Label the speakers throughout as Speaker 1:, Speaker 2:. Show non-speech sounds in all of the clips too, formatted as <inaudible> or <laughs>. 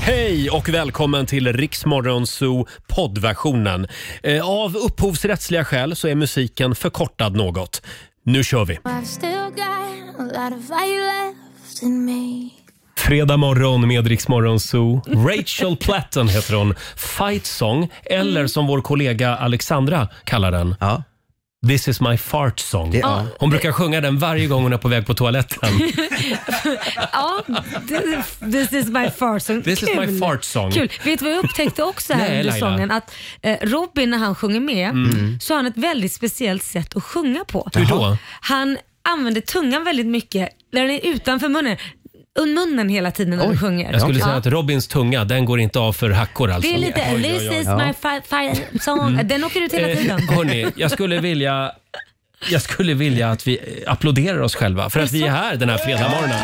Speaker 1: Hej och välkommen till Riksmorgon Zoo poddversionen. Eh, Av upphovsrättsliga skäl så är musiken förkortad något. Nu kör vi!
Speaker 2: I've still got a lot of fight left in me.
Speaker 1: Fredag morgon med Riksmorgon Zoo. Rachel Platten heter hon. Fight Song, eller som vår kollega Alexandra kallar den.
Speaker 3: Ja.
Speaker 1: This is my fart song.
Speaker 3: Det- ja.
Speaker 1: Hon brukar sjunga den varje gång hon är på väg på toaletten.
Speaker 4: <laughs> Ja, this, this is my fart song.
Speaker 1: This is
Speaker 4: Kul.
Speaker 1: my fart song.
Speaker 4: Kul. Vet du vad jag upptäckte också här
Speaker 1: Nej,
Speaker 4: under
Speaker 1: Laila. Mm.
Speaker 4: sången? Att eh, Robin när han sjunger med så har han ett väldigt speciellt sätt att sjunga på.
Speaker 1: Hur då?
Speaker 4: Han använder tungan väldigt mycket när den är utanför munnen. Un- munnen hela tiden när han sjunger.
Speaker 1: Jag skulle
Speaker 4: Ja.
Speaker 1: säga att Robins tunga, den går inte av för hackor alltså.
Speaker 4: det är lite “This is my fi- fi- song”. Den åker ut hela
Speaker 1: Eh,
Speaker 4: tiden.
Speaker 1: <laughs> hörni, jag skulle vilja... Jag skulle vilja att vi eh, applåderar oss själva för att vi är här den här fredagmorgonen.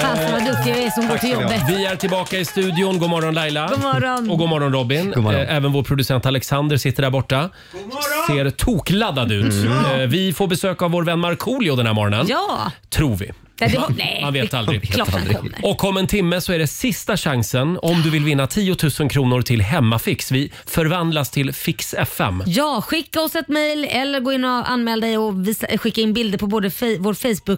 Speaker 4: Fasen vad duktig jag är som går till jobbet.
Speaker 1: Vi är tillbaka i studion. God morgon Laila.
Speaker 4: God morgon.
Speaker 1: Och god morgon Robin.
Speaker 3: God morgon.
Speaker 1: Eh, Även vår producent Alexander sitter där borta. God morgon. Ser tokladdad ut. Eh, Vi får besök av vår vän Markoolio den här morgonen.
Speaker 4: Mm. Ja.
Speaker 1: Tror vi.
Speaker 4: Nej, det, nej.
Speaker 1: Man vet aldrig.
Speaker 4: Klart han kommer.
Speaker 1: Och om en timme så är det sista chansen om du vill vinna 10 000 kronor till Hemmafix. Vi förvandlas till Fix FM.
Speaker 4: Ja, skicka oss ett mejl eller gå in och anmäl dig och visa, eh, skicka in bilder på både fe, vår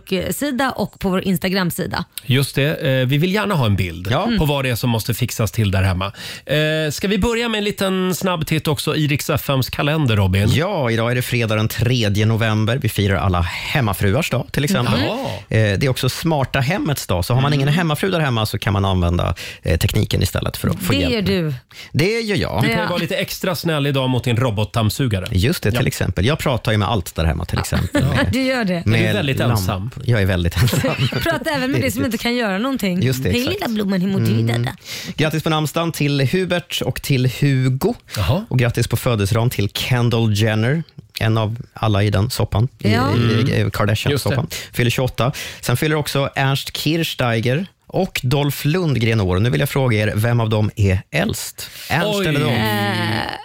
Speaker 4: Facebook-sida och på vår Instagram-sida.
Speaker 1: Just det. Eh, vi vill gärna ha en bild
Speaker 3: Ja.
Speaker 1: på vad det är som måste fixas till där hemma. Eh, ska vi börja med en liten snabb titt också i Rix FMs kalender, Robin?
Speaker 3: Ja, idag är det fredag den 3 november. Vi firar alla hemmafruars dag till exempel.
Speaker 1: Jaha.
Speaker 3: Eh, Det är också smarta hemmets dag, så har
Speaker 1: Mm.
Speaker 3: man ingen hemmafru där hemma så kan man använda eh, tekniken istället för att få
Speaker 4: det
Speaker 3: hjälp.
Speaker 4: gör du.
Speaker 3: Det gör jag.
Speaker 1: Du kan ju
Speaker 4: Ja.
Speaker 1: vara lite extra snäll idag mot din robotdammsugare.
Speaker 3: Just det, till exempel. Jag pratar ju med allt där hemma till exempel. Med,
Speaker 4: <laughs> Du gör det.
Speaker 3: med
Speaker 1: är väldigt
Speaker 3: lamp-
Speaker 1: ensam.
Speaker 3: Jag är väldigt ensam.
Speaker 4: Prata
Speaker 3: <laughs>
Speaker 4: även med dig som inte kan göra någonting.
Speaker 3: Just det,
Speaker 4: Hej
Speaker 3: exakt. Mm.
Speaker 4: lilla blomman, hur mår du idag?
Speaker 3: Grattis på namnsdagen till Hubert och till Hugo.
Speaker 1: Jaha.
Speaker 3: Och grattis på födelsedagen till Kendall Jenner. En av alla i den soppan, i,
Speaker 4: Ja.
Speaker 3: i, i Kardashian-soppan.
Speaker 1: Mm. Just
Speaker 3: Fyller 28. Sen fyller också Ernst Kirchsteiger och Dolph Lundgren år. Nu vill jag fråga er, vem av dem är äldst? Ernst
Speaker 1: Oj.
Speaker 3: eller Dolph?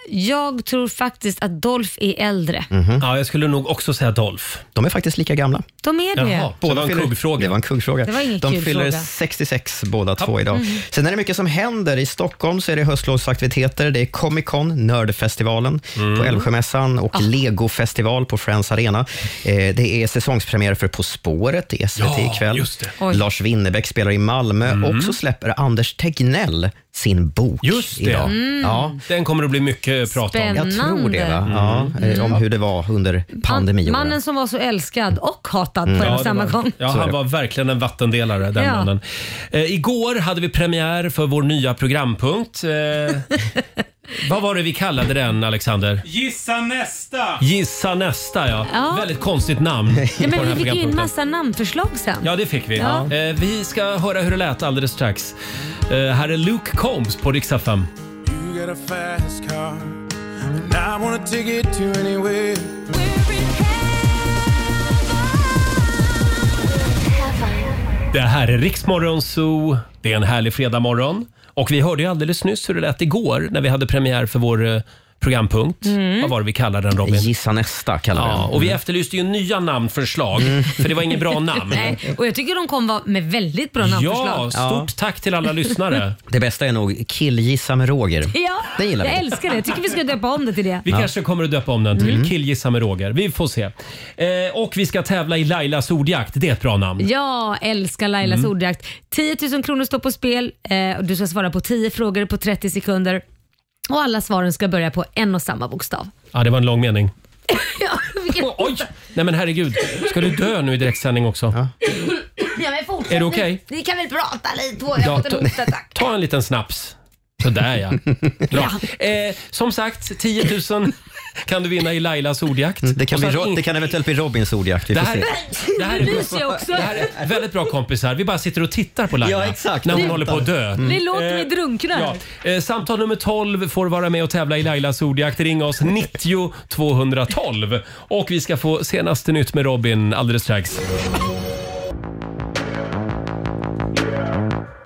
Speaker 4: Jag tror faktiskt att Dolph är äldre.
Speaker 3: Mm. Mhm.
Speaker 1: Ja, jag skulle nog också säga Dolph.
Speaker 3: De är faktiskt lika gamla.
Speaker 4: De är det.
Speaker 1: Jaha. Så det var en kuggfråga.
Speaker 3: Det var en kuggfråga.
Speaker 4: Det var ingen Mm.
Speaker 3: De
Speaker 4: kul
Speaker 3: fyller
Speaker 4: fråga.
Speaker 3: 66 båda två idag. Sen är det mycket som händer. I Stockholm så är det höstlovsaktiviteter. Det är Comic Con, Nördfestivalen på
Speaker 1: Mm.
Speaker 3: Älvsjömässan
Speaker 4: Ah.
Speaker 3: och Lego-festival på Friends Arena. Eh, det är säsongspremiär för På spåret i SVT
Speaker 1: Ja,
Speaker 3: ikväll.
Speaker 1: just det. Mm.
Speaker 4: Oj.
Speaker 3: Lars Winnerbäck spelar i Malmö och så släpper Anders Tegnell sin bok
Speaker 1: Just det.
Speaker 3: idag.
Speaker 4: Mm.
Speaker 3: Ja.
Speaker 1: Den kommer att bli mycket prat om.
Speaker 4: Spänn-
Speaker 3: Jag tror det, va? Ja,
Speaker 1: Mm.
Speaker 3: eh, om hur det var under
Speaker 4: Han,
Speaker 3: pandemin.
Speaker 4: mannen som var så älskad och hatad
Speaker 3: Mm.
Speaker 4: på en
Speaker 1: Ja,
Speaker 4: och
Speaker 1: det
Speaker 4: samma
Speaker 1: var,
Speaker 4: gång.
Speaker 1: ja,
Speaker 3: Så är
Speaker 1: han
Speaker 3: det.
Speaker 1: var verkligen en vattendelare, den
Speaker 4: Ja.
Speaker 1: mannen. Eh, igår hade vi premiär för vår nya programpunkt. Eh,
Speaker 4: <laughs>
Speaker 1: vad var det vi kallade den, Alexander?
Speaker 5: Gissa nästa!
Speaker 1: Gissa nästa, ja.
Speaker 4: Ja.
Speaker 1: Väldigt konstigt namn.
Speaker 4: Ja,
Speaker 1: på den
Speaker 4: men
Speaker 1: här
Speaker 4: vi fick ju in
Speaker 1: programpunkten.
Speaker 4: massa namnförslag sen.
Speaker 1: Ja, det fick vi.
Speaker 4: Ja.
Speaker 1: Eh, vi ska höra hur det lät alldeles strax. Eh, här är Luke Combs på Rix FM.
Speaker 6: You got a fast car, and I want a ticket to anywhere.
Speaker 1: Det här är Riksmorgon Zoo. Det är en härlig fredagmorgon. Och vi hörde ju alldeles nyss hur det lät igår när vi hade premiär för vår eh, programpunkt.
Speaker 4: Mm.
Speaker 1: Vad var det vi kallade den Robin?
Speaker 3: Gissa nästa kallar vi
Speaker 1: Ja,
Speaker 3: den.
Speaker 1: och vi efterlyste ju nya namnförslag, för det var inget bra namn.
Speaker 4: Mm. <laughs> Nej, och jag tycker de kom va- med väldigt bra
Speaker 1: Ja,
Speaker 4: namnförslag.
Speaker 1: stort tack till alla lyssnare.
Speaker 3: Det bästa är nog Killgissa med Roger.
Speaker 4: Ja,
Speaker 3: Det gillar
Speaker 4: jag
Speaker 3: vi.
Speaker 4: älskar det. Jag tycker vi ska döpa om det till det.
Speaker 1: Vi kanske kommer att döpa om den till
Speaker 4: Mm.
Speaker 1: Killgissa med Roger. Vi får se. Eh, och vi ska tävla i Lailas ordjakt. Det är ett bra namn.
Speaker 4: Jag älskar Lailas
Speaker 1: Mm.
Speaker 4: ordjakt. 10 000 kronor står på spel eh, och du ska svara på 10 frågor på 30 sekunder. Och alla svaren ska börja på en och samma bokstav.
Speaker 1: Ja, det var en lång mening.
Speaker 4: <laughs> Ja, vilken-
Speaker 1: Oj! Nej men herregud. Ska du dö nu i direktsändning också?
Speaker 4: ja, men fortsätt
Speaker 1: Är det
Speaker 4: nu.
Speaker 1: okej?
Speaker 4: Ni kan väl prata lite på. Jag har fått en
Speaker 1: Datorn.
Speaker 4: hostattack.
Speaker 1: Ta en liten snaps. Sådär ja. Bra. Eh, som sagt, 10 000 kan du vinna i Lailas ordjakt.
Speaker 3: Mm, Det kan,
Speaker 1: Och så
Speaker 3: bli,
Speaker 1: att in-
Speaker 3: ro- det kan eventuellt bli Robins ordjakt. Vi
Speaker 1: det
Speaker 3: får
Speaker 1: här,
Speaker 3: se.
Speaker 1: <laughs> det, här
Speaker 4: Nu
Speaker 1: är,
Speaker 4: ryser jag också.
Speaker 1: det här är väldigt bra kompisar. Vi bara sitter och tittar på Laila
Speaker 3: Ja, exakt. Mm.
Speaker 1: när hon
Speaker 3: Väntar.
Speaker 1: håller på att dö.
Speaker 4: Det låter vi
Speaker 1: Eh,
Speaker 4: drunknar.
Speaker 1: Ja. Eh, samtal nummer 12 får vara med och tävla i Lailas ordjakt. Ring oss 90 212. Och vi ska få senaste nytt med Robin alldeles strax.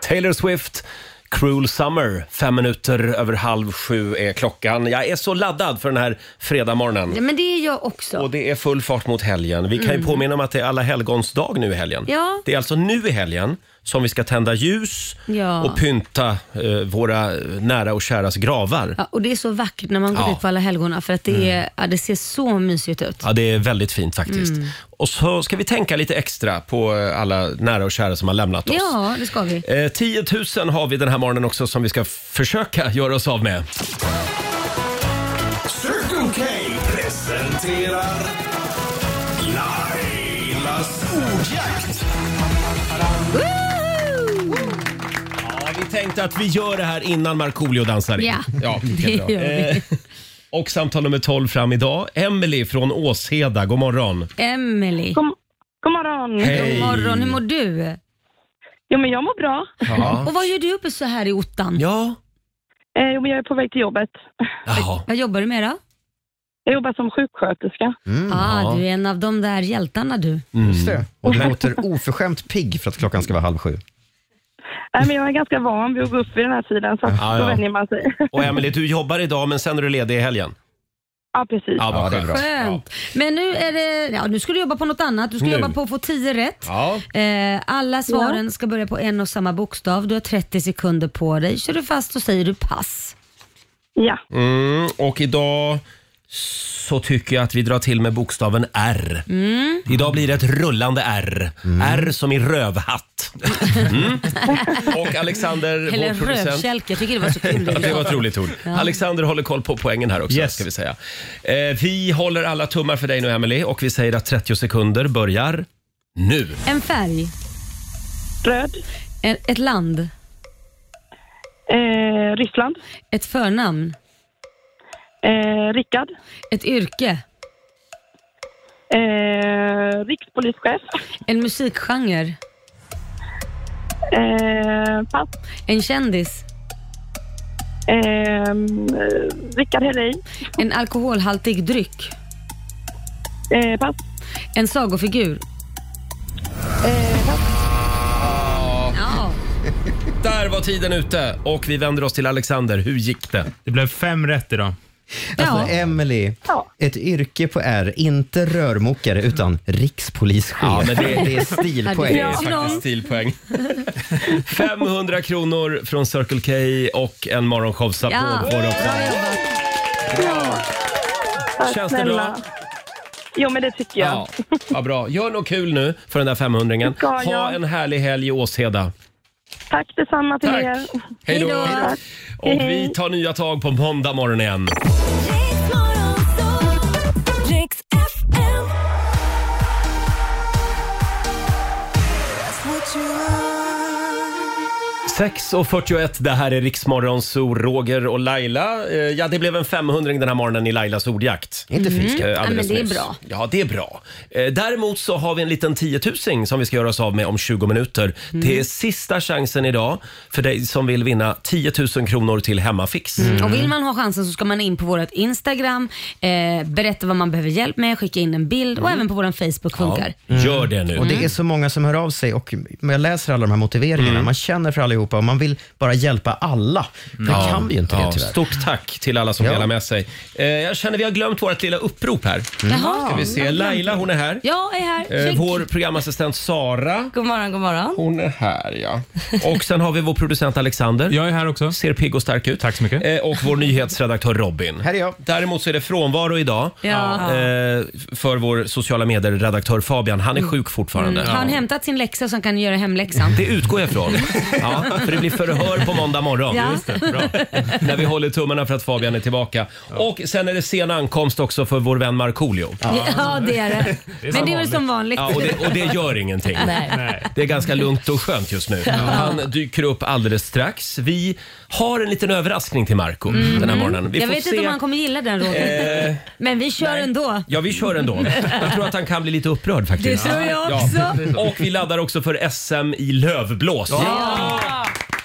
Speaker 1: Taylor Swift. Cruel Summer, fem minuter över halv sju är klockan. Jag är så laddad för den här fredagmorgonen.
Speaker 4: Ja, men det är jag också.
Speaker 1: Och det är full fart mot helgen. Vi kan ju påminna om att det är alla helgons dag nu i helgen.
Speaker 4: Ja.
Speaker 1: Det är alltså nu i helgen som vi ska tända ljus
Speaker 4: Ja.
Speaker 1: och pynta eh, våra nära och käras gravar. Ja.
Speaker 4: Ja, och det är så vackert när man går
Speaker 1: Ja. Mm.
Speaker 4: ut på alla helgona för att det, är, ja, det ser så mysigt ut.
Speaker 1: det är väldigt fint faktiskt.
Speaker 4: Mm.
Speaker 1: Och så ska vi tänka lite extra på eh, alla nära och kära som har lämnat oss.
Speaker 4: Ja, det ska vi.
Speaker 1: Eh, 10 000 har vi den här morgonen också som vi ska försöka göra oss av med.
Speaker 6: Circle K presenterar Lailas ordjakt.
Speaker 1: Ja, vi tänkte att vi gör det här innan Markoolio dansar in.
Speaker 4: Ja,
Speaker 1: ja
Speaker 4: det
Speaker 1: det Eh,
Speaker 4: gör vi.
Speaker 1: Och samtal nummer 12 fram idag. Emily från Åsheda, god morgon.
Speaker 4: Emily.
Speaker 5: God, god morgon.
Speaker 4: God morgon, hur mår du?
Speaker 5: Jo, men jag mår bra.
Speaker 1: Ja.
Speaker 4: Och vad gör du uppe så här i ottan?
Speaker 1: ja.
Speaker 5: Eh, jo, men jag är på väg till jobbet.
Speaker 1: Jaha.
Speaker 4: Vad jobbar du med då?
Speaker 5: Jag jobbar som sjuksköterska.
Speaker 4: ah,
Speaker 1: Mm. ja.
Speaker 4: Du är en av de där hjältarna du.
Speaker 1: Mm.
Speaker 3: Just det. Och du låter oförskämt pigg för att klockan ska vara halv sju.
Speaker 5: Nej, Eh, men jag är ganska van vid att gå upp vid den här tiden, så att
Speaker 1: Ja,
Speaker 5: då
Speaker 1: ja.
Speaker 5: vänjer man sig. <laughs>
Speaker 1: Och Emily, du jobbar idag men sen är du ledig i helgen.
Speaker 5: ja, precis. Ja.
Speaker 1: vad
Speaker 3: Ja, det är
Speaker 1: skönt.
Speaker 3: bra.
Speaker 4: Skönt. Men nu är det, ja, nu ska du jobba på något annat. Du ska
Speaker 1: Nu.
Speaker 4: jobba på att få 10 rätt.
Speaker 1: Ja.
Speaker 4: Eh, alla svaren ska börja på en och samma bokstav. Du har 30 sekunder på dig. Kör du fast och säger du pass.
Speaker 1: Mm, och idag så tycker jag att vi drar till med bokstaven R.
Speaker 4: Mm.
Speaker 1: Idag blir det ett rullande R.
Speaker 3: Mm.
Speaker 1: R som i rövhatt. Mm. Och Alexander,
Speaker 4: Eller
Speaker 1: vår producent.
Speaker 4: rövkälke. Jag tycker det var så kul.
Speaker 1: <laughs> Ja, det var ett roligt ord. Alexander håller koll på poängen här också.
Speaker 7: Yes.
Speaker 1: Ska vi, säga. Eh, vi håller alla tummar för dig nu, Emily och vi säger att 30 sekunder börjar nu.
Speaker 4: En färg.
Speaker 5: Röd.
Speaker 4: En- Ett land.
Speaker 5: Eh, Ryssland.
Speaker 4: Ett förnamn.
Speaker 5: Eh, Rickard.
Speaker 4: Ett yrke.
Speaker 5: Eh, rikspolischef.
Speaker 4: En musikgenre.
Speaker 5: Eh, pass.
Speaker 4: En kändis.
Speaker 5: Eh, Rickard Helin.
Speaker 4: En alkoholhaltig dryck.
Speaker 5: Eh, pass.
Speaker 4: En sagofigur. Ja.
Speaker 1: Där var tiden ute och vi vänder oss till Alexander. Hur gick det?
Speaker 7: Det blev fem rätt idag.
Speaker 4: Ja.
Speaker 3: Alltså, Emily,
Speaker 5: Ja.
Speaker 3: ett yrke på R, inte rörmokare utan rikspolischef.
Speaker 1: Ja, men det-
Speaker 3: det, är
Speaker 4: Ja,
Speaker 3: stilpoäng.
Speaker 1: Det är
Speaker 4: Någon.
Speaker 1: faktiskt <laughs> stilpoäng. 500 kronor från Circle K och en morgonshowsapplåd
Speaker 4: Ja.
Speaker 1: får du också.
Speaker 4: Bra jobbat.
Speaker 5: Tack,
Speaker 1: Känns det bra?
Speaker 5: Jo, men det tycker jag.
Speaker 1: Ja, vad bra. Gör något kul nu för den där 500-ringen.
Speaker 5: Det ska jag.
Speaker 1: Ha en härlig helg i Åsheda.
Speaker 5: Tack detsamma till
Speaker 1: Tack.
Speaker 5: er.
Speaker 1: Hej då!
Speaker 4: Hej då.
Speaker 1: Och vi tar nya tag på måndag morgon igen.
Speaker 8: Riks FM.
Speaker 6: That's what you are.
Speaker 1: 6.41, det här är Riksmorgon, så Roger och Laila. Eh, Ja, det blev en 500 den här morgonen i Lailas ordjakt.
Speaker 3: Inte fisk.
Speaker 1: Eh, alldeles
Speaker 4: Ja, men det är
Speaker 1: nyss.
Speaker 4: bra.
Speaker 1: Ja, det är bra. Eh, Däremot så har vi en liten tiotusing som vi ska göra oss av med om 20 minuter. Det är sista chansen idag för dig som vill vinna 10 000 kronor till Hemmafix.
Speaker 4: Och vill man ha chansen så ska man in på vårt Instagram, eh, berätta vad man behöver hjälp med, skicka in en bild och även på vår Facebook funkar.
Speaker 1: Mm. Ja, Mm. gör det nu.
Speaker 3: Och det är så många som hör av sig och jag läser alla de här motiveringarna.
Speaker 1: Mm.
Speaker 3: Man känner för allihopa och man vill bara hjälpa alla. Det kan vi ju inte
Speaker 1: Ja,
Speaker 3: det tyvärr.
Speaker 1: stort tack till alla som
Speaker 3: Ja.
Speaker 1: delar med sig. Eh, jag känner vi har glömt vårt lilla upprop här.
Speaker 4: Jaha.
Speaker 1: Ska vi se. Laila hon är här.
Speaker 4: Jag är här.
Speaker 1: Eh,
Speaker 4: Check.
Speaker 1: vår programassistent Sara.
Speaker 9: God morgon, god morgon.
Speaker 1: Hon är här ja. <laughs> Och sen har vi vår producent Alexander.
Speaker 7: Jag är här också.
Speaker 1: Ser pigg och stark ut.
Speaker 7: Tack så mycket.
Speaker 1: Eh, och vår nyhetsredaktör Robin.
Speaker 3: Här är jag.
Speaker 1: Däremot så är det frånvaro idag
Speaker 4: Ja.
Speaker 1: eh, för vår sociala medier-redaktör Fabian. Han är
Speaker 4: Mm.
Speaker 1: sjuk fortfarande.
Speaker 4: Har han
Speaker 1: Ja.
Speaker 4: hämtat sin läxa så han kan göra hemläxan?
Speaker 1: <laughs> Det utgår jag ifrån. Ja, för det blir förhör på måndag morgon.
Speaker 4: Ja.
Speaker 1: Just det, bra. När vi håller tummarna för att Fabian är tillbaka. Och sen är det sen ankomst också för vår vän Markoolio.
Speaker 4: Ja,
Speaker 1: <laughs>
Speaker 4: det är det.
Speaker 7: är som
Speaker 4: Men det är väl som vanligt.
Speaker 1: Ja, och, det, och det gör ingenting.
Speaker 7: Nej.
Speaker 1: Det är ganska lugnt och skönt just nu. Han dyker upp alldeles strax. Vi har en liten överraskning till Marco den här morgonen. Vi
Speaker 4: Mm. Jag
Speaker 1: får
Speaker 4: vet
Speaker 1: se. Eh,
Speaker 4: inte om han kommer gilla den Roger. <laughs> Men vi kör ändå.
Speaker 1: Ja, vi kör ändå. Jag tror att han kan bli lite upprörd
Speaker 4: Det
Speaker 1: faktiskt.
Speaker 4: tror jag också.
Speaker 1: Och vi laddar också för SM i lövblås.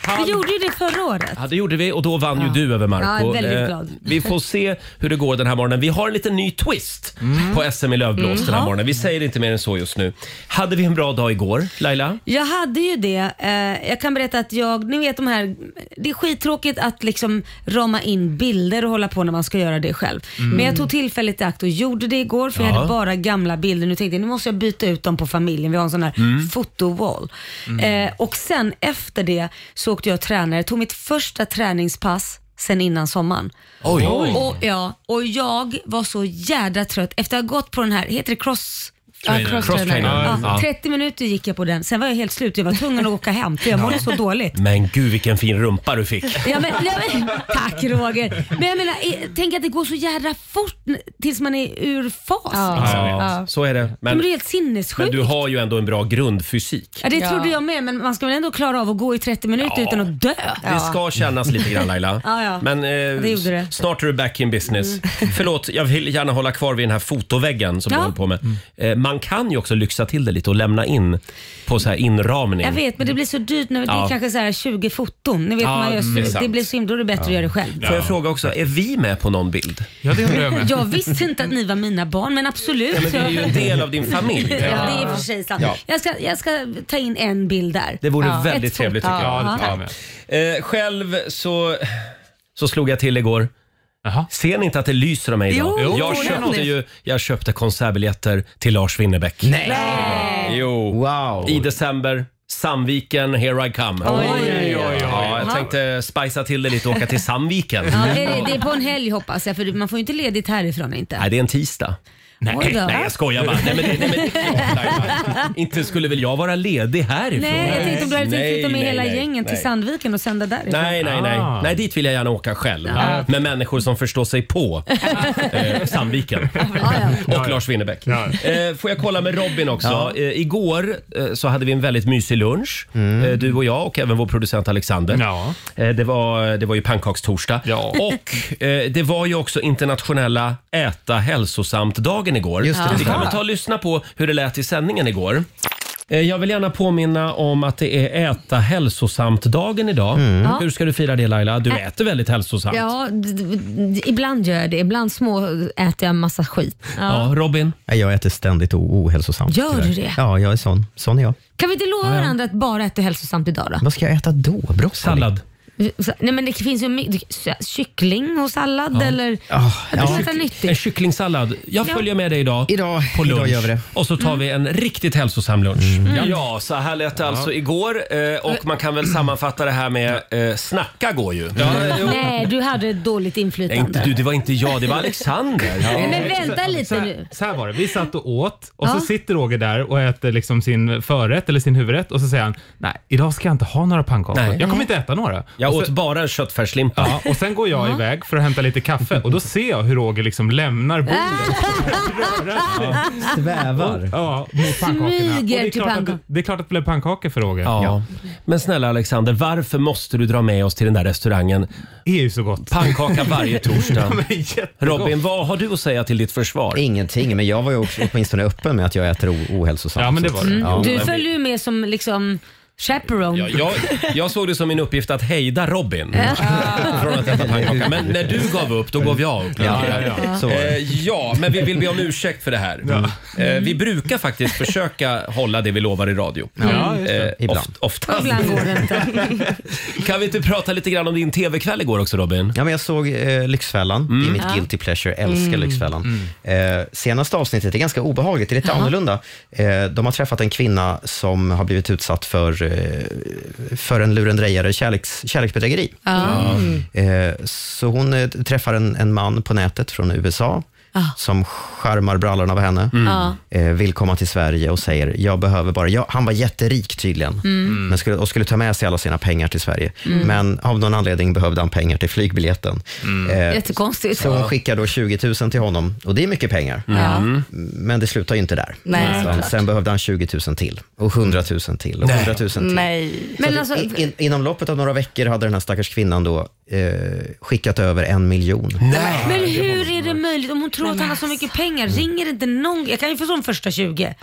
Speaker 1: Han-
Speaker 4: Vi gjorde ju det förra året.
Speaker 1: Ja, det gjorde vi och då vann ju du över Marco.
Speaker 4: Ja, jag är väldigt
Speaker 1: Eh,
Speaker 4: glad.
Speaker 1: Vi får se hur det går den här morgonen. Vi har en liten ny twist
Speaker 4: Mm.
Speaker 1: på SM i Lövblås den här morgonen. Vi säger inte mer än så just nu. Hade vi en bra dag igår, Laila?
Speaker 4: Jag hade ju det. Eh, jag kan berätta att jag, ni vet de här, det är skittråkigt att liksom rama in bilder och hålla på när man ska göra det själv. Men jag tog tillfället i akt och gjorde det igår för jag
Speaker 1: Ja.
Speaker 4: hade bara gamla bilder. Nu tänkte jag nu måste jag byta ut dem på familjen. Vi har en sån här fotowall. Eh, och sen efter det så åkte jag och tränade. Jag tog mitt första träningspass sen innan sommaren.
Speaker 1: Oj.
Speaker 4: Och, ja, och jag var så jädra trött efter att ha gått på den här, heter det cross?
Speaker 7: Ja,
Speaker 1: Cross-trainer.
Speaker 7: Ja.
Speaker 4: Ja,
Speaker 1: Ja.
Speaker 4: 30 minuter gick jag på den, sen var jag helt slut. Jag var tvungen att åka hem för jag mådde
Speaker 1: <laughs>
Speaker 4: så dåligt.
Speaker 1: Men gud vilken fin rumpa du fick.
Speaker 4: Ja, men, ja, men, tack Roger. Men jag menar, eh, tänk att det går så jädra fort n- tills man är ur fas. Ja.
Speaker 1: Ja, så är det.
Speaker 4: Men
Speaker 1: Men,
Speaker 4: det är helt
Speaker 1: men
Speaker 4: sinnessjukt.
Speaker 1: du har ju ändå en bra grundfysik.
Speaker 4: Ja, det
Speaker 7: Ja.
Speaker 4: trodde jag med, men man ska väl ändå klara av att gå i 30 minuter utan att dö.
Speaker 1: Det ska kännas lite grann Laila.
Speaker 4: <laughs> Ja, ja.
Speaker 1: Men eh,
Speaker 4: det gjorde det. Mm.
Speaker 1: snart är du back in business. <laughs> Förlåt, jag vill gärna hålla kvar vid den här fotoväggen som
Speaker 4: Ja.
Speaker 1: du håller på med. Eh, man kan ju också lyxa till det lite och lämna in på så här inramning.
Speaker 4: Jag vet, men det blir så dyrt när det
Speaker 1: Ja.
Speaker 4: är kanske så här 20 foton. Ni vet,
Speaker 1: Ja,
Speaker 4: man gör
Speaker 1: det är
Speaker 4: så,
Speaker 1: sant.
Speaker 4: det blir så himla, då är det bättre att göra det själv.
Speaker 1: Får jag fråga också, är vi med på någon bild?
Speaker 7: ja, det undrar jag med.
Speaker 4: <laughs> Jag visste inte att ni var mina barn, men absolut.
Speaker 1: Men vi är ju en del av din familj.
Speaker 4: <laughs> Ja, det är i och för sig sant. Jag, ska, jag ska ta in en bild där.
Speaker 1: Det vore väldigt
Speaker 4: Ett
Speaker 1: trevligt
Speaker 4: foto.
Speaker 1: tycker jag.
Speaker 7: Ja, det
Speaker 4: Ja.
Speaker 7: tror jag med.
Speaker 1: Eh, själv så, så slog jag till igår.
Speaker 7: Jaha.
Speaker 1: Ser ni inte att det lyser om mig idag?
Speaker 7: Jo,
Speaker 1: jag,
Speaker 7: det
Speaker 1: köpte
Speaker 7: syns.
Speaker 1: ju, jag köpte konsertbiljetter till Lars Winnerbäck.
Speaker 3: Nej!
Speaker 1: Jo.
Speaker 3: Wow!
Speaker 1: I december, Sandviken, here I come.
Speaker 7: Oj, oj,
Speaker 1: Ja,
Speaker 7: oj.
Speaker 1: jag tänkte spicea till det lite och åka till Sandviken.
Speaker 4: Ja, är det, det är på en helg hoppas jag, för man får ju inte ledigt härifrån inte.
Speaker 1: Nej, det är en tisdag.
Speaker 7: Nej,
Speaker 4: Oj då.
Speaker 1: Nej, jag skojar bara. Nej, men, nej, men, Inte skulle väl jag vara ledig härifrån?
Speaker 4: Nej, jag tänkte om du hade tänkt
Speaker 1: Nej,
Speaker 4: flytta med
Speaker 1: nej,
Speaker 4: hela
Speaker 1: nej,
Speaker 4: gängen till
Speaker 1: nej.
Speaker 4: Sandviken och sända därifrån.
Speaker 1: Nej, nej, nej.
Speaker 7: Ah.
Speaker 1: Nej, dit vill jag gärna åka själv. Med människor som förstår sig på eh, Sandviken och Lars Winnerbäck. Eh, får jag kolla med Robin också? Eh, igår eh, så hade vi en väldigt mysig lunch.
Speaker 3: Mm.
Speaker 1: Eh, du och jag och även vår producent Alexander.
Speaker 7: Ja.
Speaker 1: Eh, det, var, det var ju pannkakstorsdag.
Speaker 7: Ja.
Speaker 1: Och eh, det var ju också internationella äta hälsosamt-dagen igår.
Speaker 3: Just det, det
Speaker 1: Vi kan
Speaker 3: stämmer.
Speaker 1: väl ta och lyssna på hur det lät i sändningen igår. Eh, Jag vill gärna påminna om att det är äta hälsosamt-dagen idag.
Speaker 3: Mm.
Speaker 1: Hur ska du fira det Laila? Du äter väldigt hälsosamt.
Speaker 4: Ja, d- d- d- ibland gör jag det. Ibland små äter jag massa skit.
Speaker 1: Ja, Robin?
Speaker 3: Nej, Jag äter ständigt o- ohälsosamt.
Speaker 4: Gör du
Speaker 3: tyvärr.
Speaker 4: det?
Speaker 3: Ja, jag är sån. Sån är jag.
Speaker 4: Kan vi inte lova varandra att bara äta hälsosamt idag då?
Speaker 3: Vad ska jag äta då? Broccoli?
Speaker 1: Sallad.
Speaker 4: Så- Nej men det finns ju my- så- kyckling och sallad eller...
Speaker 3: Ah,
Speaker 4: Du
Speaker 3: ja.
Speaker 4: får äta
Speaker 1: En
Speaker 4: nyttigt.
Speaker 1: kycklingsallad. Jag
Speaker 4: Ja.
Speaker 1: följer med dig idag.
Speaker 3: Idag,
Speaker 1: På lunch.
Speaker 3: idag gör vi det. Mm.
Speaker 1: Och så tar vi en riktigt hälsosam lunch. Ja. ja, så här lät det alltså igår. eh, Och man kan väl sammanfatta det här med eh, snacka går ju.
Speaker 4: Nej, du hade ett dåligt
Speaker 1: Nej, inte du,
Speaker 4: inflytande.
Speaker 1: det var inte jag, det var Alexander.
Speaker 4: Nej, men vänta
Speaker 7: Så
Speaker 4: lite nu.
Speaker 7: här, så här var det, vi satt och åt och
Speaker 4: Ja.
Speaker 7: så sitter Roger där och äter liksom sin förrätt eller sin huvudrätt och så säger han nej, idag ska jag inte ha några pannkakor.
Speaker 1: Nej.
Speaker 7: Jag kommer inte äta några.
Speaker 1: Jag
Speaker 7: och,
Speaker 1: åt
Speaker 7: så,
Speaker 1: bara en köttfärslimpa.
Speaker 7: ja, och sen går jag iväg för att hämta lite kaffe och då ser jag hur Roger liksom lämnar bordet
Speaker 4: Äh,
Speaker 7: och rör sig
Speaker 3: Svävar.
Speaker 7: ja, mot pannkakorna. Och det,
Speaker 4: Smyger
Speaker 7: är
Speaker 4: till
Speaker 7: klart att,
Speaker 4: pannkakor.
Speaker 7: det- det är klart att det blev pannkakor för Roger.
Speaker 1: Ja. Men snälla Alexander, varför måste du dra med oss till den där restaurangen?
Speaker 7: Det är ju så gott. <laughs>
Speaker 1: Pannkaka varje <laughs> torsdag.
Speaker 7: Men jättegott.
Speaker 1: Robin, vad har du att säga till ditt försvar?
Speaker 3: Ingenting, men jag var ju också åtminstone öppen med att jag äter o- ohälsosamt.
Speaker 7: Ja, men det var det.
Speaker 3: Ja,
Speaker 4: Mm. Du
Speaker 3: men-
Speaker 4: följer ju med som liksom chaperone.
Speaker 1: Ja, jag, jag såg det som min uppgift att hejda Robin från att äta pannkaka. Men när du gav upp, då gav jag upp.
Speaker 3: Ja, ja, ja. Så var det.
Speaker 1: Eh, ja, men vi vill be om ursäkt för det här. Eh, vi brukar faktiskt försöka hålla det vi lovar i radio.
Speaker 7: Ja, just det.
Speaker 1: Eh,
Speaker 3: Ibland.
Speaker 1: oft, oftast.
Speaker 4: Ibland går det inte.
Speaker 1: Kan vi inte prata lite grann om din TV-kväll igår också Robin?
Speaker 3: Ja, men jag såg eh, Lyxfällan. Det är mitt guilty pleasure. Jag älskar Lyxfällan. Eh, senaste avsnittet är ganska obehagligt. Det är lite annorlunda. Eh, de har träffat en kvinna som har blivit utsatt för, eh, för en lurendrejare, kärleks, kärleksbedrägeri. Eh, så hon eh, träffar en, en man på nätet från USA som skärmar brallan av henne,
Speaker 4: Ah.
Speaker 3: eh, vill komma till Sverige och säger jag behöver bara, ja, han var jätterik tydligen
Speaker 4: Mm.
Speaker 3: Mm. men skulle, och skulle ta med sig alla sina pengar till Sverige. Men av någon anledning behövde han pengar till flygbiljetten.
Speaker 4: Mm.
Speaker 3: Eh,
Speaker 4: Jättekonstigt.
Speaker 3: så hon skickar då 20 000 till honom och det är mycket pengar.
Speaker 4: Mm. Ja.
Speaker 3: Men det slutar ju inte där.
Speaker 9: Nej,
Speaker 3: sen, sen behövde han 20 000 till och 100 000 till och 100 000 till.
Speaker 9: Nej.
Speaker 4: Men alltså,
Speaker 3: I, in, inom loppet av några veckor hade den här stackars kvinnan då eh, skickat över en miljon.
Speaker 4: men hur är det möjligt om hon tror att han har så mycket pengar? Ringer inte någon? Jag kan ju förstå de första 20.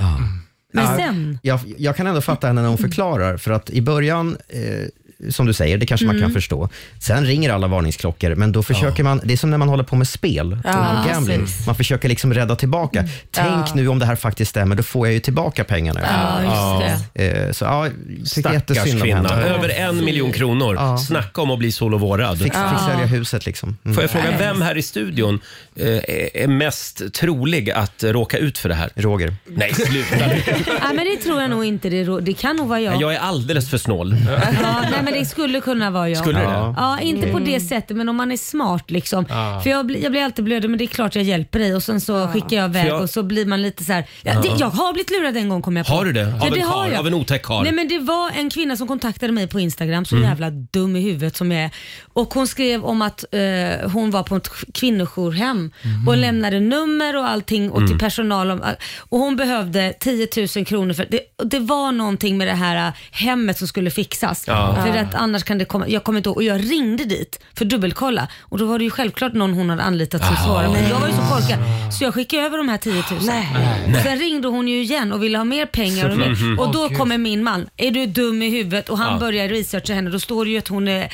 Speaker 4: Men sen?
Speaker 3: Jag, jag kan ändå fatta henne när hon förklarar, för att i början eh, som du säger, det kanske man
Speaker 4: Mm.
Speaker 3: kan förstå. Sen ringer alla varningsklockor, men då försöker man, det är som när man håller på med spel, total gambling. Man försöker liksom rädda tillbaka.
Speaker 4: Mm.
Speaker 3: Tänk nu om det här faktiskt stämmer, då får jag ju tillbaka pengarna.
Speaker 9: Ja, just det.
Speaker 3: Eh, Så ja, tycker
Speaker 1: Stackars
Speaker 3: jättesynd om
Speaker 1: kvinna.
Speaker 3: henne.
Speaker 1: Över en miljon kronor. Snacka om att bli solovårad.
Speaker 3: Fick, fick sälja huset liksom. Mm.
Speaker 1: Får jag fråga, vem här i studion eh, är- är mest trolig att råka ut för det här?
Speaker 3: Roger.
Speaker 1: Nej, sluta nu.
Speaker 4: Nej, men det tror jag nog inte. Det, rå- det kan nog vara jag.
Speaker 1: Jag är alldeles för snål.
Speaker 4: Ja, nej, men det skulle kunna vara jag.
Speaker 1: Skulle det det?
Speaker 4: Ja, inte
Speaker 3: Mm.
Speaker 4: på
Speaker 1: Mm.
Speaker 4: det sättet men om man är smart liksom. För jag, blir- jag blir alltid blödig men det är klart jag hjälper dig och sen så skickar jag iväg
Speaker 1: För jag-
Speaker 4: och så blir man lite så här. Ja, det, jag har blivit lurad en gång kom jag på.
Speaker 1: Har du det? Av
Speaker 4: Ja,
Speaker 1: en
Speaker 4: det har
Speaker 1: karl,
Speaker 4: jag.
Speaker 1: av en otäck karl?
Speaker 4: Nej men det var en kvinna som kontaktade mig på Instagram,
Speaker 1: Mm.
Speaker 4: så jävla dum i huvudet som jag är. Och hon skrev om att eh, hon var på ett kvinnojourhem
Speaker 1: Mm.
Speaker 4: och lämnade nummer och allting och till personal. Om, och hon behövde 10 000 kronor för det, det var någonting med det här eh, hemmet som skulle fixas. För att annars kan det komma, jag kommer inte ihåg. Och jag ringde dit för att dubbelkolla och då var det ju självklart någon hon hade anlitat som svarade. Men jag var ju så korkad så jag skickade över de här 10 000. Sen ringde hon ju igen och ville ha mer pengar. Och, mer. och då kommer min man. Är du dum i huvudet? Och han börjar researcha henne. Då står det ju att hon är eh,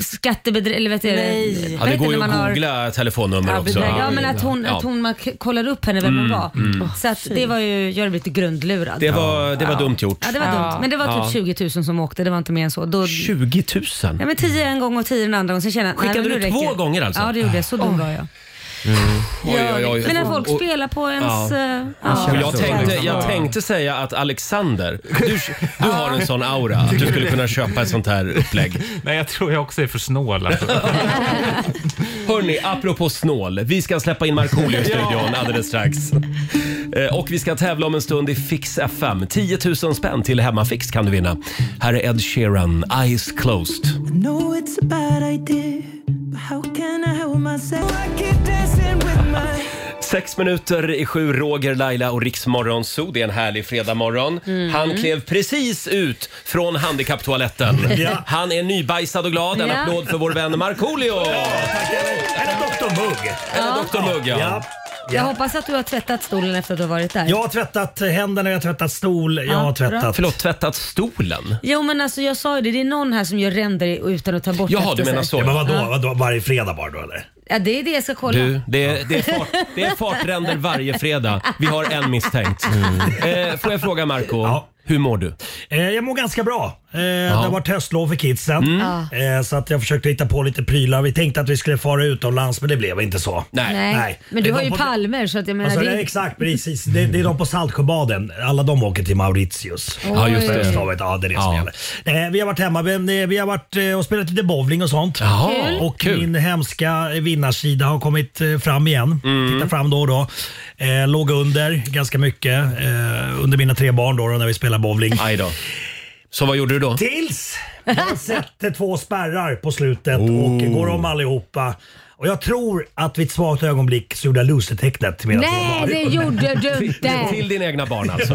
Speaker 4: skattebedrägare, eller vet du, eh,
Speaker 9: Nej.
Speaker 4: vad
Speaker 1: Ja, det
Speaker 4: heter
Speaker 1: går ju
Speaker 4: när man
Speaker 1: att
Speaker 4: har-
Speaker 1: googla telefonnummer
Speaker 9: Ja,
Speaker 1: också.
Speaker 4: Ja men att hon,
Speaker 1: Ja. Mm,
Speaker 4: att hon man k- kollade upp henne vem hon var. Så att det var ju, jag blev lite grundlurad.
Speaker 1: Det var, det var dumt gjort.
Speaker 4: Ja det var
Speaker 9: Ja.
Speaker 4: dumt. Men det var typ 20 000 som åkte, det var inte mer än så. Då,
Speaker 1: 20 000?
Speaker 4: ja men 10 en gång och 10 den andra gången. Sen kände jag, nej,
Speaker 1: Skickade
Speaker 4: men
Speaker 1: du
Speaker 4: nu
Speaker 1: två
Speaker 4: räcker det.
Speaker 1: gånger alltså?
Speaker 4: Ja det gjorde jag, så dum var jag.
Speaker 1: Oj, oj, oj.
Speaker 4: Men när folk
Speaker 1: Och-
Speaker 4: spelar på ens...
Speaker 1: Ja.
Speaker 4: eh, Ja.
Speaker 1: Och jag, tänkte, jag tänkte säga att Alexander, du, du har en sån aura att du skulle kunna köpa ett sånt här upplägg.
Speaker 7: Nej, jag tror jag också är för snål. Alltså.
Speaker 1: Hörni, apropå snål. Vi ska släppa in Markoolio i studion alldeles strax. Eh, Och vi ska tävla om en stund i Fix FM. 10 000 spänn till Hemmafix kan du vinna. Här är Ed Sheeran, Eyes Closed.
Speaker 8: No, Oh, it's a bad idea, but how can I help myself? I keep dancing with my...
Speaker 1: Sex minuter i sju, Roger, Laila och Riksmorgon Zoo. Det är en härlig fredagmorgon. Han klev precis ut från handikapptoaletten. Han är nybajsad och glad. En
Speaker 4: Ja.
Speaker 1: applåd för vår vän Markoolio!
Speaker 10: Eller Dr. Mugg.
Speaker 1: Eller Dr Mugg, ja.
Speaker 10: Ja.
Speaker 4: Jag hoppas att du har tvättat stolen efter att du har varit där.
Speaker 10: Jag har tvättat händerna, jag har tvättat stol, jag har tvättat...
Speaker 1: Förlåt, tvättat stolen?
Speaker 4: Jo men alltså jag sa ju det, det är någon här som gör ränder i- utan att ta bort
Speaker 1: Jaha,
Speaker 4: efter
Speaker 1: du menar
Speaker 4: sig.
Speaker 1: så.
Speaker 10: Ja, men vadå, vadå, varje fredag bara då eller?
Speaker 4: Ja det är det jag ska kolla.
Speaker 1: Du, det är, det, är fart, det är fartränder varje fredag. Vi har en misstänkt. Eh, får jag fråga Marco,
Speaker 10: Ja.
Speaker 1: hur mår du?
Speaker 10: Eh, jag mår ganska bra. Eh, Det har varit höstlov för kidsen.
Speaker 1: Mm.
Speaker 10: Eh, så att jag försökte hitta på lite prylar. Vi tänkte att vi skulle fara utomlands men det blev inte så.
Speaker 1: Nej.
Speaker 4: Nej.
Speaker 10: Nej.
Speaker 4: Men du
Speaker 10: Det
Speaker 4: har
Speaker 10: var
Speaker 4: ju
Speaker 10: på-
Speaker 4: palmer så att jag menar
Speaker 10: Alltså, det...
Speaker 4: det...
Speaker 10: Exakt, precis. Det, det är de på Saltsjöbaden. Alla de åker till Mauritius.
Speaker 1: Ja, just
Speaker 10: På
Speaker 1: det.
Speaker 10: Hösthavet. Ja, det är det
Speaker 1: Ja.
Speaker 10: som gäller. Eh, vi har varit hemma vi, vi har varit, eh, och spelat lite bowling och sånt.
Speaker 1: Jaha,
Speaker 10: Och
Speaker 1: kul.
Speaker 10: min hemska vinnarsida har kommit eh, fram igen.
Speaker 1: Mm.
Speaker 10: Titta fram då och då. Eh, låg under ganska mycket eh, under mina tre barn då, då när vi spelar bowling.
Speaker 1: Aj då. Så vad gjorde du då?
Speaker 10: Tills
Speaker 1: <laughs>
Speaker 10: man sätter två spärrar på slutet
Speaker 1: Oh.
Speaker 10: och går om allihopa. Och jag tror att vid ett svagt ögonblick så gjorde jag losertecknet till mina två
Speaker 4: Nej
Speaker 10: barn.
Speaker 4: det gjorde du
Speaker 1: Till
Speaker 4: inte!
Speaker 1: dina egna barn alltså?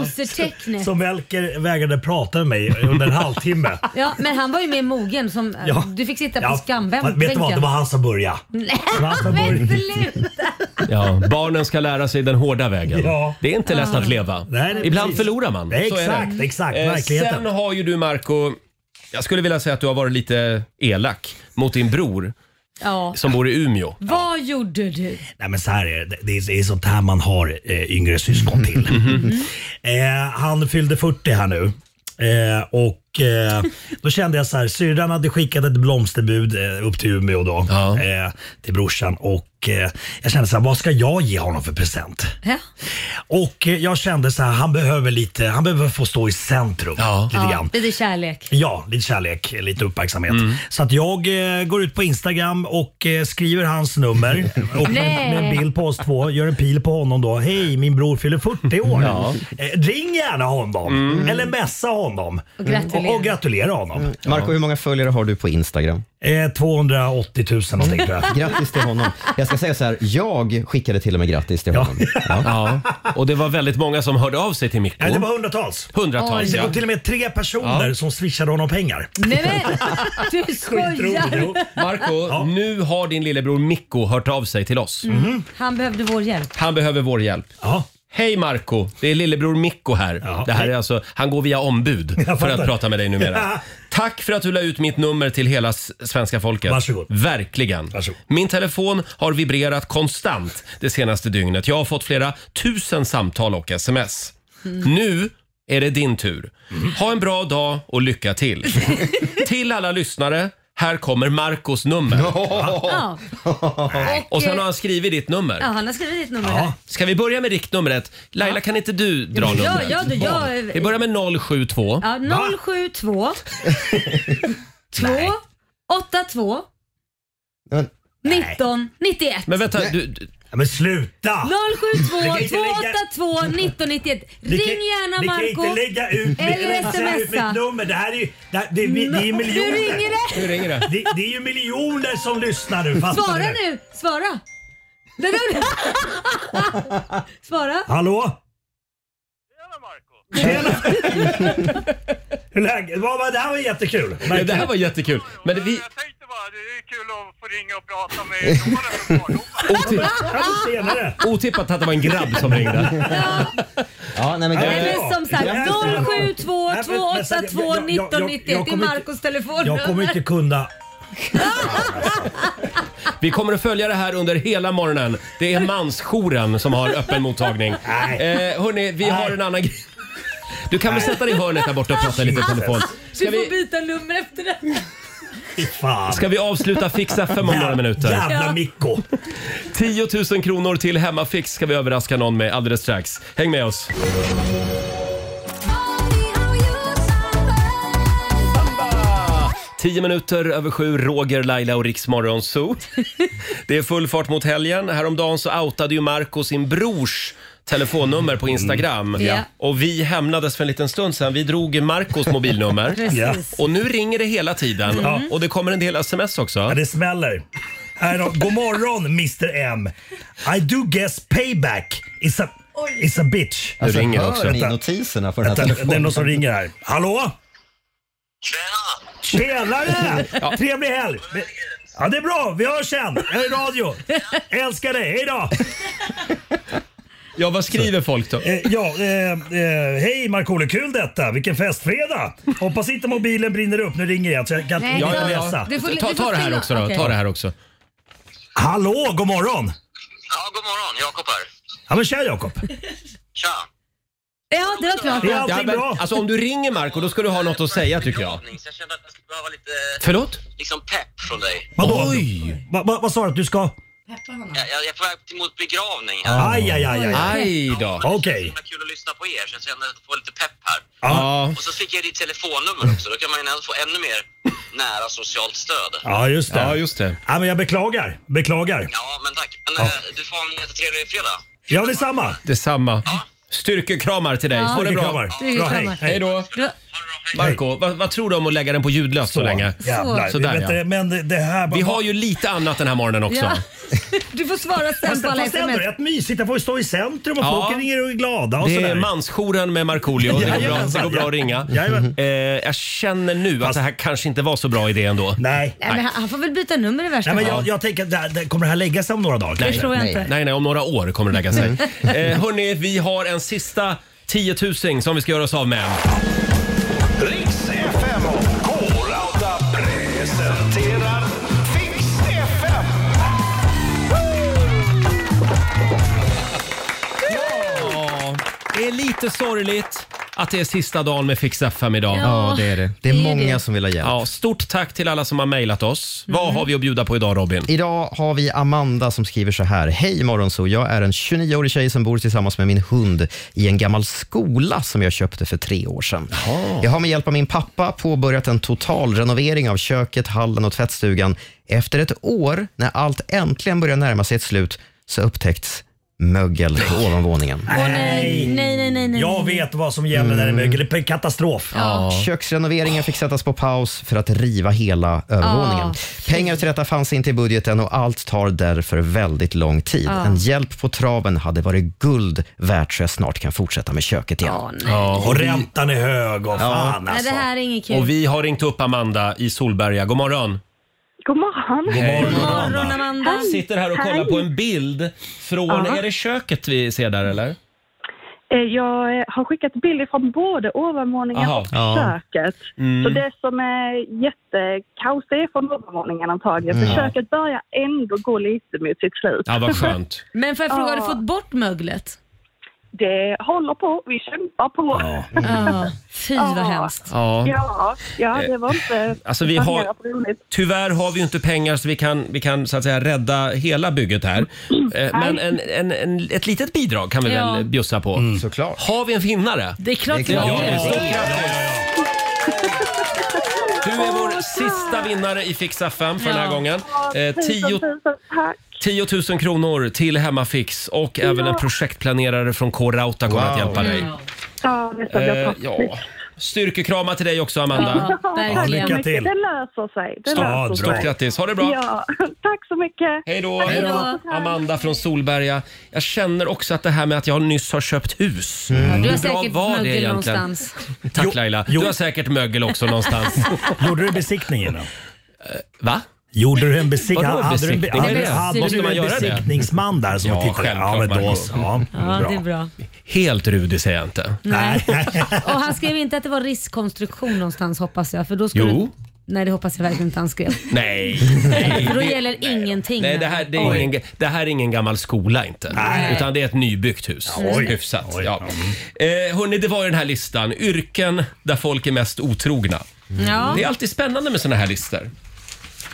Speaker 4: Losertecknet.
Speaker 10: Som Melker vägrade prata med mig under en halvtimme.
Speaker 4: Ja men han var ju mer mogen som...
Speaker 10: Ja.
Speaker 4: Du fick sitta på
Speaker 10: Ja,
Speaker 4: skambänken.
Speaker 10: fast Vet du vad, det var han som
Speaker 4: <laughs>
Speaker 10: började. Det var han som började.
Speaker 4: Men sluta!
Speaker 1: Ja, barnen ska lära sig den hårda vägen.
Speaker 10: Ja.
Speaker 1: Det är inte lätt att leva.
Speaker 10: Nej, det är
Speaker 1: Ibland
Speaker 10: precis.
Speaker 1: förlorar man.
Speaker 10: Nej,
Speaker 1: Så är det.
Speaker 10: exakt, exakt,
Speaker 1: Eh,
Speaker 10: verkligheten.
Speaker 1: Sen har ju du Marco, jag skulle vilja säga att du har varit lite elak mot din bror
Speaker 4: Ja.
Speaker 1: <laughs> som bor i Umeå.
Speaker 4: Vad gjorde du?
Speaker 10: Nej men så här är det. Det är, det är sånt här man har eh, yngre
Speaker 1: <laughs>
Speaker 10: syskon till.
Speaker 1: Mm-hmm.
Speaker 10: <laughs> eh, han fyllde 40 här nu. Eh, och eh, då kände jag så här, syrran hade skickat ett blomsterbud eh, upp till Umeå då,
Speaker 1: Ja.
Speaker 10: eh, till brorsan. Och eh, jag kände så här, vad ska jag ge honom för present?
Speaker 4: Ja.
Speaker 10: Och eh, jag kände så här, han behöver lite, han behöver få stå i centrum
Speaker 1: Ja.
Speaker 10: lite
Speaker 4: Ja,
Speaker 10: grann.
Speaker 4: lite kärlek.
Speaker 10: Ja, lite kärlek, lite uppmärksamhet.
Speaker 4: Mm.
Speaker 10: Så att jag eh, går ut på Instagram och eh, skriver hans
Speaker 4: <laughs>
Speaker 10: nummer och
Speaker 4: Nej.
Speaker 10: med, med en bild på oss två, gör en pil på honom då. Hej, min bror fyller 40 år. Eh, ring gärna honom eller messa honom
Speaker 4: Mm. Och gratulerar.
Speaker 10: och, och gratulera honom.
Speaker 3: Marco, hur många följare har du på Instagram?
Speaker 10: Eh, 280 000 någonting tror jag.
Speaker 4: Mm.
Speaker 3: Grattis till honom. Jag ska säga så här, jag skickade till och med grattis till honom.
Speaker 1: <laughs>
Speaker 3: Ja.
Speaker 1: Ja, och det var väldigt många som hörde av sig till Mikko.
Speaker 10: Nej, det var hundratals.
Speaker 1: Hundratals
Speaker 10: Det
Speaker 1: ja.
Speaker 10: var till och med tre personer som swishade honom pengar.
Speaker 4: Nej men!
Speaker 10: <laughs>
Speaker 4: Du skojar!
Speaker 10: Skitroligt.
Speaker 1: Marco, nu
Speaker 10: Mhm.
Speaker 1: har din lillebror Mikko hört av sig till oss.
Speaker 4: Han behövde vår hjälp.
Speaker 1: Han behöver vår hjälp.
Speaker 10: Ja.
Speaker 1: Hej Marco, det är lillebror Mikko här. Det här är alltså, han går via ombud
Speaker 10: <laughs> Jag
Speaker 1: för att
Speaker 10: fattar.
Speaker 1: prata med dig numera.
Speaker 10: Ja.
Speaker 1: Tack för att du la ut mitt nummer till hela s- svenska folket.
Speaker 10: Varsågod.
Speaker 1: Verkligen.
Speaker 10: Varsågod.
Speaker 1: Min telefon har vibrerat konstant det senaste dygnet. Jag har fått flera tusen samtal och sms.
Speaker 10: Mm.
Speaker 1: Nu är det din tur. Ha en bra dag och lycka till.
Speaker 10: <laughs>
Speaker 1: till alla lyssnare, här kommer Marcos nummer.
Speaker 4: Ja.
Speaker 10: <laughs>
Speaker 4: eh,
Speaker 1: Och sen har han skrivit ditt nummer.
Speaker 4: ja, han har skrivit ditt nummer här.
Speaker 1: Ska vi börja med riktnumret? Laila, kan inte du dra
Speaker 4: men jag-
Speaker 1: numret?
Speaker 4: jag- jag-
Speaker 1: Vi börjar med 072.
Speaker 4: Ja,
Speaker 10: <laughs>
Speaker 4: 072 2 82
Speaker 3: Men-
Speaker 4: 19 91.
Speaker 1: Men vänta, du, du,
Speaker 10: Ja, men sluta! <laughs>
Speaker 4: 072
Speaker 10: kan inte lägga-
Speaker 4: 282 1991.
Speaker 10: Ni
Speaker 4: Ring
Speaker 10: kan-
Speaker 4: gärna
Speaker 10: ni kan
Speaker 4: Marco.
Speaker 10: inte lägga ut,
Speaker 4: Eller
Speaker 10: eller lägga ut
Speaker 4: smsa.
Speaker 10: mitt nummer. Det här är ju det, här- det, det, det är ju
Speaker 4: Du
Speaker 10: miljoner.
Speaker 4: ringer det.
Speaker 1: nu ringer det.
Speaker 10: Det, det är ju miljoner som lyssnar nu. Fattar du
Speaker 4: Svara
Speaker 10: det?
Speaker 4: nu, svara. Det där-
Speaker 10: <laughs>
Speaker 4: Svara.
Speaker 10: Hallå? Tjena <laughs> Marco! Hur läget? Vad var- Det här var jättekul.
Speaker 1: Ja, Det här var jättekul. Men det, vi,
Speaker 9: tänkte bara, det är kul att få ringa och prata med ungdomarna från barndomen.
Speaker 1: otipp,
Speaker 10: Kanske senare.
Speaker 1: otippat att det var en grabb som ringde.
Speaker 3: Ja, nej, men
Speaker 10: Nej,
Speaker 4: Nej,
Speaker 3: grattis.
Speaker 4: men som
Speaker 10: Ja,
Speaker 4: sagt,
Speaker 10: ja, ja.
Speaker 4: 072
Speaker 10: Nej, men- men sen-
Speaker 4: 282
Speaker 10: jag- jag- jag-
Speaker 4: 1991.
Speaker 10: jag
Speaker 4: Det är
Speaker 10: kommer
Speaker 4: Marcos telefonnummer.
Speaker 10: Jag kommer inte kunna.
Speaker 1: Vi kommer att följa det här under hela morgonen. Det är mansjouren som har öppen mottagning.
Speaker 10: Nej.
Speaker 1: Eh, hörni, vi har en annan grej. Du kan väl sätta dig i hörnet där borta och prata lite i telefon.
Speaker 4: Du
Speaker 1: Ska
Speaker 4: får
Speaker 1: vi,
Speaker 4: byta nummer efter det.
Speaker 10: Fy fan.
Speaker 1: ska vi avsluta Fixa fem om några minuter?
Speaker 10: Jävla Mikko.
Speaker 1: 10 000 kronor till Hemmafix ska vi överraska någon med alldeles strax. Häng med oss! Tio minuter över sju, Roger, Laila och Riksmorgon Zoo. Det är full fart mot helgen. Häromdagen så outade ju Marco sin brors telefonnummer på Instagram.
Speaker 4: Mm. Ja.
Speaker 1: Och vi hämnades för en liten stund sedan. Vi drog Marcos
Speaker 4: <laughs>
Speaker 1: mobilnummer.
Speaker 4: Precis.
Speaker 1: och nu ringer det hela
Speaker 4: Mm.
Speaker 1: tiden. Och det kommer en del sms också.
Speaker 10: Ja, det smäller. Här då. God morgon Mr M. I do guess payback is a, is a bitch.
Speaker 1: Nu ringer det också.
Speaker 3: Alltså, hör ni notiserna för den här
Speaker 10: Vänta, det är
Speaker 3: telefonen?
Speaker 10: någon som ringer här. Hallå?
Speaker 9: Tjena!
Speaker 10: Tjenare! Trevlig helg! Ja, det är bra. Vi hörs sen. Jag är i radio. Älskar dig. Hej då!
Speaker 1: Ja, vad skriver folk då?
Speaker 10: Eh, ja, eh, eh, hej Markoolio. Kul detta. Vilken festfredag. Hoppas inte mobilen brinner upp. Nu ringer jag så jag kan
Speaker 4: Nej,
Speaker 10: jag
Speaker 4: det
Speaker 10: kan
Speaker 4: var-
Speaker 10: läsa.
Speaker 4: Du får- du
Speaker 1: Ta,
Speaker 4: får
Speaker 1: ta det här
Speaker 4: stänga.
Speaker 1: också då.
Speaker 4: Okej.
Speaker 1: Ta det här också.
Speaker 10: Hallå, god morgon!
Speaker 9: Ja, god morgon. Jakob här.
Speaker 10: Ja, men tja Jakob.
Speaker 9: Tja!
Speaker 4: Ja, det var klart.
Speaker 10: Är allting
Speaker 1: Ja, men,
Speaker 10: bra?
Speaker 1: alltså om du ringer Marco då ska du ha något att säga tycker jag.
Speaker 9: Begravning, Så jag kände att jag skulle behöva lite
Speaker 1: Förlåt?
Speaker 9: liksom pepp från dig.
Speaker 1: Mm.
Speaker 10: Vadå?
Speaker 1: Oj.
Speaker 10: Va, va, vad sa du att du ska?
Speaker 9: Jag, jag är på väg till- mot begravning här.
Speaker 10: Aj, aj, aj, aj. aj.
Speaker 1: Aj då.
Speaker 10: Okej.
Speaker 9: Det är kul att lyssna på er, så jag kände att jag får lite pepp här.
Speaker 1: Ja. Mm.
Speaker 9: Och så fick jag ditt telefonnummer också. Då kan man ju ändå få ännu mer nära socialt stöd.
Speaker 10: Ja, just det.
Speaker 1: ja, just det.
Speaker 10: Ja, men jag beklagar. Beklagar.
Speaker 9: Ja, men tack. Men eh, du får ha en jättetrevlig fredag.
Speaker 10: Ja, detsamma.
Speaker 1: Detsamma. Styrkekramar till dig. Ha det bra.
Speaker 10: Bra, hej.
Speaker 1: Hej då.
Speaker 4: Du-
Speaker 9: Ha det bra, hej.
Speaker 1: Marco, vad, vad tror du om att lägga den på ljudlöst så, länge?
Speaker 10: Jävlar.
Speaker 1: Sådär,
Speaker 10: Vet du,
Speaker 1: ja.
Speaker 10: Men det- det här...
Speaker 1: Vi har ju lite annat den här morgonen också.
Speaker 4: Ja. <laughs> Du får svara sen
Speaker 10: Fast,
Speaker 4: på alla
Speaker 10: fast ändå
Speaker 4: sms.
Speaker 10: rätt mysigt. Jag får ju stå i centrum och
Speaker 1: Ja.
Speaker 10: folk ringer och är glada och
Speaker 1: Det
Speaker 10: sådär.
Speaker 1: är mansjouren med Markoolio. Det går bra, det
Speaker 10: Jajamensan,
Speaker 1: går bra
Speaker 10: ja.
Speaker 1: att ringa.
Speaker 10: Jajamän.
Speaker 1: Eh, jag känner nu att det här kanske inte var så bra idé ändå.
Speaker 10: Nej.
Speaker 4: Nej, men han- han får väl byta nummer i värsta
Speaker 10: Nej, men
Speaker 4: fall.
Speaker 10: jag, jag tänker att det här, det, kommer det här lägga sig om några dagar?
Speaker 4: Det
Speaker 10: kanske?
Speaker 4: tror jag
Speaker 3: Nej.
Speaker 4: inte.
Speaker 1: Nej, nej, om några år kommer det lägga sig. Eh, hörni, vi har en sista tiotusing som vi ska göra oss av med.
Speaker 6: Riks FM och K-Rauta presenterar Fix FM.
Speaker 1: Det är lite sorgligt att det är sista dagen med Fix FM idag.
Speaker 3: Ja, det är det. Det är
Speaker 4: Det är
Speaker 3: många
Speaker 4: det.
Speaker 3: som vill ha hjälp.
Speaker 1: Ja, stort tack till alla som har mejlat oss. Vad har vi att bjuda på idag Robin?
Speaker 3: Idag har vi Amanda som skriver så här. Hej Morgonzoo, jag är en 29-årig tjej som bor tillsammans med min hund i en gammal skola som jag köpte för tre år sedan. Jag har med hjälp av min pappa påbörjat en totalrenovering av köket, hallen och tvättstugan. Efter ett år, när allt äntligen börjar närma sig ett slut, så upptäckts mögel på ovanvåningen.
Speaker 4: Åh, nej, nej, nej, nej, nej.
Speaker 10: Jag vet vad som gäller när det är mögel. Det är katastrof.
Speaker 3: Köksrenoveringen fick sättas på paus för att riva hela övervåningen.
Speaker 11: Ah.
Speaker 4: Ja.
Speaker 3: Pengar till detta fanns inte i budgeten och allt tar därför väldigt lång tid.
Speaker 11: Ah.
Speaker 3: En hjälp på traven hade varit guld värt så jag snart kan fortsätta med köket igen.
Speaker 11: Ah,
Speaker 4: Åh, nej.
Speaker 1: Ja,
Speaker 10: Och räntan är hög och fan
Speaker 4: Nej,
Speaker 10: alltså.
Speaker 4: det här är inget kul.
Speaker 1: och vi har ringt upp Amanda i Solberga. God morgon!
Speaker 5: God morgon.
Speaker 1: Hej.
Speaker 4: God morgon Amanda.
Speaker 10: Alltså.
Speaker 1: Sitter här och kollar på en bild från, är det köket vi ser där eller?
Speaker 5: Eh, Jag eh, har skickat bilder från både ovanvåningen
Speaker 1: Aha.
Speaker 5: och
Speaker 1: Ja.
Speaker 5: köket.
Speaker 1: Mm.
Speaker 5: Så det som är jättekaos det är från ovanvåningen antagligen. För
Speaker 1: Mm.
Speaker 5: köket börjar ändå gå lite mot sitt slut.
Speaker 1: Ja, vad skönt.
Speaker 4: Men får jag fråga, har du
Speaker 5: Ja.
Speaker 4: fått bort möglet?
Speaker 5: Det håller på, vi kämpar på.
Speaker 10: Mm.
Speaker 4: Ja. Fy vad
Speaker 5: Ja.
Speaker 4: hemskt.
Speaker 1: Ja.
Speaker 5: Ja, ja det var inte
Speaker 1: Alltså, vi har-
Speaker 5: planerat roligt.
Speaker 1: Tyvärr har vi ju inte pengar så vi kan, vi kan så att säga rädda hela bygget här. Eh, Men en, en, en, ett litet bidrag kan vi
Speaker 4: Ja.
Speaker 1: väl bjussa på.
Speaker 3: Såklart.
Speaker 1: Har vi en vinnare?
Speaker 4: Det är klart
Speaker 3: Det är klart.
Speaker 4: vi har det.
Speaker 1: Stort grattis! Du är vår sista vinnare i Fix FM för den här
Speaker 4: Ja.
Speaker 1: gången. Eh,
Speaker 5: Tusen,
Speaker 1: 10,
Speaker 5: tusen tack.
Speaker 1: 10 000 kronor till Hemmafix och även en projektplanerare från K-Rauta kommer att
Speaker 3: Wow.
Speaker 1: hjälpa dig.
Speaker 5: Ja, det ska bli
Speaker 1: Eh,
Speaker 5: fantastiskt.
Speaker 1: ja. Styrkekrama till dig också Amanda.
Speaker 4: Ja,
Speaker 10: lycka
Speaker 4: verkligen.
Speaker 10: till.
Speaker 5: Det löser sig. Det
Speaker 10: Ja,
Speaker 5: löser sig.
Speaker 1: Stort grattis, ha det bra!
Speaker 5: Ja,
Speaker 12: <laughs>
Speaker 5: tack så mycket.
Speaker 1: Hej då!
Speaker 4: Hej då.
Speaker 1: Amanda från Solberga. Jag känner också att det här med att jag nyss har köpt hus.
Speaker 4: Du har
Speaker 1: Hur bra
Speaker 4: säkert
Speaker 1: var det
Speaker 4: mögel
Speaker 1: egentligen?
Speaker 4: någonstans.
Speaker 1: Tack
Speaker 10: Jo,
Speaker 1: Laila.
Speaker 10: jo.
Speaker 1: Du har säkert mögel också någonstans.
Speaker 10: Gjorde du besiktning innan?
Speaker 1: Va?
Speaker 10: Gjorde du en besiktning?
Speaker 1: Vadå
Speaker 10: Hade du en, be-
Speaker 1: besiktning?
Speaker 10: hade,
Speaker 4: Vad är det?
Speaker 10: hade
Speaker 4: Måste
Speaker 10: du
Speaker 1: man
Speaker 10: en
Speaker 1: göra det?
Speaker 10: besiktningsman där som
Speaker 1: Ja,
Speaker 10: tittade? Ja,
Speaker 1: självklart,
Speaker 10: men då
Speaker 1: Marco.
Speaker 10: så. Ja,
Speaker 4: Ja,
Speaker 10: bra.
Speaker 4: det är bra.
Speaker 1: Helt rudig säger jag inte.
Speaker 10: Nej.
Speaker 4: Och han skrev inte att det var riskkonstruktion någonstans hoppas jag. För då skulle
Speaker 1: Jo.
Speaker 4: Nej, det hoppas jag verkligen inte
Speaker 1: <laughs>
Speaker 4: han skrev.
Speaker 1: Nej. Nej.
Speaker 4: För då
Speaker 1: det-
Speaker 4: gäller ingenting.
Speaker 1: Nej, det här, det, är
Speaker 4: Oj.
Speaker 1: ingen, det här är ingen gammal skola inte.
Speaker 10: Nej.
Speaker 1: Utan det är ett nybyggt hus.
Speaker 10: Oj.
Speaker 1: Hyfsat.
Speaker 10: Oj.
Speaker 1: Ja. Eh, hörni, det var ju den här listan. Yrken där folk är mest otrogna.
Speaker 4: Ja.
Speaker 1: Det är alltid spännande med såna här listor.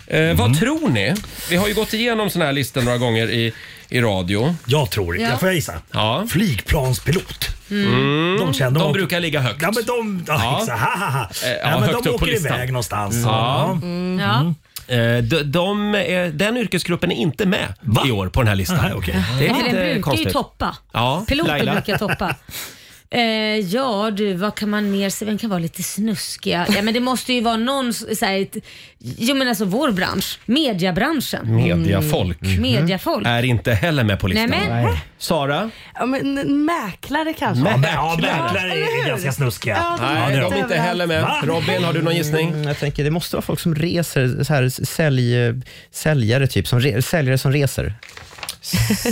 Speaker 1: Eh,
Speaker 10: Mm.
Speaker 1: Vad tror ni? Vi har ju gått igenom såna här listor några gånger i, i radio.
Speaker 10: Jag tror inte.
Speaker 4: Ja.
Speaker 10: Får jag gissa?
Speaker 1: Ja.
Speaker 10: Flygplanspilot. De, känner,
Speaker 1: De brukar ligga högt.
Speaker 10: Ja, men de...
Speaker 1: Ja.
Speaker 10: Ja, exakt. Ha, ha, ha.
Speaker 1: Eh, ja,
Speaker 10: Nej, men
Speaker 1: högt
Speaker 10: de
Speaker 1: upp på
Speaker 10: åker
Speaker 1: listan.
Speaker 10: iväg någonstans.
Speaker 1: Ja.
Speaker 10: Ja.
Speaker 4: Ja.
Speaker 1: Eh, de, de är, den yrkesgruppen är inte med i år på den här listan.
Speaker 10: Nej, okej.
Speaker 1: Det är
Speaker 4: Eller den
Speaker 1: lite
Speaker 4: brukar ju
Speaker 1: konstigt.
Speaker 4: toppa.
Speaker 1: Mm. Ja,
Speaker 4: Piloter
Speaker 1: Laila.
Speaker 4: brukar
Speaker 1: <laughs>
Speaker 4: toppa. Eh, ja du, vad kan man mer säga? Vem kan vara lite snuskiga? Ja men det måste ju vara någon, så här, ett- jo men alltså vår bransch,
Speaker 1: Mhm.
Speaker 4: mediabranschen,
Speaker 1: Mediafolk
Speaker 4: mediafolk.
Speaker 1: är inte heller med på listan.
Speaker 4: Mm. Nej, men- Nej.
Speaker 1: Sara?
Speaker 11: Ja, men en mäklare kanske.
Speaker 1: Mä-
Speaker 10: Ja, mäklare
Speaker 11: eller
Speaker 10: är
Speaker 11: hur?
Speaker 10: ganska snuskiga.
Speaker 11: Ja, det
Speaker 1: Nej, de
Speaker 11: är
Speaker 1: är inte
Speaker 11: överallt.
Speaker 1: heller med.
Speaker 10: Va?
Speaker 1: Robin, har du någon gissning?
Speaker 3: Mm, jag tänker, det måste vara folk som reser, så här, sälj, säljare typ, som re, säljare som reser.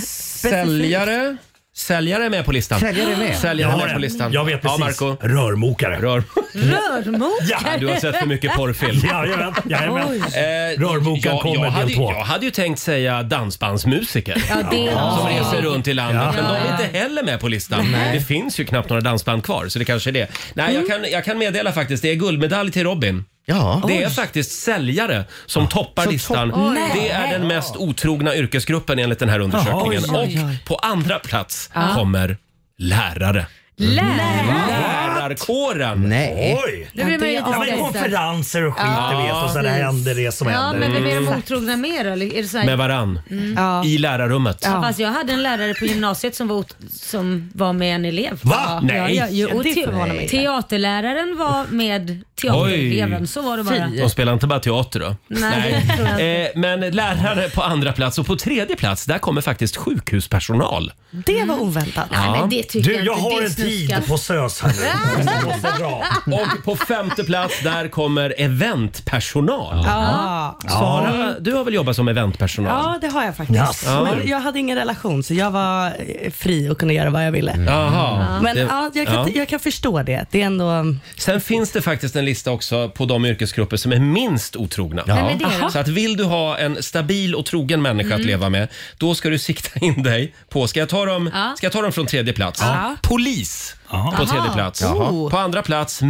Speaker 1: Säljare? Säljare är med på listan.
Speaker 3: Säljare är med.
Speaker 1: Säljare
Speaker 10: Jag,
Speaker 1: är
Speaker 10: har
Speaker 1: med på listan.
Speaker 10: en. jag vet precis.
Speaker 1: Ja, Marco.
Speaker 10: Rörmokare.
Speaker 1: Rör.
Speaker 10: Ja,
Speaker 1: Du har sett för mycket porrfilm.
Speaker 10: Jajamän, jajamän.
Speaker 1: <laughs> Eh,
Speaker 10: Rörmokaren
Speaker 1: jag,
Speaker 10: kommer
Speaker 1: jag,
Speaker 10: del
Speaker 1: hade, ju-
Speaker 10: två.
Speaker 1: jag hade ju tänkt säga dansbandsmusiker.
Speaker 4: Ja, det är
Speaker 1: Som
Speaker 4: de.
Speaker 1: reser runt i landet.
Speaker 10: Ja.
Speaker 1: Men de är
Speaker 4: Ja, ja.
Speaker 1: inte heller med på listan. Det finns ju knappt några dansband kvar, så det kanske är det. Nej, jag kan, jag kan meddela faktiskt. Det är guldmedalj till Robin.
Speaker 3: Ja.
Speaker 1: Det är faktiskt säljare som toppar
Speaker 3: Som
Speaker 1: listan.
Speaker 3: toppar.
Speaker 4: Oj.
Speaker 1: Det är den mest otrogna yrkesgruppen enligt den här undersökningen.
Speaker 10: Jaha, oj, oj,
Speaker 1: Och på andra plats kommer lärare. Mm.
Speaker 4: Lärare.
Speaker 1: Lärarkåren!
Speaker 3: Nej.
Speaker 10: Oj!
Speaker 4: Nu blir man ju
Speaker 11: Ja,
Speaker 10: Ja, men
Speaker 4: lite stressad.
Speaker 10: konferenser och skit du vet och så det händer det som
Speaker 4: Ja
Speaker 10: händer.
Speaker 4: men vem är de otrogna med då? Eller Är det så här,
Speaker 1: Med varann.
Speaker 11: Ja.
Speaker 1: I lärarrummet.
Speaker 4: Fast jag hade en lärare på gymnasiet som var, ot- som var med en elev.
Speaker 10: Va?
Speaker 4: Ja,
Speaker 1: Nej.
Speaker 4: Ja, ja, jo,
Speaker 11: Det
Speaker 4: te-
Speaker 11: förvånar mig inte.
Speaker 4: teaterläraren var med teatereleven.
Speaker 1: Oj.
Speaker 4: Så var det bara.
Speaker 1: De spelar inte bara teater då?
Speaker 4: Nej, det tror jag inte.
Speaker 1: Eh, men lärare på andra plats och på tredje plats där kommer faktiskt sjukhuspersonal.
Speaker 11: Det var oväntat.
Speaker 4: Nej, men det tycker
Speaker 10: Du, jag
Speaker 4: inte.
Speaker 10: har
Speaker 4: Det är
Speaker 10: en tid
Speaker 4: snuskat.
Speaker 10: på SÖS här nu. Jag måste dra.
Speaker 11: Mm.
Speaker 1: Och på femte plats där kommer eventpersonal.
Speaker 11: Ja.
Speaker 1: Sara, du har väl jobbat som eventpersonal?
Speaker 11: ja, det har jag faktiskt.
Speaker 10: Jaså.
Speaker 11: Men jag hade ingen relation så jag var eh, fri och kunde göra vad jag ville.
Speaker 1: Jaha.
Speaker 11: Men
Speaker 1: Det-
Speaker 11: ja, jag, kan,
Speaker 1: ja.
Speaker 11: jag kan förstå det. Det är ändå...
Speaker 1: Sen finns det faktiskt en lista också på de yrkesgrupper som är minst otrogna.
Speaker 4: men det Mm. då?
Speaker 1: Så att vill du ha en stabil och trogen människa att leva med, då ska du sikta in dig på, ska jag ta dem,
Speaker 4: Ja.
Speaker 1: ska jag ta dem från tredje plats? Polis
Speaker 10: Ja.
Speaker 1: på tredje plats.
Speaker 4: Oh.
Speaker 1: På andra plats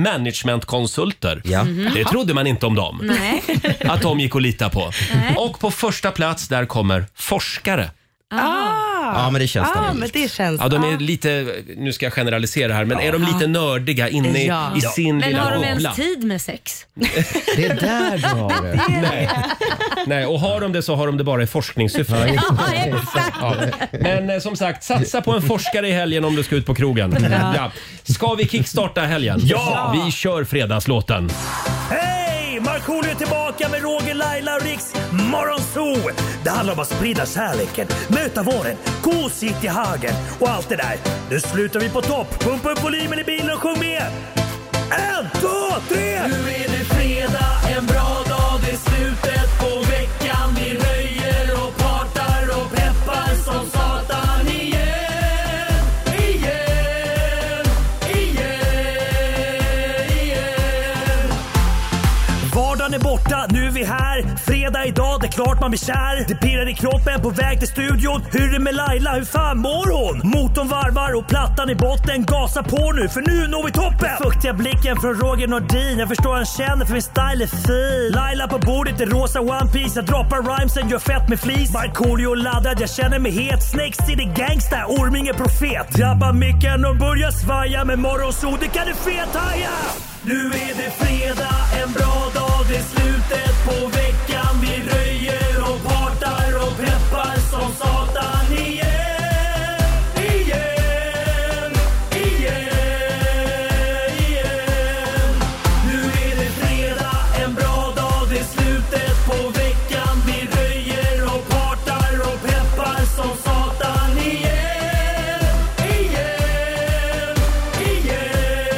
Speaker 1: managementkonsulter.
Speaker 3: Ja.
Speaker 1: Det trodde man inte om dem,
Speaker 4: Mhm. Nej.
Speaker 1: att de gick att lita på. Och på första plats där kommer forskare.
Speaker 11: Ah,
Speaker 3: Ja, men det känns
Speaker 11: ah,
Speaker 3: stabilt.
Speaker 11: men det känns...
Speaker 1: Ja, de är
Speaker 11: ah.
Speaker 1: lite, nu ska jag generalisera här, men är de lite nördiga inne i,
Speaker 11: Ja.
Speaker 1: i sin
Speaker 4: Men
Speaker 1: lilla
Speaker 4: har de
Speaker 1: bubbla?
Speaker 4: ens tid
Speaker 10: <laughs>
Speaker 4: med sex?
Speaker 3: Det är där du har det.
Speaker 1: Nej. Nej, och har de det så har de det bara i forskningssyfte.
Speaker 4: Ja, exakt.
Speaker 1: Ja. Men eh, som sagt, satsa på en forskare i helgen om du ska ut på krogen. Ja. Ska vi kickstarta helgen?
Speaker 10: Ja!
Speaker 1: Vi kör fredagslåten.
Speaker 10: Hej! Markoolio är tillbaka med Roger, Laila och Riks Morgonzoo! Det handlar om att sprida kärleken, möta våren, gosigt i hagen och allt det där. Nu slutar vi på topp! Pumpa upp volymen i bilen och sjung med! En, två, tre! Nu är det fredag, en bra dag, det är slutet på veckan. Vi röjer och partar och peppar som satan igen, igen. Pappan är borta, nu är vi här. Fredag idag, det är klart man blir kär. Det pirrar i kroppen på väg till studion. Hur är det med Laila, hur fan mår hon? Motorn varvar och plattan i botten. Gasa på nu, för nu når vi toppen! Fuktiga blicken från Roger Nordin. Jag förstår han känner för min style är fin. Laila på bordet i rosa One Piece Jag droppar rhymesen, gör fett med flis. Markoolio laddad, jag känner mig het. Snake City gangsta, Orminge profet. Drabbar micken och börjar svaja. Med morgonsol, det kan du fethaja! Nu är det fredag, en bra dag, det är slutet på veckan. Vi röjer och partar och peppar som satan igen. Igen, igen, igen. Nu är det fredag, en bra dag, det är slutet på veckan. Vi röjer och partar och peppar som satan igen. Igen, igen,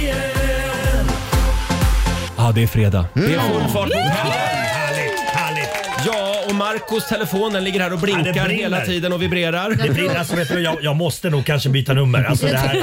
Speaker 10: igen.
Speaker 1: Ja, det är fredag. Det är
Speaker 10: Mm.
Speaker 1: full fart mot
Speaker 10: Yeah! Mm.
Speaker 1: helgen.
Speaker 10: Härligt, härligt.
Speaker 1: Ja, och Marcos telefon den ligger här och
Speaker 10: Ja,
Speaker 1: blinkar
Speaker 10: det brinner.
Speaker 1: hela tiden och vibrerar.
Speaker 10: Det blir, alltså, vet du, jag, jag måste nog kanske byta nummer. Alltså, det här,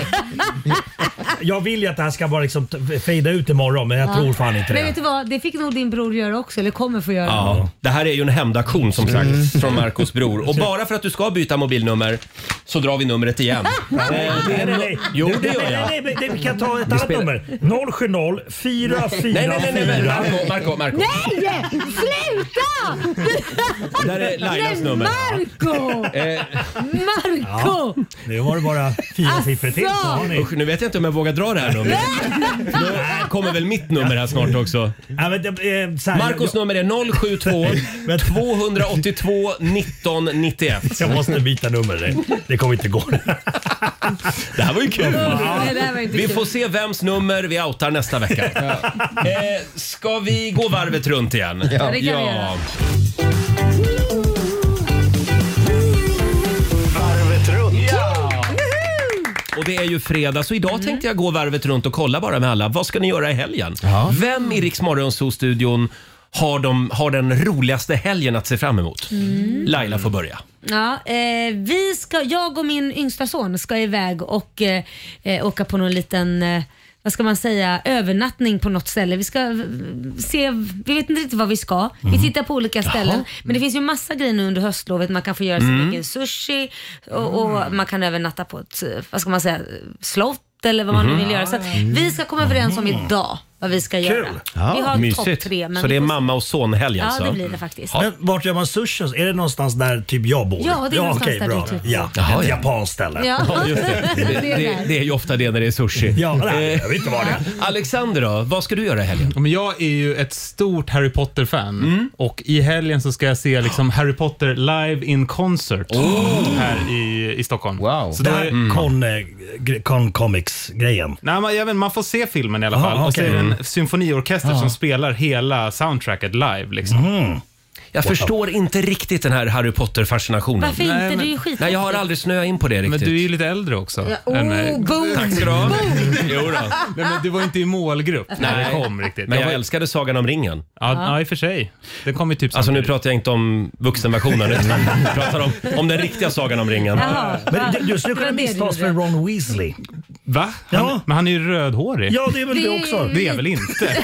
Speaker 10: jag vill ju att det här ska bara liksom t- fejda ut imorgon men jag
Speaker 4: Ja.
Speaker 10: tror fan inte
Speaker 4: Men
Speaker 10: det.
Speaker 4: vet du vad, det fick nog din bror göra också, eller kommer få göra.
Speaker 1: Ja, det här är ju en hämndaktion som sagt från Marcos bror. Och bara för att du ska byta mobilnummer så drar vi numret igen. Eh, det är-
Speaker 10: Nej, nej, nej.
Speaker 1: Jo, det
Speaker 10: Nej,
Speaker 1: gör
Speaker 10: nej,
Speaker 1: jag.
Speaker 10: nej, nej, nej, Vi kan ta ett
Speaker 1: Vi
Speaker 10: annat
Speaker 1: spelar-
Speaker 10: nummer. 070 444...
Speaker 1: Nej, nej, nej, nej, nej, Marco, Marco, Marco.
Speaker 4: Nej! Sluta!
Speaker 1: Där är Lailas
Speaker 4: Nej,
Speaker 1: nummer.
Speaker 4: Marco!
Speaker 1: Eh,
Speaker 4: Marco!
Speaker 10: Nu var det bara fyra siffror till. Så har ni.
Speaker 1: Usch, nu vet jag inte om jag vågar dra det här
Speaker 4: <laughs>
Speaker 1: numret. Då kommer väl mitt nummer här snart också.
Speaker 10: Ja, men, det- eh, så här,
Speaker 1: Marcos nummer är 072 282 19 91.
Speaker 10: Jag måste byta nummer. Det, det kommer inte gå.
Speaker 1: Det här var ju kul.
Speaker 4: Nej, det här var inte
Speaker 1: Vi
Speaker 4: kul.
Speaker 1: får se vems nummer vi outar nästa vecka. Eh, ska vi gå varvet runt igen?
Speaker 4: Ja, det kan vi göra.
Speaker 13: Varvet runt. Ja.
Speaker 1: Och det är ju fredag, så idag
Speaker 4: Mm.
Speaker 1: tänkte jag gå varvet runt och kolla bara med alla. Vad ska ni göra i helgen? Vem i Rix studion har, de, har den roligaste helgen att se fram emot?
Speaker 4: Mm.
Speaker 1: Laila får börja.
Speaker 4: Ja, eh, vi ska, jag och min yngsta son ska iväg och eh, eh, åka på någon liten eh, vad ska man säga, övernattning på något ställe. Vi ska eh, se, vi vet inte riktigt vad vi ska. Vi
Speaker 14: Mhm.
Speaker 1: Mm.
Speaker 4: tittar på olika ställen.
Speaker 14: Jaha.
Speaker 4: Men det finns ju massa grejer nu under höstlovet. Man kan få göra sin
Speaker 14: Mm.
Speaker 4: egen sushi och, och
Speaker 1: Mm.
Speaker 4: man kan övernatta på ett, eh, vad ska man säga, slott eller vad man nu
Speaker 1: Mhm.
Speaker 4: vill göra. Så att vi ska komma överens om
Speaker 1: Mm.
Speaker 4: idag vad vi ska göra. vi har topp tre. Men
Speaker 1: så det
Speaker 4: vi
Speaker 1: är
Speaker 4: får-
Speaker 1: mamma och son-helg
Speaker 4: Ja,
Speaker 1: alltså?
Speaker 4: det blir det faktiskt.
Speaker 10: Men vart gör man sushi? Är det någonstans där typ jag bor?
Speaker 4: Ja, det är någonstans
Speaker 10: okej,
Speaker 4: där
Speaker 10: bra.
Speaker 4: du typ
Speaker 10: Ja,
Speaker 1: Jaha,
Speaker 10: ett
Speaker 1: ja.
Speaker 10: japanskt ställe.
Speaker 4: Ja.
Speaker 1: Ja, just
Speaker 4: <laughs>
Speaker 1: det. Det,
Speaker 4: Det är
Speaker 1: det,
Speaker 4: där.
Speaker 1: det är ju ofta det när det är sushi.
Speaker 10: Ja, nej, jag vet
Speaker 1: inte vad det är. Alexander då, vad ska du göra i helgen?
Speaker 7: Men jag är ju ett stort Harry Potter-fan och i helgen så ska jag se liksom Harry Potter live in concert här i, i Stockholm. Wow. Så
Speaker 10: det
Speaker 7: då
Speaker 10: här
Speaker 7: är-
Speaker 10: con, eh, gre- con Comics-grejen.
Speaker 7: Nej, man, jag vet, man får se filmen i alla
Speaker 10: Aha,
Speaker 7: fall. Och så är det
Speaker 10: okej.
Speaker 7: en symfoniorkester
Speaker 10: Ja.
Speaker 7: som spelar hela soundtracket live. Liksom.
Speaker 1: Jag förstår inte riktigt den här Harry Potter-fascinationen.
Speaker 4: Varför inte? Det är ju skithäftigt.
Speaker 1: Nej, jag har aldrig snöat in på det riktigt.
Speaker 7: Men du är ju lite äldre också.
Speaker 4: Ja, oh, boom.
Speaker 1: Tack ska du ha.
Speaker 4: Boom.
Speaker 1: Jo då.
Speaker 7: Nej, men du var ju inte i målgrupp när det kom riktigt.
Speaker 1: Men
Speaker 7: Jag
Speaker 1: jag,
Speaker 7: var-
Speaker 1: älskade Sagan om ringen.
Speaker 7: Ja, ja, i och för sig. Den kom ju typ
Speaker 1: Alltså nu pratar jag inte om vuxenversionen
Speaker 10: <laughs>
Speaker 1: utan jag pratar om, om den riktiga Sagan om ringen.
Speaker 10: Men du, du skulle kunna misstas med Ron Weasley.
Speaker 7: Va? Han, Men han är ju rödhårig.
Speaker 10: Ja, det är väl det också.
Speaker 7: Det är väl inte?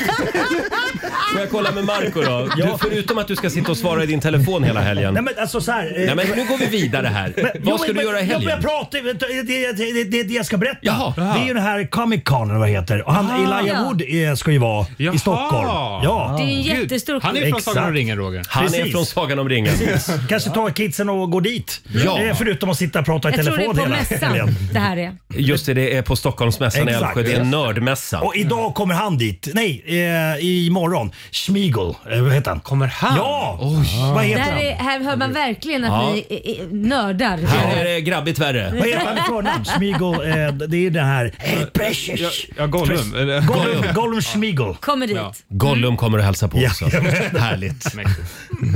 Speaker 1: Får jag kolla med Marco då? Du, förutom att du ska sitta och svara i din telefon hela helgen.
Speaker 10: Nej men alltså så här,
Speaker 1: Nej,
Speaker 10: eh,
Speaker 1: men nu går vi vidare här.
Speaker 10: Jo,
Speaker 1: Vad ska
Speaker 10: men-
Speaker 1: du göra i
Speaker 10: jo, men
Speaker 1: helgen?
Speaker 10: Jag pratar, det är det, det, det, det jag ska berätta.
Speaker 1: Jaha.
Speaker 10: Det är ju den här Comic Con eller vad det heter. Och han,
Speaker 7: Ah.
Speaker 10: Elijah Wood är, ska ju vara i Stockholm. Ja.
Speaker 4: <laughs> Det är en jättestor
Speaker 7: Han är ju från Sagan om
Speaker 10: Exakt.
Speaker 7: ringen, Roger.
Speaker 1: Han är
Speaker 10: Precis.
Speaker 1: från Sagan om ringen.
Speaker 10: Precis. <laughs> Kanske ta kidsen och gå dit.
Speaker 1: Ja.
Speaker 10: Eh, Förutom att sitta och prata i
Speaker 4: Jag tror det
Speaker 10: telefon
Speaker 4: är på
Speaker 10: hela
Speaker 4: mässan
Speaker 10: helgen.
Speaker 4: det här är.
Speaker 1: Just det, det är på Stockholmsmässan i
Speaker 10: Exakt.
Speaker 1: Älvsjö. Det är
Speaker 10: Just det.
Speaker 1: nördmässan.
Speaker 10: Och idag kommer han dit. Nej, eh, imorgon. Schmiegel. Eh, vad heter han?
Speaker 7: Kommer han?
Speaker 10: Ja! Vad heter
Speaker 4: Där
Speaker 10: han?
Speaker 4: är, här hör man verkligen att
Speaker 10: Ja.
Speaker 4: ni är, är nördar.
Speaker 1: Här är det grabbigt värre.
Speaker 10: Vad heter han i förnamn? Schmiegel. Eh, det är den här... Eh, precious.
Speaker 7: Ja, ja, Gollum. Eller-
Speaker 10: Gollum, Gollum Schmiegel.
Speaker 4: Kommer dit.
Speaker 1: Gollum kommer att hälsa på också. Härligt.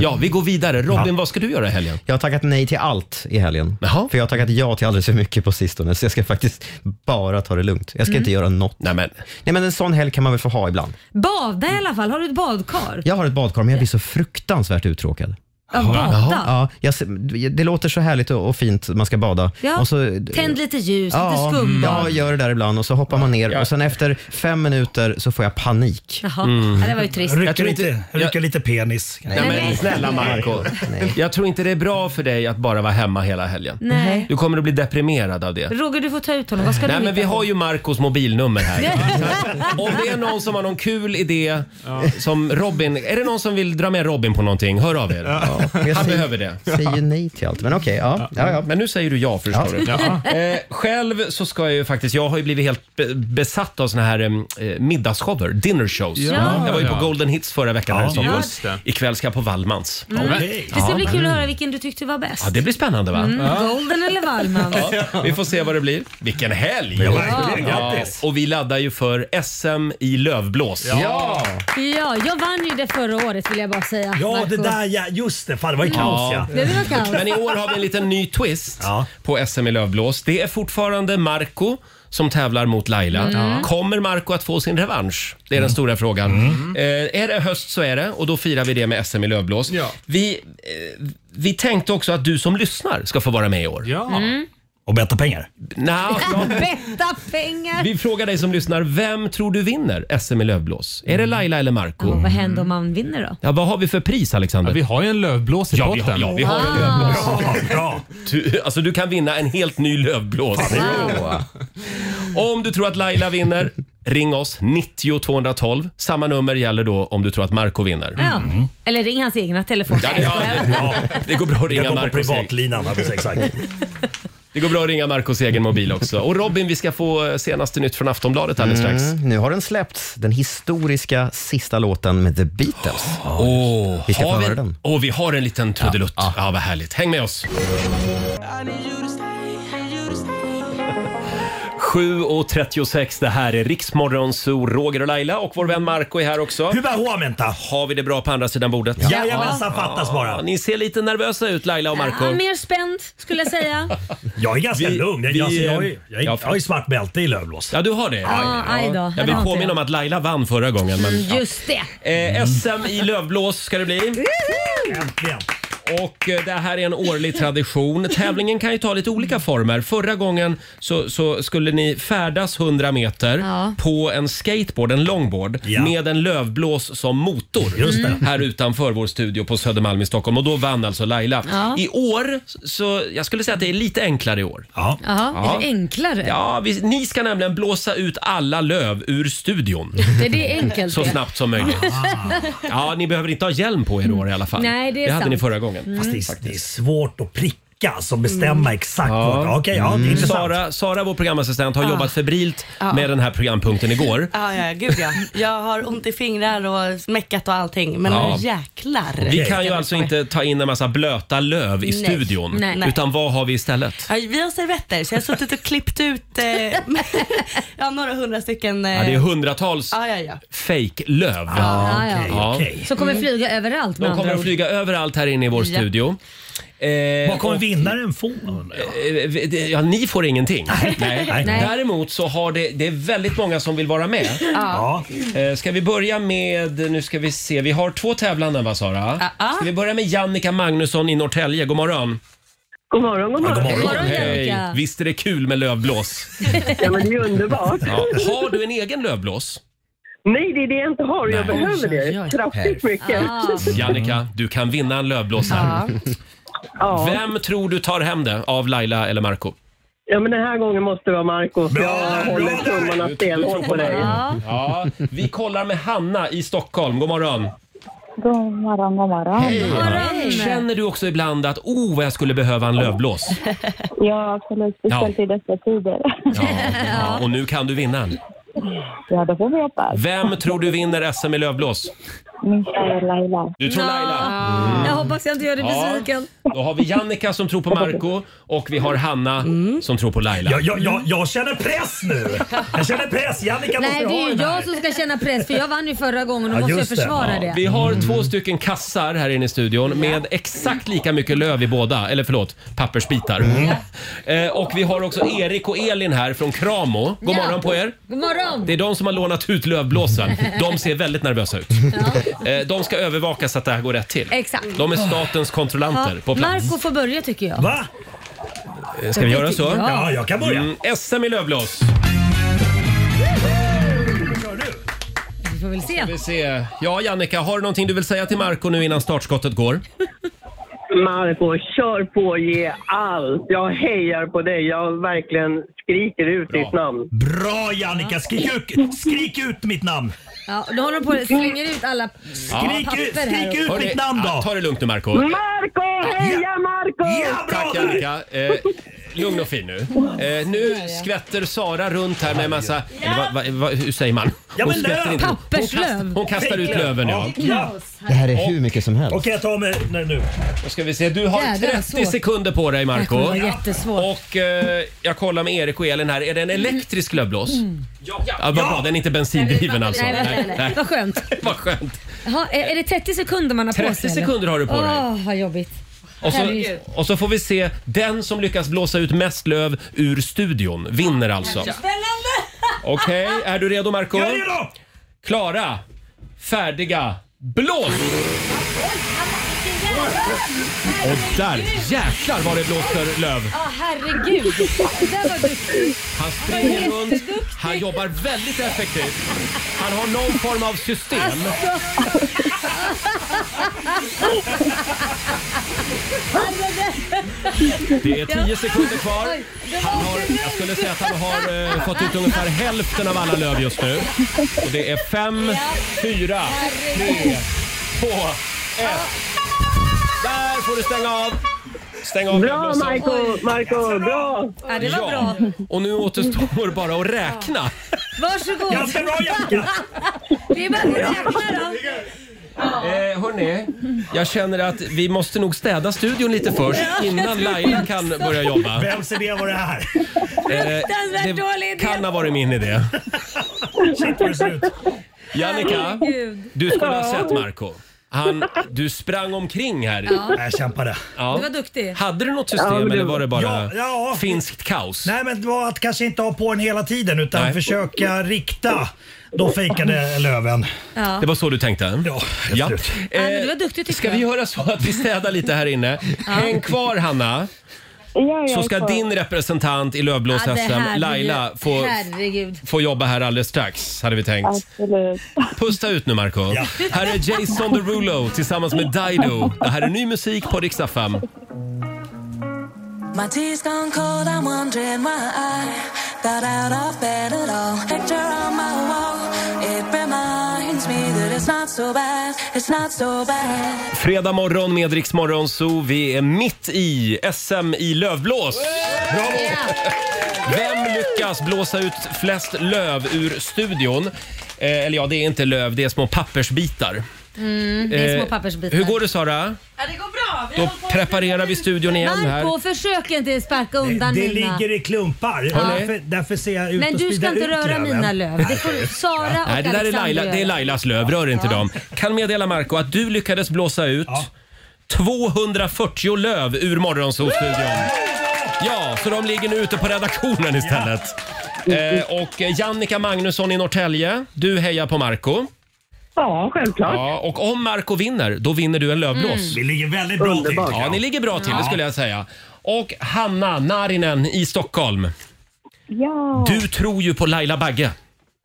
Speaker 1: Ja, vi går vidare. Robin, vad ska du göra i helgen?
Speaker 3: Jag har tackat nej till allt i helgen. För jag har tackat ja till alldeles för mycket på sistone, så jag ska faktiskt bara ta det lugnt. Jag ska
Speaker 4: Mm.
Speaker 3: inte göra något. Nej
Speaker 1: men.
Speaker 3: nej men en sån helg kan man väl få ha ibland.
Speaker 4: Bada i alla fall. Har du ett badkar?
Speaker 3: Jag har ett badkar, men jag blir så fruktansvärt uttråkad.
Speaker 4: Ja, bada.
Speaker 3: Ja, jag, ser- det låter så härligt och och fint, man ska bada.
Speaker 4: Ja,
Speaker 3: Och så,
Speaker 4: Tänd lite ljus,
Speaker 3: ja, mm.
Speaker 4: lite
Speaker 3: ja,
Speaker 4: skumbad.
Speaker 3: gör det där ibland och så hoppar man ner och sen efter fem minuter så får jag
Speaker 4: <laughs>
Speaker 3: panik.
Speaker 4: Jaha, ja, det var ju trist.
Speaker 1: Jag tror inte-
Speaker 10: Rycka lite penis.
Speaker 1: Nej, men snälla Marco. Jag tror inte det är bra för dig att bara vara hemma hela helgen.
Speaker 4: Nej.
Speaker 1: Du kommer att bli deprimerad av det.
Speaker 4: Roger, du får ta ut honom. Vad ska
Speaker 1: Nej,
Speaker 4: du
Speaker 1: men vi
Speaker 4: hitta på?
Speaker 1: har ju Marcos mobilnummer här. <laughs> Om det är någon som har någon kul idé som Robin, är det någon som vill dra med Robin på någonting? Hör av er. Han behöver det.
Speaker 3: Jag säger nej till allt, men okej. ja, ja, ja.
Speaker 1: Men nu säger du ja förstår du.
Speaker 3: Ja.
Speaker 1: Eh, själv så ska jag ju faktiskt, jag har ju blivit helt be- besatt av såna här eh, middagsshower, dinner shows.
Speaker 4: Ja.
Speaker 1: Jag var ju på
Speaker 4: Ja.
Speaker 1: Golden Hits förra veckan
Speaker 7: Ja,
Speaker 1: här i Stockholm.
Speaker 7: just det.
Speaker 1: Ikväll ska jag på Wallmans.
Speaker 4: Mm. Det ska
Speaker 1: Ja.
Speaker 4: bli kul att höra vilken du tyckte var bäst.
Speaker 1: Ja, det blir spännande va?
Speaker 4: Mm.
Speaker 1: Ja.
Speaker 4: Golden eller Wallmans?
Speaker 1: Ja, vi får se vad det blir. Vilken helg!
Speaker 4: Ja, verkligen.
Speaker 1: Och vi laddar ju för SM i lövblås.
Speaker 10: Ja.
Speaker 4: Ja, jag vann ju det förra året vill jag bara säga.
Speaker 10: Ja,
Speaker 4: Marco.
Speaker 10: det där ja. Just det, fan det var ju kaos ja.
Speaker 4: Det var kaos.
Speaker 1: Men i år har vi en liten ny twist på SM i lövblås. Det är fortfarande Marco som tävlar mot Laila.
Speaker 7: Mm.
Speaker 1: Kommer Marco att få sin revansch? Det är den stora frågan. Eh, är det höst så är det och då firar vi det med SM i lövblås. Vi, eh, vi tänkte också att du som lyssnar ska få vara med i år.
Speaker 7: Ja.
Speaker 4: Mm.
Speaker 1: Och betta pengar? Nja, ja.
Speaker 4: <laughs> Betta pengar!
Speaker 1: Vi frågar dig som lyssnar, vem tror du vinner SM i lövblås? Är det Laila eller Marco?
Speaker 4: Och vad händer om man vinner då?
Speaker 1: Ja, vad har vi för pris Alexander? vi har ju en lövblås i ja, vi har,
Speaker 7: potten.
Speaker 1: ja, vi har en
Speaker 4: Wow.
Speaker 1: lövblås. Du, alltså du kan vinna en helt ny lövblås. Om du tror att Laila vinner, ring oss 90 212. Samma nummer gäller då om du tror att Marco vinner.
Speaker 4: Ja. Eller ring hans egna telefon.
Speaker 1: Mm. Ja, det- ja, ja, det går bra att ringa
Speaker 10: Jag går på
Speaker 1: Marcos e-
Speaker 10: privatlinan, alldeles exakt.
Speaker 1: Det går bra att ringa Marcos egen mobil också. Och Robin, vi ska få eh, senaste nytt från Aftonbladet alldeles strax.
Speaker 3: Mm, nu har den släppts, den historiska sista låten med The Beatles.
Speaker 1: Åh,
Speaker 3: vi ska få
Speaker 1: har
Speaker 3: höra
Speaker 1: vi,
Speaker 3: den.
Speaker 1: och vi har en liten trudelutt. Ja, vad härligt. Häng med oss. 7.36, det här är Riksmorgon, Zoo, Roger och Laila och vår vän Marco är här också. Har vi det bra på andra sidan bordet?
Speaker 10: Ja. Jajamensan, fattas bara.
Speaker 1: Ni ser lite nervösa ut Laila och Marco.
Speaker 4: Ja, mer spänd skulle jag säga.
Speaker 10: Jag är ganska
Speaker 1: Vi-
Speaker 10: lugn. Jag,
Speaker 1: vi,
Speaker 10: alltså, jag,
Speaker 1: eh,
Speaker 10: är- jag, är-
Speaker 1: ja,
Speaker 10: jag har ju svart bälte i lövblås.
Speaker 1: Ja, du har det?
Speaker 4: Ja, aj då. Ja,
Speaker 1: Jag
Speaker 4: det
Speaker 1: vill
Speaker 4: har inte
Speaker 1: påminna
Speaker 4: jag.
Speaker 1: om att Laila vann förra gången. Men,
Speaker 4: Mm,
Speaker 1: ja.
Speaker 4: Just Mm. det.
Speaker 1: Eh, SM i lövblås ska det bli. Äntligen! Och eh, det här är en årlig tradition. Tävlingen kan ju ta lite olika former. Förra gången så, så skulle ni färdas 100 meter på en skateboard, en longboard, med en lövblås som motor.
Speaker 10: Just det.
Speaker 1: Här utanför vår studio på Södermalm i Stockholm. Och då vann alltså Laila.
Speaker 4: Ja.
Speaker 1: I år, så jag skulle säga att det är lite enklare i år. Ja.
Speaker 4: Jaha, är det enklare?
Speaker 1: Ja, vi, ni ska nämligen blåsa ut alla löv ur studion.
Speaker 4: Det, det är enkelt
Speaker 1: Så
Speaker 4: det.
Speaker 1: snabbt som möjligt. Ja, ni behöver inte ha hjälm på er i år i alla fall.
Speaker 4: Nej, det är
Speaker 1: hade
Speaker 4: sant.
Speaker 1: ni förra gången.
Speaker 4: Mm. Fast det är-
Speaker 1: svårt att pricka som
Speaker 10: bestämmer alltså, exakt vart- ja, okej, ja, det är intressant.
Speaker 1: Sara, Sara, vår programassistent, har
Speaker 11: Ja.
Speaker 1: jobbat febrilt
Speaker 11: Ja.
Speaker 1: med den här programpunkten igår.
Speaker 10: Ah.
Speaker 11: Ja, ja, gud ja. Jag har ont i fingrar och smäckat och allting. Men
Speaker 1: Ja.
Speaker 11: jäklar.
Speaker 1: Vi kan ju alltså inte ta in en massa blöta löv i
Speaker 11: Nej.
Speaker 1: studion.
Speaker 11: Nej.
Speaker 1: Utan vad har vi istället?
Speaker 13: Eh.
Speaker 11: Ja, vi har servetter, så jag har suttit och klippt ut eh, <laughs> ja, några hundra stycken. Eh,
Speaker 1: Ja, det är hundratals
Speaker 13: Ah.
Speaker 11: Ja, ja, ja.
Speaker 1: fejklöv.
Speaker 4: Ja, ja,
Speaker 1: Ja. Mm.
Speaker 4: ja. Som kommer flyga överallt
Speaker 1: De
Speaker 4: med
Speaker 1: kommer
Speaker 4: andra
Speaker 1: att
Speaker 4: ord.
Speaker 1: flyga överallt här inne i vår
Speaker 4: Ja.
Speaker 1: studio. Eh,
Speaker 10: Vad kommer
Speaker 1: och-
Speaker 10: vinnaren få? undrar jag?
Speaker 1: Eh, vi- det- Ja, ni får ingenting. Nej.
Speaker 10: Nej.
Speaker 1: Däremot så har det, det är väldigt många som vill vara med.
Speaker 11: Ja.
Speaker 1: Eh, Ska vi börja med, nu ska vi se, vi har två tävlande va Sara? Ska vi börja med Jannica Magnusson i Norrtälje, god morgon.
Speaker 12: God morgon, god morgon.
Speaker 1: Hej. Visst är det kul med lövblås?
Speaker 12: Ja, men det är ju underbart.
Speaker 1: Ja. Har du en egen lövblås?
Speaker 12: Nej, det är det jag inte har och jag
Speaker 1: Nej.
Speaker 12: behöver det kraftigt mycket.
Speaker 11: Ah.
Speaker 1: Jannica, du kan vinna en lövblås här.
Speaker 12: Ja.
Speaker 1: Vem tror du tar hem det av Laila eller Marco?
Speaker 12: ja, men den här gången måste det vara Marco. Jag håller tummarna stenhårt på dig.
Speaker 1: Ja, vi kollar med Hanna i Stockholm, god morgon.
Speaker 13: God morgon, god morgon.
Speaker 1: Känner du också ibland att oh, vad jag skulle behöva en lövblås?
Speaker 13: Ja, absolut. Speciellt i dessa tider.
Speaker 1: Ja, och nu kan du vinna.
Speaker 13: Ja, då får vi hoppas.
Speaker 1: Vem tror du vinner SM i lövblås?
Speaker 13: Min kära Laila.
Speaker 1: Du tror Laila?
Speaker 4: Jag hoppas jag inte gör dig
Speaker 1: Ja.
Speaker 4: besviken.
Speaker 1: Då har vi Jannica som tror på Marco och vi har Hanna som tror på Laila.
Speaker 10: Jag, jag, jag, jag känner press nu! Jag känner press. Jannica måste
Speaker 4: Nej, det
Speaker 10: ha
Speaker 4: är ju
Speaker 10: den här.
Speaker 4: jag som ska känna press för jag vann ju förra gången och då måste jag försvara det.
Speaker 1: Vi har två stycken kassar här inne i studion med exakt lika mycket löv i båda, eller förlåt, pappersbitar.
Speaker 4: Mm.
Speaker 1: <laughs> Eh, och vi har också Erik och Elin här från Kramo. God
Speaker 4: Ja.
Speaker 1: morgon på er!
Speaker 4: God morgon!
Speaker 1: Det är de som har lånat ut lövblåsen. De ser väldigt nervösa ut. Eh, De ska övervaka så att det här går rätt till.
Speaker 4: Exakt.
Speaker 1: De är statens kontrollanter
Speaker 4: Ja,
Speaker 1: på plats.
Speaker 4: Marco får börja tycker jag.
Speaker 10: Va?
Speaker 1: Eh, Ska vi göra så?
Speaker 4: Ja. Ja, jag
Speaker 10: kan
Speaker 1: Mm.
Speaker 10: börja.
Speaker 1: SM i lövblås.
Speaker 4: Vi får väl se.
Speaker 1: Vi se. Ja, Jannica, har du någonting du vill säga till Marco nu innan startskottet går?
Speaker 12: Marco, kör på, ge allt. Jag hejar på dig. Jag verkligen skriker ut ditt namn.
Speaker 10: Bra Jannica, skrik ut, skrik ut mitt namn!
Speaker 4: Ja, då håller de på och slänger ut alla papper här.
Speaker 1: Hörni, ja, Ta det lugnt nu, Marco.
Speaker 5: Mm.
Speaker 12: Marco, heja Marco!
Speaker 10: Ja,
Speaker 1: Tack Annika. Eh, lugn och fin nu. Eh, nu skvätter Sara runt här med en massa... Eller, vad- vad- vad- hur säger man?
Speaker 10: Ja, men
Speaker 1: skvätter
Speaker 10: löv.
Speaker 1: Hon kastar,
Speaker 10: Papperslöv.
Speaker 1: hon kastar ut löven ja.
Speaker 10: Ja.
Speaker 3: Det här är hur mycket som helst.
Speaker 10: Okej, jag tar mig nej, nu.
Speaker 1: Då ska vi se. Du har
Speaker 4: Jädrar,
Speaker 1: 30
Speaker 4: svårt.
Speaker 1: sekunder på dig
Speaker 4: Det här kommer
Speaker 1: Marco
Speaker 4: vara jättesvårt.
Speaker 1: Och eh, jag kollar med Erik och Elin här. Är det en
Speaker 4: Mm.
Speaker 1: elektrisk lövblås? Ja! ja. vad bra, den är inte bensindriven alltså.
Speaker 4: Nej, vänta, nej. Vad skönt.
Speaker 1: Vad skönt.
Speaker 4: Jaha, är är det 30 sekunder man har på
Speaker 1: 30
Speaker 4: sig? eller?
Speaker 1: sekunder har du på dig.
Speaker 4: Åh, vad jobbigt.
Speaker 1: Och så,
Speaker 4: Herregud.
Speaker 1: och så får vi se. Den som lyckas blåsa ut mest löv ur studion vinner alltså. Okej, är du redo Marco?
Speaker 10: Jag är redo!
Speaker 1: Klara, färdiga, blås! Och där, jäklar vad det blåser löv.
Speaker 4: Ja, herregud. Det där var duktigt.
Speaker 1: Han springer runt, han jobbar väldigt effektivt. Han har någon form av system. Det är 10 sekunder kvar. Han har, jag skulle säga att han har eh, fått ut ungefär hälften av alla löv just nu. Och det är fem, fyra, tre, två, ett. Där får du stänga av. Stäng av
Speaker 12: Bra
Speaker 1: lövblåsan.
Speaker 12: Marco, Marco, bra!
Speaker 4: Ja, det var
Speaker 1: Ja,
Speaker 4: bra.
Speaker 1: och nu återstår bara att räkna.
Speaker 4: Varsågod.
Speaker 10: Ganska bra Jannica!
Speaker 4: Det är bara att räkna då.
Speaker 1: Eh, hörni, jag känner att vi måste nog städa studion lite först innan Laila kan börja jobba.
Speaker 10: Vems idé var det här?
Speaker 1: Eh,
Speaker 4: Fruktansvärt dålig idé.
Speaker 1: kan ha varit min idé.
Speaker 10: Shit vad det ser ut.
Speaker 1: Jannica,
Speaker 4: Herregud.
Speaker 1: du skulle ha
Speaker 4: Ja.
Speaker 1: sett Marco. Han, du sprang omkring här.
Speaker 4: Ja.
Speaker 10: Jag kämpade.
Speaker 1: Ja.
Speaker 4: Du var duktig.
Speaker 1: Hade du något
Speaker 10: Ja, men
Speaker 1: system
Speaker 10: det-
Speaker 1: eller var det bara
Speaker 10: Ja, ja.
Speaker 1: finskt kaos?
Speaker 10: Nej men det var att kanske inte ha på den hela tiden utan
Speaker 1: Nej.
Speaker 10: försöka rikta. Då fejkade löven.
Speaker 4: Ja.
Speaker 1: Det var så du tänkte?
Speaker 10: Ja,
Speaker 1: ja.
Speaker 4: Ja, men
Speaker 1: Eh,
Speaker 4: du var duktig tycker
Speaker 1: Ska vi
Speaker 4: jag.
Speaker 1: göra så att vi städar lite här inne? Häng kvar Hanna,
Speaker 13: Ja,
Speaker 1: så ska din representant i
Speaker 4: Ja, det
Speaker 1: lövblås-SM,
Speaker 4: här
Speaker 1: Laila,
Speaker 4: blir-
Speaker 1: få
Speaker 4: Herregud.
Speaker 1: få jobba här alldeles strax, hade vi tänkt.
Speaker 13: Absolut.
Speaker 1: Pusta ut nu, Marco. Här är Jason Derulo tillsammans med Dido. Det här är ny musik på Rix FM.
Speaker 15: My tea's gone cold, I'm wondering why I got out of bed at all. Picture on my wall, it reminds me that it's not so bad, it's not so bad.
Speaker 1: Fredag morgon med Rix Morgon Zoo. Vi är mitt i SM i lövblås. Bravo! Vem lyckas blåsa ut flest löv ur studion? Eh, eller ja, det är inte löv, det är små pappersbitar.
Speaker 4: Mm, det är små
Speaker 1: Eh,
Speaker 4: pappersbitar.
Speaker 1: Hur går det, Sara?
Speaker 11: Ja, det går bra.
Speaker 1: Då preparerar vi studion igen här.
Speaker 4: Marco, försök inte sparka undan
Speaker 10: Det
Speaker 4: mina.
Speaker 10: ligger i klumpar. Därför, därför ser jag ut
Speaker 4: Nej,
Speaker 10: och
Speaker 4: du ska
Speaker 10: sprider
Speaker 4: inte
Speaker 10: ut
Speaker 4: röra
Speaker 10: löven.
Speaker 4: mina löv. Det får Sara och
Speaker 1: Nej, det där är,
Speaker 4: Alexander
Speaker 1: Laila, det är
Speaker 4: göra.
Speaker 1: Lailas löv. Rör inte dem. Kan meddela Marco att du lyckades blåsa ut 240 löv ur Morgonzoo-studion. Ja, så de ligger nu ute på redaktionen istället. Eh, och eh, Jannica Magnusson i Norrtälje, du hejar på Marco
Speaker 12: Ja, självklart.
Speaker 1: Ja, och om Marco vinner, då vinner du en lövblås.
Speaker 10: Vi ligger väldigt bra till.
Speaker 1: Ja, ni ligger bra till, det skulle jag säga. Och Hanna Narinen i Stockholm.
Speaker 13: Ja.
Speaker 1: Du tror ju på Laila Bagge.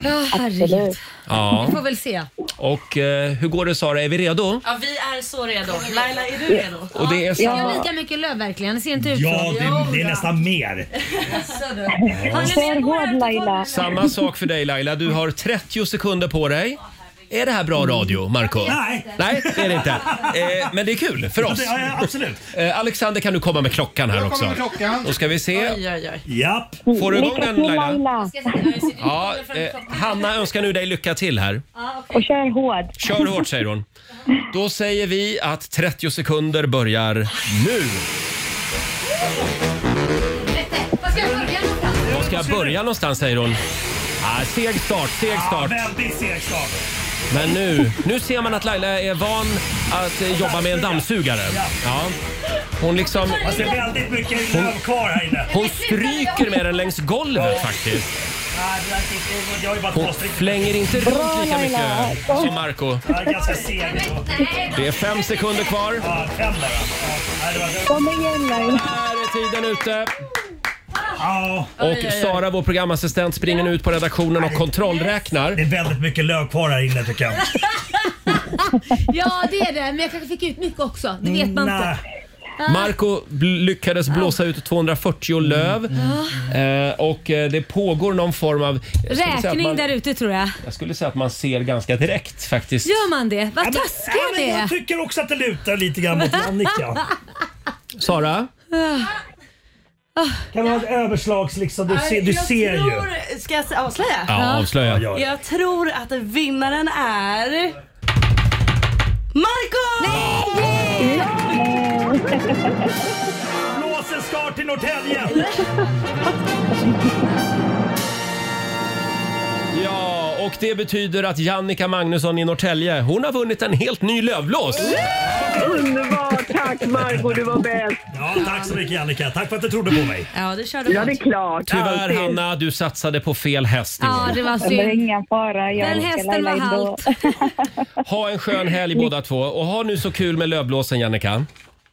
Speaker 4: Ja, Ah, herregud.
Speaker 1: Ja.
Speaker 4: Vi får väl se.
Speaker 1: Och eh, hur går det Sara, är vi redo?
Speaker 11: Ja, vi är så redo. Laila, är du redo?
Speaker 1: Och det är
Speaker 4: Jag
Speaker 1: samma-
Speaker 4: har lika mycket löv verkligen. Det ser inte ut
Speaker 10: Ja,
Speaker 4: så.
Speaker 10: det, det är nästan mer.
Speaker 4: Jaså, du.
Speaker 13: För hård Laila.
Speaker 1: Samma sak för dig Laila. Du har 30 sekunder på dig. Är det här bra radio, Marco?
Speaker 10: Nej.
Speaker 1: Nej, det är det inte. Eh, men det är kul för oss.
Speaker 10: Ja, ja, absolut.
Speaker 1: Eh, Alexander, kan du komma med klockan här också? Då ska vi se.
Speaker 11: Oj, oj, oj.
Speaker 10: Japp.
Speaker 1: Får du igång den Laila?
Speaker 13: Laila.
Speaker 1: Ja, eh, Hanna önskar nu dig lycka till här.
Speaker 13: Och kör hård.
Speaker 1: Kör hårt säger hon. Då säger vi att 30 sekunder börjar nu.
Speaker 4: Vad ska jag börja någonstans?
Speaker 1: Var ska jag börja någonstans säger hon. Ah, seg start, seg
Speaker 10: Ja,
Speaker 1: start.
Speaker 10: väldigt seg start.
Speaker 1: Men nu, nu ser man att Laila är van att eh, jobba med en dammsugare. Ja. Hon liksom...
Speaker 10: Fast det är väldigt mycket löv kvar här inne.
Speaker 1: Hon stryker med den längs golvet faktiskt.
Speaker 10: Jag är bara
Speaker 1: Hon flänger inte runt lika mycket som Marco
Speaker 10: Jag är ganska seg.
Speaker 1: Det är fem sekunder kvar.
Speaker 13: Kom igen Laila.
Speaker 1: Där är tiden ute.
Speaker 10: Oj,
Speaker 1: Och
Speaker 10: oj, oj.
Speaker 1: Sara, vår programassistent, springer nu ut på redaktionen och kontrollräknar. Det är väldigt mycket löv kvar här inne tycker jag.
Speaker 4: Ja det är det, men jag kanske fick ut mycket också. Det vet man inte. Ah.
Speaker 1: Marco bl- lyckades blåsa ut 240 löv
Speaker 10: Mm. Ah.
Speaker 1: Eh, och eh, det pågår någon form av... jag skulle säga att
Speaker 4: Räkning
Speaker 1: man-
Speaker 4: där ute tror jag.
Speaker 1: Jag skulle säga att man ser ganska direkt faktiskt.
Speaker 4: Gör man det? Vad taskiga
Speaker 10: men
Speaker 4: ni är.
Speaker 10: jag tycker också att det lutar lite grann mot Annika.
Speaker 1: Sara?
Speaker 4: Ah.
Speaker 10: Kan du ha ett överslags liksom? Du, ser- du
Speaker 11: jag
Speaker 10: ser ju.
Speaker 11: tror, ju. Ska jag avslöja?
Speaker 10: Ja, avslöja. Ja, ja.
Speaker 11: Jag tror att vinnaren är... Marco! Nej!
Speaker 10: Blås en start till Norrtälje!
Speaker 1: Ja, och det betyder att Jannica Magnusson i Norrtälje, hon har vunnit en helt ny lövblås.
Speaker 10: Underbart! Tack Margot, du var bäst. Ja, tack så mycket Annika. Tack för att du trodde på mig.
Speaker 4: Ja, det körde Ja, det är
Speaker 10: klart.
Speaker 1: Tyvärr Hanna, du satsade på fel häst. i år.
Speaker 4: Ja, det var
Speaker 13: Det är
Speaker 4: synd.
Speaker 13: ingen fara. Jag
Speaker 4: Den
Speaker 13: älskar
Speaker 4: hästen var
Speaker 13: Laila ändå.
Speaker 4: halt.
Speaker 1: Ha en skön helg båda två och ha nu så kul med lövblåsen Jannica.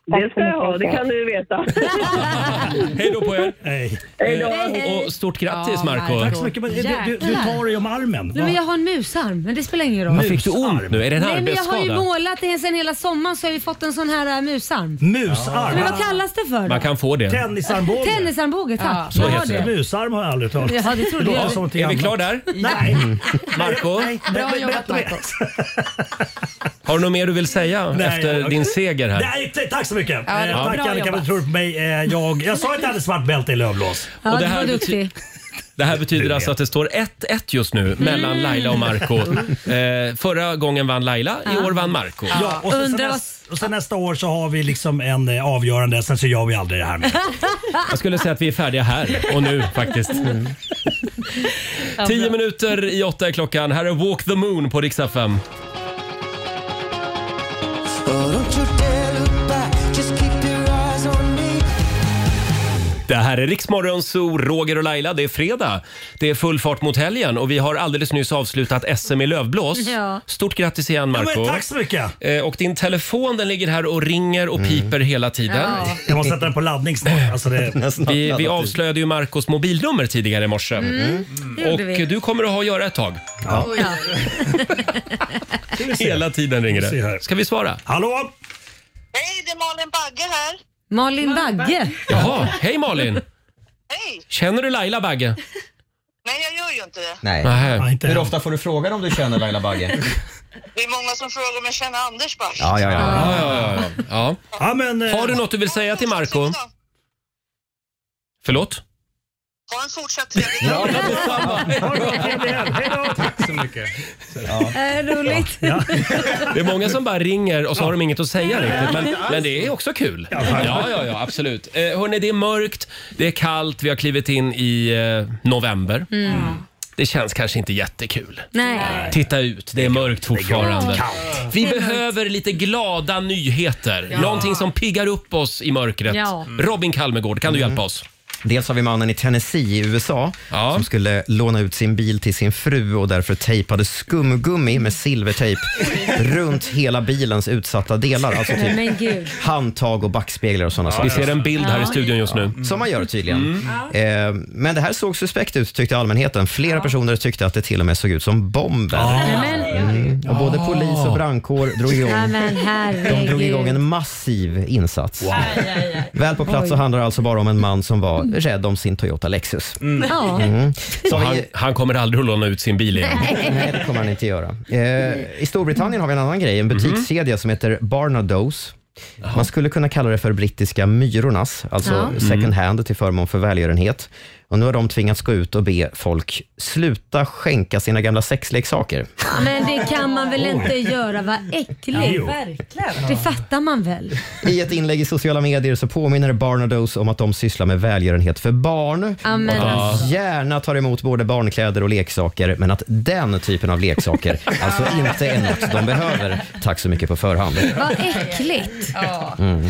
Speaker 12: Det ska jag ha, det kan du veta.
Speaker 1: Hej då på er!
Speaker 10: Hej.
Speaker 12: Hej då.
Speaker 1: Eh, Och stort grattis
Speaker 4: Ja,
Speaker 1: Marco
Speaker 10: Tack så mycket. Men du, du, du tar dig om armen.
Speaker 4: Nej, men jag har en musarm, men det spelar ingen roll.
Speaker 1: Vad fick du ont nu? Är det en
Speaker 4: Nej, men jag har ju
Speaker 1: arbetsskada?
Speaker 4: målat det sen hela sommaren så har vi fått en sån här äh, musarm.
Speaker 10: Musarm?
Speaker 4: Men vad kallas det för? då?
Speaker 1: Man kan få det.
Speaker 10: Tennisarmbåge.
Speaker 4: Tennisarmbåge, tack.
Speaker 1: Så
Speaker 4: jag har
Speaker 1: heter det.
Speaker 4: det.
Speaker 10: Musarm har jag aldrig hört.
Speaker 4: Ja, det trodde jag.
Speaker 10: låter som någonting
Speaker 1: Är vi
Speaker 10: annat.
Speaker 1: klara där?
Speaker 10: Nej.
Speaker 1: Marco?
Speaker 10: Bra
Speaker 4: jobbat,
Speaker 10: Marco.
Speaker 1: Har du något mer du vill säga
Speaker 10: Nej,
Speaker 1: efter
Speaker 10: jag-
Speaker 1: din seger här?
Speaker 10: Nej, t- tack så mycket.
Speaker 1: Ja, det
Speaker 10: Eh,
Speaker 1: var
Speaker 10: tack
Speaker 1: bra
Speaker 10: Annika för att
Speaker 1: jobbat.
Speaker 10: du trodde på mig. Eh, Jag, jag sa att jag hade svart bälte i lövblås.
Speaker 4: Ja,
Speaker 1: Och det
Speaker 4: du
Speaker 1: här
Speaker 4: var
Speaker 1: bety-
Speaker 4: duktig.
Speaker 1: Det här betyder alltså att det står 1-1 just nu
Speaker 10: Mm.
Speaker 1: mellan Laila och Marco. Eh, förra gången vann Laila, i år vann Marco.
Speaker 10: Ja, och, sen, sen nästa, och sen nästa år så har vi liksom en eh, avgörande, sen så gör vi aldrig det här med.
Speaker 1: Jag skulle säga att vi är färdiga här och nu faktiskt.
Speaker 10: Mm.
Speaker 1: Tio minuter i åtta är klockan. Här är Walk the Moon på riksdag 5. Det här är Riksmorgon Zoo, Roger och Laila. Det är fredag. Det är full fart mot helgen och vi har alldeles nyss avslutat SM i lövblås.
Speaker 4: Ja.
Speaker 1: Stort grattis igen
Speaker 10: Ja,
Speaker 1: Marco.
Speaker 10: men tack så Mm. mycket.
Speaker 1: Eh, Och din telefon den ligger här och ringer och piper hela tiden.
Speaker 4: Ja.
Speaker 10: Jag måste sätta den på laddning snart.
Speaker 1: <laughs>
Speaker 10: Alltså det...
Speaker 3: <laughs>
Speaker 1: Vi,
Speaker 3: typ.
Speaker 1: vi avslöjade ju Marcos mobilnummer tidigare i morse.
Speaker 4: Mm. Det gjorde vi.
Speaker 1: Och du kommer att ha att göra ett tag.
Speaker 4: Ja.
Speaker 1: Hela tiden ringer
Speaker 10: Vi får se
Speaker 1: det. Ska vi svara?
Speaker 10: Hallå?
Speaker 16: Hej, det är Malin Bagge här.
Speaker 4: Malin Bagge.
Speaker 1: Jaha, hej Malin!
Speaker 16: Hej!
Speaker 1: Känner du Laila Bagge?
Speaker 16: Nej, jag gör ju inte det.
Speaker 17: Nej. Hur ofta får du frågan om du känner Laila Bagge?
Speaker 16: Det är många som frågar om jag känner Anders Bagge.
Speaker 17: Ja, ja, ja.
Speaker 1: Ja, ja, ja, ja.
Speaker 10: Ja, men, eh,
Speaker 1: Har du något du vill säga till Marco? Förlåt?
Speaker 16: Ha en fortsatt trevlig
Speaker 1: Ja,
Speaker 16: dag.
Speaker 10: Tack så mycket.
Speaker 4: Äh, roligt.
Speaker 1: Det är många som bara ringer och så har de inget att säga riktigt. Men, men det är också kul. Ja, ja, ja, absolut. Eh, hörni, det är mörkt, det är kallt, vi har klivit in i eh, november.
Speaker 4: Mm.
Speaker 1: Det känns kanske inte jättekul.
Speaker 4: Nej.
Speaker 1: Titta ut, det är mörkt fortfarande.
Speaker 4: kallt.
Speaker 1: Vi
Speaker 4: Det är mörkt.
Speaker 1: behöver lite glada nyheter.
Speaker 4: Ja.
Speaker 1: Någonting som piggar upp oss i mörkret.
Speaker 4: Ja. Mm.
Speaker 1: Robin Kalmegård, kan du hjälpa oss?
Speaker 3: Dels har vi mannen i Tennessee i USA som skulle låna ut sin bil till sin fru och därför tejpade skumgummi med
Speaker 1: <laughs>
Speaker 3: silvertejp runt hela bilens utsatta delar. Alltså
Speaker 4: Nej,
Speaker 3: typ
Speaker 4: men gud.
Speaker 3: handtag och backspeglar och sådana
Speaker 1: Ja, Mm.
Speaker 3: saker.
Speaker 1: vi ser en bild här i Ja. studion just nu.
Speaker 3: Ja, Som man gör tydligen. Eh, men det här såg suspekt ut tyckte allmänheten. Flera personer tyckte att det till och med såg ut som bomber. Mm. Och både polis och brandkår drog
Speaker 4: Nej,
Speaker 3: igång
Speaker 4: men
Speaker 3: de drog igång
Speaker 4: herregud.
Speaker 3: en massiv insats. Väl på plats så handlar det alltså bara om en man som var rädd om sin Toyota Lexus.
Speaker 4: Ja.
Speaker 3: Mm.
Speaker 1: Och han, han kommer aldrig att låna ut sin bil igen.
Speaker 3: Nej, det kommer han inte göra. Eh, I Storbritannien har vi en annan grej, en butikskedja som heter Barnados. Man skulle kunna kalla det för brittiska myrornas, alltså
Speaker 17: Ja.
Speaker 3: second hand till förmån för välgörenhet. Och nu har de tvingats gå ut och be folk sluta skänka sina gamla sexleksaker.
Speaker 4: Men det kan man väl inte göra? Vad äckligt.
Speaker 3: Jo.
Speaker 4: Verkligen. Det fattar man väl?
Speaker 3: I ett inlägg i sociala medier så påminner Barnados om att de sysslar med välgörenhet för barn.
Speaker 4: Ja, men
Speaker 3: och att
Speaker 4: alltså.
Speaker 3: de gärna tar emot både barnkläder och leksaker, men att den typen av
Speaker 4: <laughs>
Speaker 3: leksaker alltså inte är något de behöver. Tack så mycket på förhand.
Speaker 4: Vad äckligt.
Speaker 3: Mm.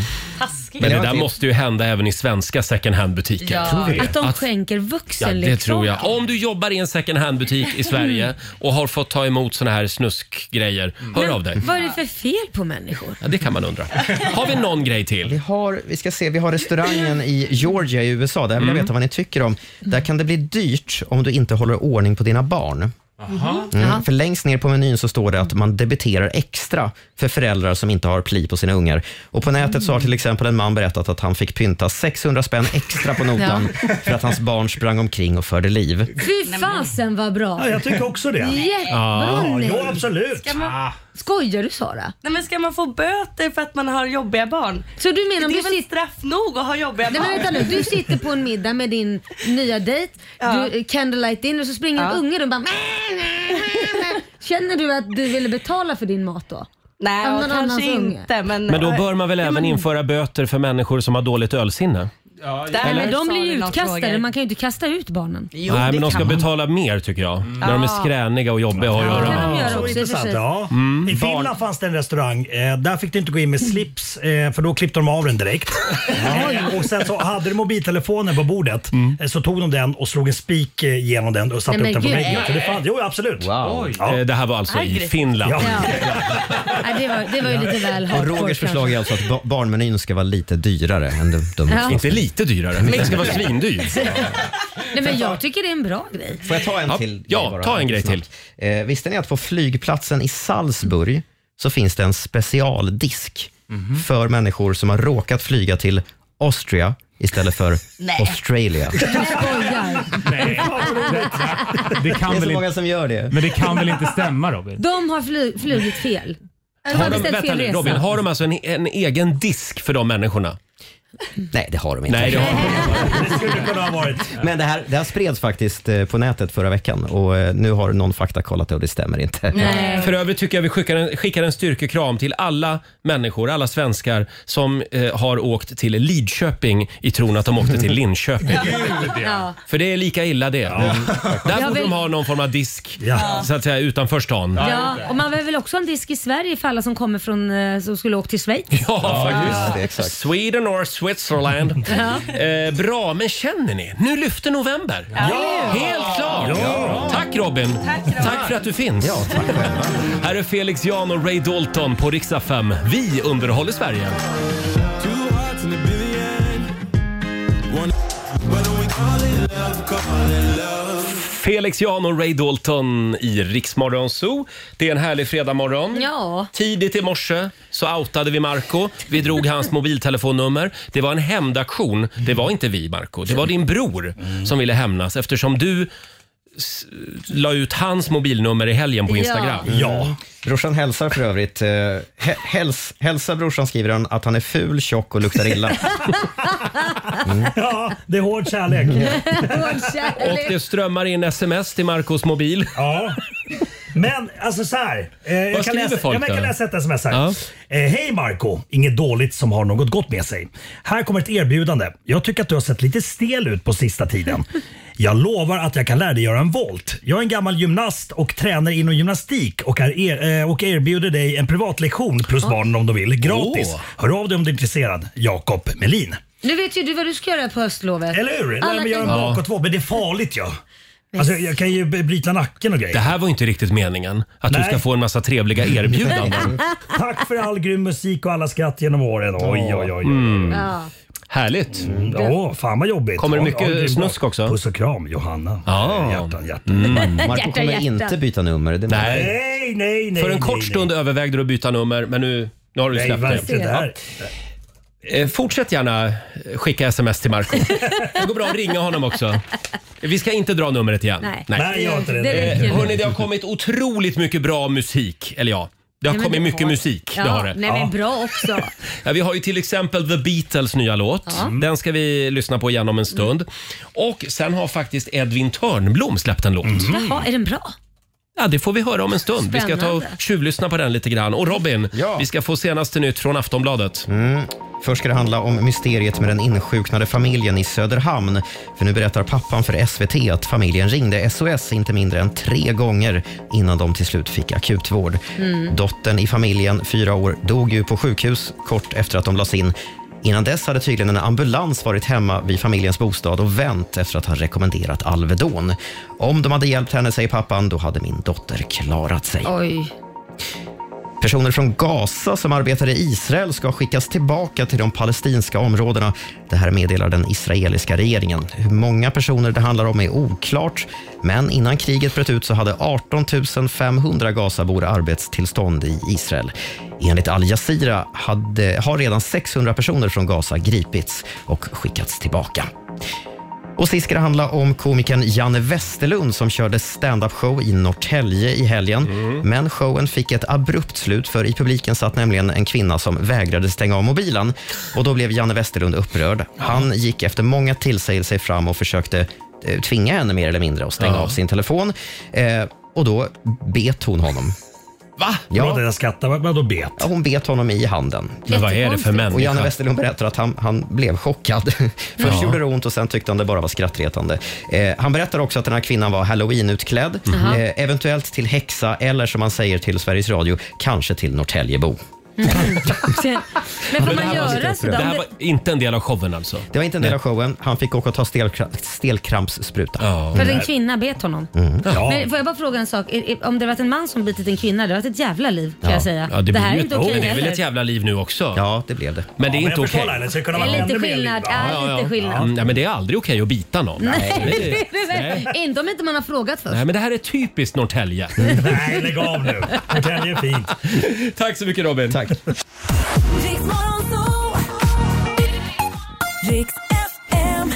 Speaker 4: läskigt.
Speaker 1: Men det där måste ju hända även i svenska second hand-butiker.
Speaker 4: Ja. Att de
Speaker 1: Att-
Speaker 4: skänker
Speaker 1: Ja,
Speaker 4: vuxenleksaker.
Speaker 1: det tror jag. Om du jobbar i en second hand-butik i Sverige och har fått ta emot såna här snuskgrejer, hör
Speaker 4: Men
Speaker 1: av dig.
Speaker 4: Vad är det för fel på människor?
Speaker 1: Ja, det kan man undra. Har vi någon grej till?
Speaker 3: Vi har, vi ska se, vi har restaurangen i Georgia i USA. Där vill
Speaker 4: Mm.
Speaker 3: jag veta vad ni tycker om. Där kan det bli dyrt om du inte håller ordning på dina barn. Mm, för längst ner på menyn så står det att man debiterar extra för föräldrar som inte har pli på sina ungar. Och på nätet så har till exempel en man berättat att han fick pynta 600 spänn extra
Speaker 4: <laughs>
Speaker 3: på notan
Speaker 4: Ja.
Speaker 3: för att hans barn sprang omkring och förde liv.
Speaker 4: Fy fasen vad bra!
Speaker 3: Ja, jag tycker också det.
Speaker 4: Jättebra
Speaker 3: Ja.
Speaker 4: nej.
Speaker 3: Ja, jo, absolut.
Speaker 11: Ska man,
Speaker 4: Skojar du Sara?
Speaker 11: nej, men ska man få böter för att man har jobbiga barn?
Speaker 4: Så du menar om du
Speaker 11: det är väl
Speaker 4: sitter-
Speaker 11: straff nog att ha jobbiga
Speaker 4: Nej,
Speaker 11: barn?
Speaker 4: men vänta nu. Du sitter på en middag med din nya dejt, du, eh, candlelight in och så springer en unge runt och bara Känner du att du ville betala för din mat då?
Speaker 11: Nej,
Speaker 4: Av
Speaker 11: och
Speaker 4: någon
Speaker 11: kanske
Speaker 4: annans unge?
Speaker 11: inte. Men,
Speaker 1: Men då bör man väl även införa böter för människor som har dåligt ölsinne?
Speaker 4: Nej, men de
Speaker 11: Sa
Speaker 4: blir
Speaker 11: du
Speaker 4: ju
Speaker 11: någon
Speaker 4: utkastade.
Speaker 11: fråga?
Speaker 4: Man kan ju inte kasta ut barnen.
Speaker 1: Nej, men de ska betala mer tycker jag. När de är
Speaker 4: Mm. Ja.
Speaker 1: skräniga och jobbiga att ha att
Speaker 4: Ja, det
Speaker 1: göra
Speaker 4: kan de
Speaker 1: med.
Speaker 4: göra
Speaker 10: Så
Speaker 4: också, i och för
Speaker 10: intressant.
Speaker 4: sig.
Speaker 10: Ja.
Speaker 1: Mm.
Speaker 10: I Finland fanns det en restaurang. Eh, där fick du inte gå in med slips eh, för då klippte de av den direkt. Eh, <laughs> och sen så hade du mobiltelefonen på bordet
Speaker 1: Mm.
Speaker 10: eh, så tog de den och slog en spik eh, genom den och satte
Speaker 4: Nej,
Speaker 10: upp den
Speaker 4: men
Speaker 10: på
Speaker 4: gud.
Speaker 10: väggen. Så det fanns, jo, absolut.
Speaker 1: Wow.
Speaker 10: <laughs>
Speaker 1: Eh, Det här var alltså i Finland.
Speaker 10: Ja.
Speaker 4: Nej, det, var, det var ju lite väl
Speaker 3: Och
Speaker 4: hardcore
Speaker 3: Rogers
Speaker 4: kanske.
Speaker 3: förslag är alltså att ba- barnmenyn ska vara lite dyrare än de, de
Speaker 4: Ja.
Speaker 1: Inte lite dyrare, den ska vara
Speaker 4: <laughs>
Speaker 1: svindyr.
Speaker 4: Nej, men jag tycker det är en bra grej.
Speaker 3: Får jag ta en till?
Speaker 1: ja, ta en grej
Speaker 3: Snabbt. Eh, visste ni att på flygplatsen i Salzburg så finns det en specialdisk för människor som har råkat flyga till Austria istället för
Speaker 4: Nej.
Speaker 3: Australia.
Speaker 4: Du skojar.
Speaker 7: Det, kan
Speaker 3: Det är så
Speaker 7: väl
Speaker 3: många
Speaker 7: inte,
Speaker 3: som gör det.
Speaker 7: Men det kan väl inte stämma Robin?
Speaker 4: De har fly, flugit fel. De
Speaker 1: Har
Speaker 4: har
Speaker 1: de,
Speaker 4: beställt
Speaker 1: vänta
Speaker 4: fel
Speaker 1: nu,
Speaker 4: resa.
Speaker 1: Robin, har de alltså en, en egen disk för de människorna?
Speaker 3: Nej, det har de
Speaker 1: inte. Nej, det har de. inte.
Speaker 3: Men det här, det här spreds faktiskt eh, på nätet förra veckan och eh, nu har någon fakta kollat det och det stämmer inte.
Speaker 1: För övrigt tycker jag vi skickar en, skickar en styrkekram till alla människor, alla svenskar som eh, har åkt till Lidköping i tron att de åkte
Speaker 4: <laughs>
Speaker 1: till Linköping.
Speaker 4: Ja.
Speaker 1: För det är lika illa det. Där
Speaker 4: Jag
Speaker 1: borde
Speaker 4: vill-
Speaker 1: de ha någon form av disk
Speaker 4: Ja.
Speaker 1: så att säga, utanför stan.
Speaker 4: Ja, och man vill väl också ha en disk i Sverige för alla som kommer från, eh, som skulle åka till Schweiz.
Speaker 1: <laughs> Ja,
Speaker 4: Ja.
Speaker 1: just det. Exakt. Sweden or
Speaker 4: <laughs>
Speaker 1: Switzerland. eh, bra, men känner ni? Nu lyfter november. Helt klart! Tack Robin. Tack, för att du finns. Här är Felix Jan och Ray Dalton på riksdag 5. Vi underhåller Sverige. Felix Jan och Ray Dalton i Riksmorgon Zoo. Det är en härlig fredagmorgon.
Speaker 4: Ja.
Speaker 1: Tidigt i morse så outade vi Marco. Vi drog
Speaker 10: <laughs>
Speaker 1: hans mobiltelefonnummer. Det var en hämndaktion. Det var inte vi, Marco. Det var din bror
Speaker 10: Mm.
Speaker 1: som ville hämnas eftersom du s- la ut hans mobilnummer i helgen på Instagram.
Speaker 3: Brorsan hälsar för övrigt. eh, hä- Häls, hälsa brorsan, skriver han, att han är ful, tjock och luktar
Speaker 10: <laughs>
Speaker 3: illa.
Speaker 10: Ja, det är hård kärlek.
Speaker 1: <laughs> Och det strömmar in sms till Marcos mobil.
Speaker 10: Ja. Men alltså så här. Eh, jag, kan
Speaker 1: skriver
Speaker 10: läsa,
Speaker 1: folk
Speaker 10: ja, men jag kan
Speaker 1: då?
Speaker 10: läsa ett sms här.
Speaker 1: Ja.
Speaker 10: Eh, Hej Marco, inget dåligt som har något gott med sig. Här kommer ett erbjudande. Jag tycker att du har sett lite stel ut på sista tiden. Jag lovar att jag kan lära dig göra en volt. Jag är en gammal gymnast och tränar inom gymnastik och, är er, eh, och erbjuder dig en privatlektion plus barnen om de vill gratis.
Speaker 1: Åh.
Speaker 10: Hör av dig om du är intresserad. Jakob Melin.
Speaker 4: Nu vet ju du vad du ska göra på höstlovet.
Speaker 10: Eller hur?
Speaker 4: Alla
Speaker 10: Nej, men jag är en
Speaker 4: kan-
Speaker 10: bakåtvolt, men det är farligt ju. Alltså, jag kan ju bryta nacken och grejer.
Speaker 1: Det här var inte riktigt meningen. Att du
Speaker 10: Nej.
Speaker 1: ska få en massa trevliga
Speaker 10: <laughs>
Speaker 1: erbjudanden.
Speaker 10: Tack för all grym musik och alla skratt genom åren. Oj, oj, oj. oj.
Speaker 1: Mm.
Speaker 4: Ja.
Speaker 1: Härligt.
Speaker 10: Ja, fan vad jobbigt.
Speaker 1: Kommer det
Speaker 10: Ja,
Speaker 1: mycket
Speaker 10: ja, grym
Speaker 1: snusk
Speaker 10: dag.
Speaker 1: också?
Speaker 10: Puss och kram, Johanna.
Speaker 1: Ja.
Speaker 10: Hjärtan, hjärtan.
Speaker 1: Mm.
Speaker 3: Marco kommer
Speaker 10: Hjärta, hjärta.
Speaker 3: inte byta nummer. Det
Speaker 1: Nej.
Speaker 10: Nej, nej, nej.
Speaker 1: För en kort
Speaker 10: nej,
Speaker 1: stund övervägde du att byta nummer, men nu, nu har du
Speaker 10: Nej,
Speaker 1: släppt
Speaker 10: verkligen. Det
Speaker 1: det.
Speaker 10: här-
Speaker 1: Ja. Eh, Fortsätt gärna eh, skicka sms till
Speaker 4: <laughs>
Speaker 1: Marco Det går bra att ringa honom också. Vi ska inte dra numret igen.
Speaker 4: Nej. Nej, gör inte det. Det
Speaker 1: Eh,
Speaker 4: räcker.
Speaker 1: Hörni, det har kommit otroligt mycket bra musik. Eller ja, det har
Speaker 4: Nej, men
Speaker 1: kommit
Speaker 4: det
Speaker 1: mycket
Speaker 4: har-
Speaker 1: musik.
Speaker 4: Ja,
Speaker 1: det har det. Mm.
Speaker 4: Nej, men bra också.
Speaker 1: Ja, vi har ju till exempel The Beatles nya låt.
Speaker 4: Ja. Mm.
Speaker 1: Den ska vi lyssna på igen om en stund. Och sen har faktiskt Edvin Törnblom släppt en låt.
Speaker 3: Mm.
Speaker 4: Jaha, är den bra?
Speaker 1: Ja, det får vi höra om en stund. Vi ska ta och
Speaker 4: Spännande.
Speaker 1: tjuvlyssna på den lite grann. Och Robin, vi ska få senaste nytt från Aftonbladet.
Speaker 3: Mm. Först ska det handla om mysteriet med den insjuknade familjen i Söderhamn. För nu berättar pappan för SVT att familjen ringde SOS inte mindre än tre gånger innan de till slut fick akutvård.
Speaker 15: Mm.
Speaker 3: Dottern i familjen, fyra år, dog ju på sjukhus kort efter att de lades in. Innan dess hade tydligen en ambulans varit hemma vid familjens bostad och vänt efter att ha rekommenderat Alvedon. Om de hade hjälpt henne, säger pappan, då hade min dotter klarat sig.
Speaker 4: Oj.
Speaker 3: Personer från Gaza som arbetar i Israel ska skickas tillbaka till de palestinska områdena. Det här meddelar den israeliska regeringen. Hur många personer det handlar om är oklart, men innan kriget bröt ut så hade 18 500 Gazabor arbetstillstånd i Israel. Enligt al Jazeera hade, har redan 600 personer från Gaza gripits och skickats tillbaka. Och sist ska det handla om komikern Janne Westerlund som körde stand-up-show i Norrtälje i helgen. Men showen fick ett abrupt slut för i publiken satt nämligen en kvinna som vägrade stänga av mobilen. Och då blev Janne Westerlund upprörd. Han gick efter många tillsägelser fram och försökte eh, tvinga henne mer eller mindre att stänga
Speaker 10: Ja.
Speaker 3: av sin telefon. Eh, och då bet hon honom. Va?
Speaker 10: Förlåt att jag skrattar, men vadå bet?
Speaker 3: Ja, hon bet honom i handen.
Speaker 10: Men vad är det för människa?
Speaker 3: Och Janne Westerlund berättar att han, han blev
Speaker 1: <laughs>
Speaker 3: chockad. Först
Speaker 10: Ja.
Speaker 3: gjorde det ont och sen tyckte han det bara var skrattretande. Eh, han berättar också att den här kvinnan var halloween-utklädd.
Speaker 10: Mhm.
Speaker 3: Eh, eventuellt till häxa eller som man säger till Sveriges Radio, kanske till Norrtäljebo.
Speaker 4: Men får
Speaker 3: Men det
Speaker 4: man
Speaker 3: här var
Speaker 4: göra
Speaker 3: lite
Speaker 4: sådär?
Speaker 3: upprörande.
Speaker 4: Om
Speaker 3: Det här
Speaker 4: det,
Speaker 3: var-
Speaker 1: Inte en del av showen alltså.
Speaker 3: Det var inte en del av showen. Han fick åka och ta stelkra- stelkrampsspruta.
Speaker 4: för en kvinna bet honom.
Speaker 3: Mm. Ja.
Speaker 4: Men får jag bara fråga en sak? Är- är- Om det varit en man som bitit en kvinna, det har varit ett jävla liv kan
Speaker 1: Ja.
Speaker 4: jag säga.
Speaker 1: Ja, det, blir
Speaker 4: här är
Speaker 1: ju
Speaker 4: inte
Speaker 1: ett-
Speaker 4: okej
Speaker 1: men Det är väl
Speaker 4: heller.
Speaker 1: ett jävla liv nu också?
Speaker 3: Ja, det blev det.
Speaker 1: Men det är
Speaker 10: Ja, men
Speaker 1: inte
Speaker 10: jag förstår,
Speaker 1: okej.
Speaker 10: Laila, det ska kunna
Speaker 4: Det är lite skillnad. Är lite skillnad. <laughs>
Speaker 1: Mm, nej, men det är aldrig okej att bita någon.
Speaker 4: Nej,
Speaker 1: det är- nej.
Speaker 4: inte om inte man har frågat först.
Speaker 1: Nej, men det här är typiskt
Speaker 4: <laughs>
Speaker 1: Norrtälje.
Speaker 10: Nej, lägg av nu. Norrtälje
Speaker 1: <laughs>
Speaker 10: är fint.
Speaker 1: Tack så mycket Robin.
Speaker 3: Tack.
Speaker 15: Riks FM.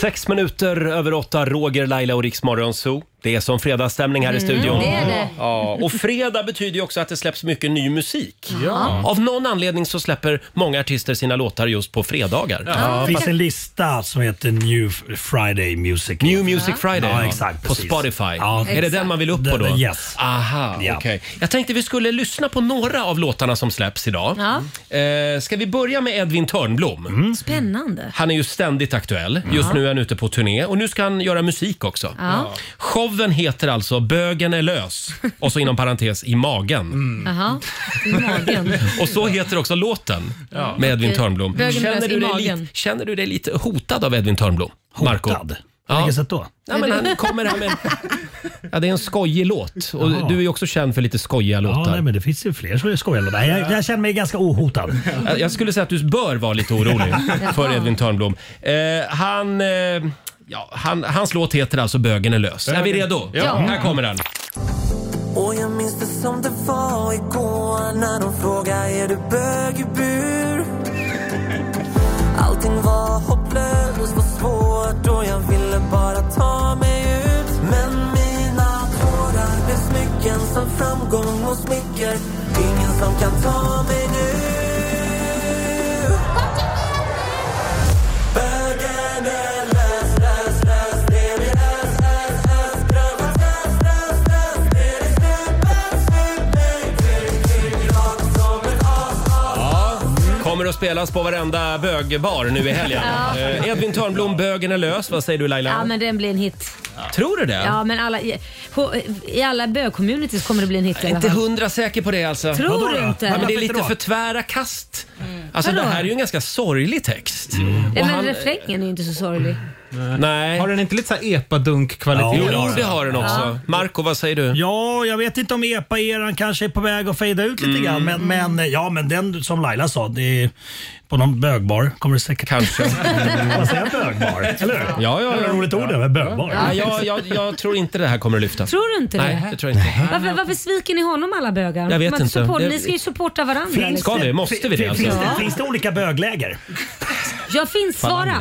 Speaker 1: Sex minuter över åtta, Roger, Laila och Riksmorgon Zoo. Det är som fredagsstämning här i
Speaker 4: Mm,
Speaker 1: studion.
Speaker 4: det är det.
Speaker 1: Ja, och fredag betyder ju också att det släpps mycket ny musik.
Speaker 10: Ja.
Speaker 1: Av någon anledning så släpper många artister sina låtar just på fredagar.
Speaker 10: Det finns en lista som heter New Friday Music. New
Speaker 1: Music Friday
Speaker 10: Ja,
Speaker 1: ja.
Speaker 10: exakt.
Speaker 1: på
Speaker 10: precis.
Speaker 1: Spotify.
Speaker 10: Ja.
Speaker 1: Är det den man vill upp på då?
Speaker 10: Den- Yes.
Speaker 1: Aha, okej. Jag tänkte vi skulle lyssna på några av låtarna som släpps idag.
Speaker 4: Ja.
Speaker 1: Eh, ska vi börja med Edvin Törnblom?
Speaker 4: Spännande.
Speaker 1: Han är ju ständigt aktuell. Just
Speaker 4: Ja.
Speaker 1: nu är han ute på turné och nu ska han göra musik också.
Speaker 4: Ja.
Speaker 1: Showen heter alltså “Bögen är lös” och så inom parentes “I magen”.
Speaker 4: Mm. Jaha. I
Speaker 1: <laughs>
Speaker 4: magen.
Speaker 1: Och så heter också låten med Edvin
Speaker 4: Okej.
Speaker 1: Törnblom.
Speaker 4: Bögen är lös
Speaker 1: Känner
Speaker 4: i
Speaker 1: du, dig
Speaker 4: magen.
Speaker 1: lite, känner du dig lite hotad av Edvin Törnblom? Marco? Hotad?
Speaker 10: På vilket sätt då?
Speaker 1: Ja, men
Speaker 10: <laughs>
Speaker 1: han kommer här med... Ja, det är en skojig låt och du är ju också känd för lite skojiga
Speaker 10: Ja,
Speaker 1: låtar.
Speaker 10: nej, men det finns ju fler som skojar. Nej, Jag, jag känner mig ganska ohotad.
Speaker 1: Jag- Eh, Jag skulle säga att du bör vara lite
Speaker 4: <laughs>
Speaker 1: orolig för Edvin Törnblom. Eh, han, eh, ja, han, hans låt heter alltså “Bögen är lös”. Är vi redo? Mm.
Speaker 15: Ja.
Speaker 1: Här kommer den.
Speaker 15: Och jag minns det som det var igår när de frågade är du bög i bur? Allting var hopplöst och svårt och jag ville bara ta mig ut Men mina tårar blev smycken som framgång och smicker Ingen som kan ta mig nu Bögen är lös, lös, lös, det blir lös, lös, lös Pröva lös, lös, lös, det är slut, lös, slut, nej, tryck, tryck, rakt som ett as, as
Speaker 1: Ja, kommer att spelas på varenda bögbar nu i helgen.
Speaker 4: Ja.
Speaker 1: Eh, Edvin Törnblom, “Bögen är lös”. Vad säger du Laila?
Speaker 4: Ja, men den blir en hit.
Speaker 1: Tror du det?
Speaker 4: Ja, men alla, i, ho- i alla bög-communities kommer det bli en hit i alla
Speaker 1: Inte
Speaker 4: fall.
Speaker 1: hundra säker på det alltså.
Speaker 4: Tror Vadå du då? inte?
Speaker 1: Ja, Men det är
Speaker 4: Varför
Speaker 1: lite
Speaker 4: inte
Speaker 1: för
Speaker 4: då?
Speaker 1: tvära kast. Alltså
Speaker 4: Mm. Vadå?
Speaker 1: det här är ju en ganska sorglig text. Och
Speaker 4: Nej, men
Speaker 1: han-
Speaker 4: refrängen är ju inte så sorglig.
Speaker 1: Nej.
Speaker 7: Har den inte lite så här epadunk-kvalitet?
Speaker 1: Jo, det har den också.
Speaker 10: Ja.
Speaker 1: Marco, vad säger du?
Speaker 10: Ja, jag vet inte om EPA-eran kanske är på väg att fejda ut lite
Speaker 1: Mm.
Speaker 10: grann. Men, men, ja, men den som Laila sa, det är på någon bögbar kommer det säkert...
Speaker 1: Kanske.
Speaker 10: <laughs> Vad säger jag, bögbar? Eller hur?
Speaker 1: Ja, ja,
Speaker 10: Det var
Speaker 1: ja.
Speaker 4: <laughs>
Speaker 10: ett roligt ord det där med bögbar.
Speaker 1: Ja, jag, jag, jag tror inte det här kommer att lyfta.
Speaker 4: Tror du inte det?
Speaker 1: Nej, det tror jag inte.
Speaker 4: Varför, varför sviker ni honom alla bögar?
Speaker 1: Jag vet
Speaker 4: Man
Speaker 1: inte.
Speaker 4: Support,
Speaker 1: Det-
Speaker 4: ni ska ju supporta varandra.
Speaker 1: Finns-
Speaker 4: liksom.
Speaker 1: Ska vi? Måste vi det,
Speaker 10: Finns,
Speaker 1: alltså?
Speaker 10: det,
Speaker 1: Ja.
Speaker 10: finns det olika bögläger?
Speaker 4: Jag finns, svara.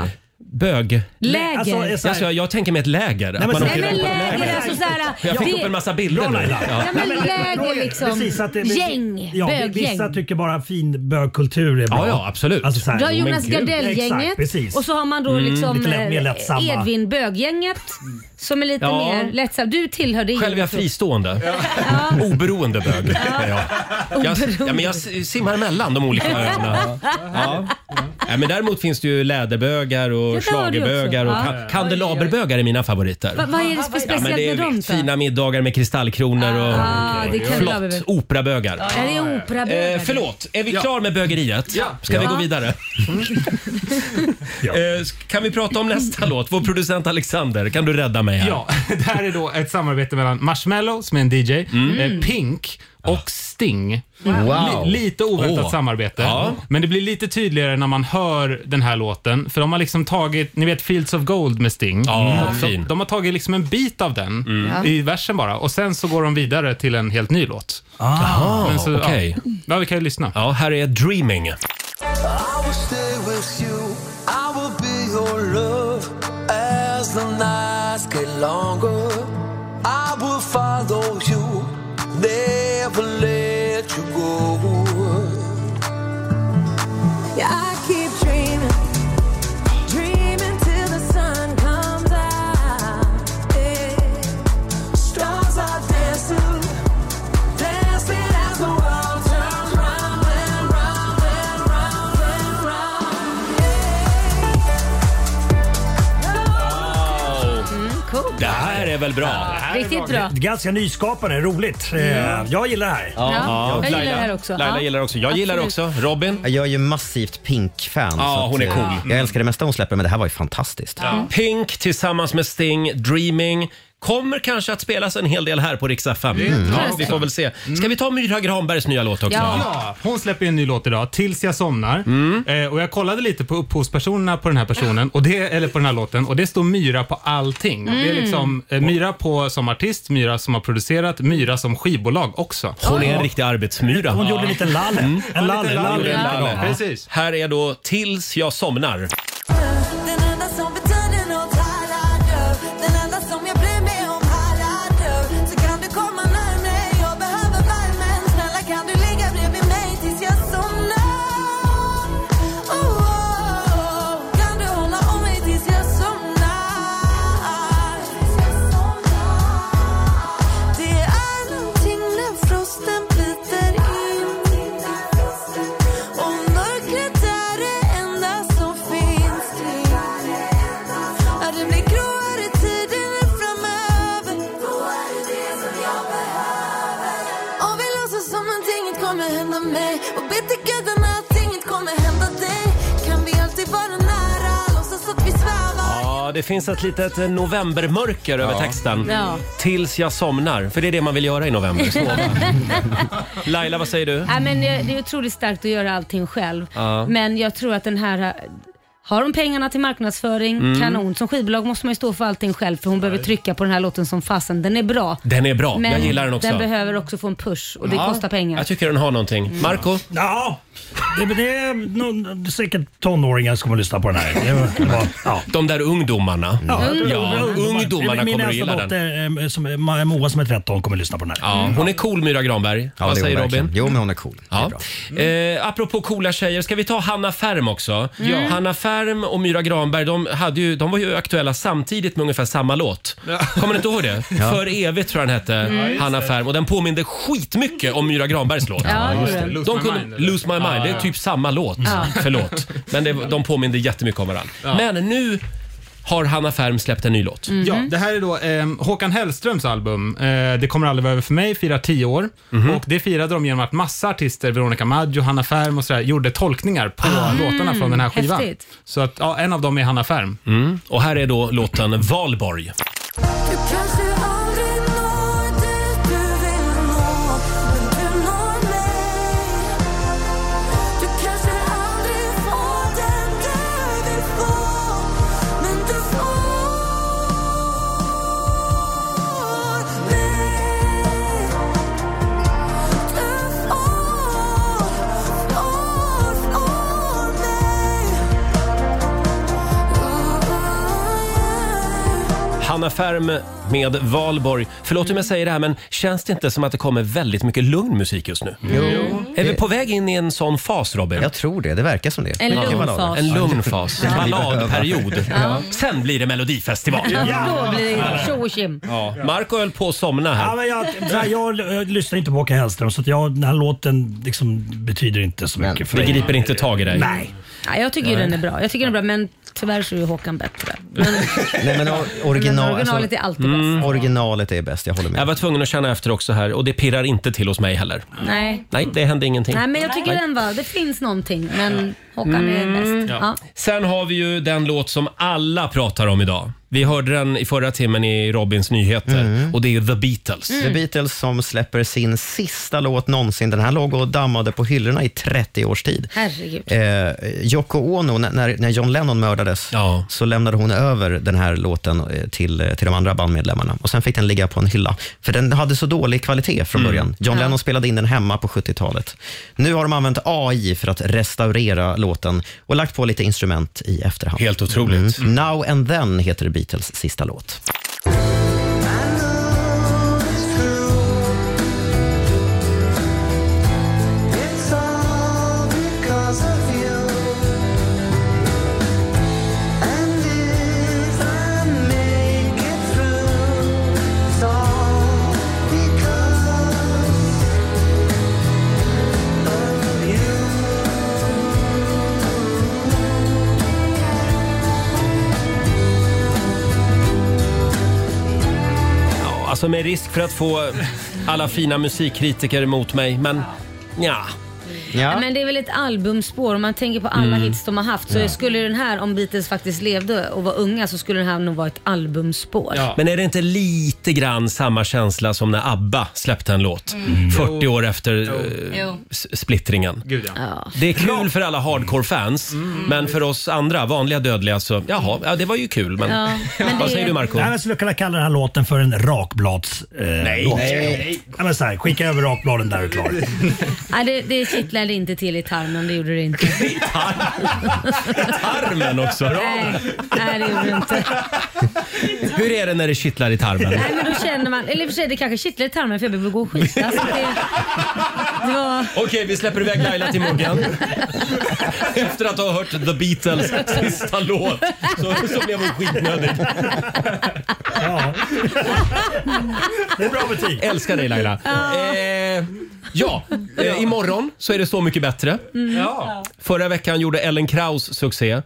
Speaker 1: Bög.
Speaker 4: Läger.
Speaker 1: Alltså, jag, alltså, jag, jag tänker mig ett läger. Att
Speaker 10: men
Speaker 1: man
Speaker 10: så-
Speaker 1: åker
Speaker 10: Nej,
Speaker 1: runt
Speaker 10: men
Speaker 1: på ett
Speaker 10: läger,
Speaker 4: alltså så här,
Speaker 1: jag fick
Speaker 4: det-
Speaker 1: upp en massa bilder nu. Ja.
Speaker 4: Ja, men läger liksom.
Speaker 10: Precis, att det-
Speaker 4: Gäng,
Speaker 10: Ja,
Speaker 4: böggäng.
Speaker 10: Vissa tycker bara fin bögkultur är bra.
Speaker 1: Ja, ja, absolut.
Speaker 10: Alltså, så här,
Speaker 4: Du har Jonas
Speaker 10: men gud.
Speaker 4: Gardell-gänget
Speaker 10: Exakt, precis.
Speaker 4: och så har man då
Speaker 10: Mm.
Speaker 4: liksom
Speaker 10: Lite lätt- mer
Speaker 4: eh,
Speaker 10: lättsamma.
Speaker 4: Edvin Bög-gänget som är lite
Speaker 1: Ja.
Speaker 4: mer lättsamt. Du tillhör det
Speaker 1: Själv är jag
Speaker 4: gänget.
Speaker 1: fristående. Oberoende bög. Ja. Jag, ja, men jag s- simmar mellan de olika öarna. Ja. Ja, men däremot finns det ju läderbögar och
Speaker 4: Ja, det har du
Speaker 1: schlagerbögar och
Speaker 4: också. Ja.
Speaker 1: ka- kandelaberbögar är mina favoriter.
Speaker 4: Va, vad är det för
Speaker 1: Ja,
Speaker 4: speciellt
Speaker 1: men det
Speaker 4: med dem
Speaker 1: är
Speaker 4: då?
Speaker 1: fina middagar med kristallkronor och
Speaker 4: Ah, det kan jag väl.
Speaker 1: flott operabögar.
Speaker 4: Är det operabögar?
Speaker 1: Eh, förlåt, är vi
Speaker 4: Ja.
Speaker 1: klar med bögeriet?
Speaker 4: Ja.
Speaker 1: Ska vi
Speaker 4: Ja.
Speaker 7: <laughs>
Speaker 1: gå vidare? Eh, Kan vi prata
Speaker 15: <laughs>
Speaker 1: om nästa låt? Vår producent Alexander, kan du rädda mig här?
Speaker 7: Ja, det här är då ett samarbete mellan Marshmallow, som är en DJ,
Speaker 1: Mm.
Speaker 7: eh, Pink och Sting.
Speaker 1: Wow.
Speaker 7: Li- lite oväntat
Speaker 1: Ah. Åh.
Speaker 7: samarbete,
Speaker 1: Ja.
Speaker 7: men det blir lite tydligare när man hör den här låten. För de har liksom tagit, ni vet Fields of Gold med Sting.
Speaker 1: Ja,
Speaker 7: de,
Speaker 1: fin. Mm.
Speaker 7: de har tagit liksom en bit av den
Speaker 1: Ja.
Speaker 7: i versen bara och sen så går de vidare till en helt ny låt.
Speaker 1: Ah,
Speaker 7: Men så- ja.
Speaker 1: okej.
Speaker 7: Ja, vi kan ju lyssna.
Speaker 1: Ja, här är Dreaming.
Speaker 15: I will stay with you. I will be your love as the nights get longer. I will follow you, never let you go.
Speaker 13: Yeah, I keep dreaming, dreaming till the sun comes out. Yeah. Stars are dancing, dancing as the world turns round and round and round and round.
Speaker 1: Det här är väl bra?
Speaker 4: Riktigt bra.
Speaker 10: Ganska nyskapande, roligt. Eh, Jag gillar det här.
Speaker 4: Ja, jag gillar det här också.
Speaker 1: Laila
Speaker 4: Ja.
Speaker 1: gillar också. Jag gillar
Speaker 4: Absolut.
Speaker 1: också. Robin?
Speaker 3: Jag är ju massivt Pink-fan.
Speaker 1: Ja,
Speaker 3: så att,
Speaker 1: hon är
Speaker 3: eh,
Speaker 1: cool.
Speaker 3: Jag älskar det mesta hon släpper, men det här var ju fantastiskt.
Speaker 1: Ja. Pink tillsammans med Sting, Dreaming. Kommer kanske att spelas en hel del här på Rix FM.
Speaker 7: Det tror jag
Speaker 1: Ja, vi
Speaker 7: också.
Speaker 1: får väl se. Ska vi ta Myra Granbergs nya låt också?
Speaker 7: Ja. hon släpper ju en ny låt idag, Tills jag somnar. Eh, och jag kollade lite på upphovspersonerna på den här personen, och det, eller på den här låten, och det står Myra på allting.
Speaker 1: Mm.
Speaker 7: Det är liksom eh, Myra på som artist, Myra som har producerat, Myra som skivbolag också.
Speaker 1: Hon är en riktig arbetsmyra.
Speaker 7: Hon gjorde en liten lalle. En
Speaker 1: En
Speaker 7: lalle,
Speaker 1: liten
Speaker 7: lalle,
Speaker 1: Gjorde en
Speaker 7: lalle.
Speaker 1: Mm. lalle.
Speaker 7: Ja. Precis.
Speaker 1: Här är då Tills jag somnar.
Speaker 13: Den enda som betyder något här är du. Den enda som jag bryr mig om här är du. Så kan du komma närmre, jag behöver värmen. Snälla kan du ligga bredvid mig tills jag somnar? Oh, oh, oh. Kan du hålla om mig tills jag somnar? Det är någonting när frosten biter in. Och mörkret är det enda som finns kring. Ja, det blir gråare tiden framöver. Då är det det som jag behöver. Och vi låtsas som någonting inte kommer hända mig. Och ber till gudarna att inget kommer hända dig. Kan vi alltid vara nära? Låtsas att vi svävar.
Speaker 1: Ja, det finns ett litet eh, novembermörker över texten.
Speaker 4: Ja.
Speaker 1: Tills jag somnar, för det är det man vill göra i november. <laughs> sova. Laila, vad säger du?
Speaker 4: Nej, men eh, det det är otroligt starkt att göra allting själv.
Speaker 1: Ja.
Speaker 4: Men jag tror att den här... eh, Har de pengarna till marknadsföring,
Speaker 1: Mm.
Speaker 4: kanon. Som skivbolag måste man ju stå för allting själv för hon behöver trycka på den här låten som fasen. Den är bra.
Speaker 1: Den är bra.
Speaker 4: Men
Speaker 1: jag gillar den också.
Speaker 4: den behöver också få en push och det
Speaker 1: Ja.
Speaker 4: kostar pengar.
Speaker 1: Jag tycker den har någonting. Marco?
Speaker 10: Ja, det, det är nog- säkert tonåringar som kommer lyssna på den här. Det var- det var- ja. Mm.
Speaker 1: De där ungdomarna.
Speaker 10: Ja, jag tror-
Speaker 1: Ja, ungdomarna
Speaker 10: Min
Speaker 1: kommer att
Speaker 10: äldsta
Speaker 1: gilla den.
Speaker 10: dotter, eh, som är, Ma- Moa som är 13 kommer att lyssna på den här.
Speaker 7: Mm.
Speaker 1: Ja, hon är cool Myra Granberg. Vad
Speaker 10: Ja, det är hon
Speaker 1: säger
Speaker 10: verkligen.
Speaker 1: Robin?
Speaker 10: Jo, men
Speaker 3: hon är cool.
Speaker 1: Ja.
Speaker 7: Mm.
Speaker 1: Eh, apropå coola tjejer, ska vi ta Hanna Färm också? Mm.
Speaker 7: Ja.
Speaker 1: Hanna Färm och Myra Granberg, de, hade ju, de var ju aktuella samtidigt med ungefär samma låt. Kommer ni inte ihåg det?
Speaker 7: <laughs> Ja.
Speaker 1: För evigt tror jag den hette,
Speaker 7: Mm. Ja, just
Speaker 1: Hanna
Speaker 7: det.
Speaker 1: Färm. Och den påminde skitmycket om Myra Granbergs låt.
Speaker 7: Ja, just det. Lose
Speaker 1: De
Speaker 7: My
Speaker 1: kunde,
Speaker 7: Mind, eller?
Speaker 1: Lose My Mind,
Speaker 7: Ja,
Speaker 1: det är
Speaker 7: ja.
Speaker 1: typ samma låt.
Speaker 7: Ja.
Speaker 1: Förlåt. Men det, de påminde jättemycket om varandra.
Speaker 7: Ja.
Speaker 1: Men nu har Hanna Färm släppt en ny låt.
Speaker 7: Ja, det här är då eh, Håkan Hellströms album. Eh, det kommer aldrig vara över för mig, firar tio år. Och det firade de genom att massa artister, Veronica Maggio, Hanna Färm och sådär, gjorde tolkningar på låtarna från den här
Speaker 4: Mm,
Speaker 7: skivan.
Speaker 4: häftigt.
Speaker 7: Så att, ja, en av dem är Hanna Färm.
Speaker 1: Och här är då låten Valborg.
Speaker 13: Du kanske aldrig når dit du vill nå, men du når mig. Du kanske aldrig får den du vill få, men du får mig. Du får, får, får mig.
Speaker 1: Hanna Färm med Valborg. Förlåt om jag säger det här, men känns det inte som att det kommer väldigt mycket lugn musik just nu? Jo. Är vi på väg in i en sån fas, Robin?
Speaker 3: Mm. Jag tror det. Det verkar som det.
Speaker 1: En
Speaker 3: Mycket
Speaker 1: lugn
Speaker 3: ballader.
Speaker 1: fas. En lugn fas.
Speaker 3: Det kan vi
Speaker 1: Balladperiod.
Speaker 3: behöva.
Speaker 1: Sen blir det Melodifestival.
Speaker 4: Då blir det tjo och tjim.
Speaker 1: Ja. Marco höll på att somna här.
Speaker 10: Ja, men jag, jag, jag, lyssnar inte på Håkan Hellström så att jag, den här låten liksom betyder inte så mycket för
Speaker 1: Det
Speaker 10: mig.
Speaker 1: griper inte tag i dig.
Speaker 10: Nej.
Speaker 4: Ja, jag tycker ju
Speaker 3: Nej.
Speaker 4: den är bra. Jag tycker den är bra, men tyvärr så är ju Håkan bättre.
Speaker 1: Mm.
Speaker 3: Nej, men or- original,
Speaker 4: Men originalet
Speaker 1: alltså-
Speaker 4: är alltid bäst. Mm.
Speaker 3: Originalet är bäst, jag håller med.
Speaker 1: Jag var tvungen att känna efter också här och det pirrar inte till hos mig heller.
Speaker 4: Nej.
Speaker 1: Nej, det hände ingenting.
Speaker 4: Nej, men jag tycker
Speaker 1: Nej. Mm.
Speaker 4: den var, det finns någonting, men Håkan är bäst. Ja.
Speaker 1: Sen har vi ju den låt som alla pratar om idag. Vi hörde den i förra timmen i Robins nyheter och det är ju The Beatles.
Speaker 3: The Beatles som släpper sin sista låt någonsin. Den här låg och dammade på hyllorna i 30 års tid.
Speaker 4: Herregud.
Speaker 3: Eh, Yoko Ono, när- när, när John Lennon mördades, så lämnade hon över den här låten eh, till, eh, till de andra bandmedlemmarna. Och Sen fick den ligga på en hylla, för den hade så dålig kvalitet från
Speaker 1: Mm.
Speaker 3: början. John
Speaker 17: Ja.
Speaker 3: Lennon spelade in den hemma på 70-talet. Nu har de använt AI för att restaurera låten och lagt på lite instrument i efterhand. Mm.
Speaker 1: Helt otroligt.
Speaker 3: Now and then heter Beatles sista låt.
Speaker 13: It's all because of you. And if I make it through, it's all because of you.
Speaker 1: Ja, alltså med risk för att få alla fina musikkritiker emot mig, men ja.
Speaker 4: Men det är väl ett albumspår. Om man tänker på alla
Speaker 1: Mm.
Speaker 4: hits de har haft så
Speaker 1: Ja.
Speaker 4: skulle den här, om Beatles faktiskt levde och var unga, så skulle den här nog vara ett albumspår.
Speaker 1: Men är det inte lite grann samma känsla som när ABBA släppte en låt?
Speaker 4: Mm.
Speaker 1: 40 år efter eh,
Speaker 4: Jo.
Speaker 1: s- splittringen.
Speaker 7: Gud, ja.
Speaker 1: Det är kul för alla hardcore-fans,
Speaker 4: Mm.
Speaker 1: men för oss andra vanliga dödliga så, jaha, ja, det var ju kul. Men,
Speaker 4: Ja,
Speaker 1: <laughs>
Speaker 4: men
Speaker 1: vad
Speaker 4: det-
Speaker 1: säger du Marco?
Speaker 10: Nej, men jag skulle kunna kalla den här låten för en rakblads... Eh,
Speaker 1: Nej.
Speaker 10: låt.
Speaker 1: Nej.
Speaker 10: Ja, men så här, skicka över rakbladen där du
Speaker 1: <laughs>
Speaker 10: är klar.
Speaker 4: Nej, det, det kittlade inte till i tarmen, det gjorde det inte.
Speaker 1: Tarmen också!
Speaker 4: Nej, nej, det gjorde det inte.
Speaker 1: Hur är det när det kittlar i
Speaker 4: <laughs>
Speaker 1: tarmen?
Speaker 4: Nej, men då känner man, eller i och för sig det kanske kittlar i tarmen för jag behöver gå och skita. Alltså, det, det var...
Speaker 1: Okej, vi släpper iväg Laila till
Speaker 4: <laughs>
Speaker 1: morgon. Efter att ha hört The Beatles sista låt så, så blev hon skitnödig.
Speaker 10: Det är bra betyg.
Speaker 1: Älskar dig Laila.
Speaker 13: Ja.
Speaker 1: Eh, ja, eh, imorgon så är det Så mycket bättre.
Speaker 13: Mm. Ja.
Speaker 1: Förra veckan gjorde Ellen Kraus succé.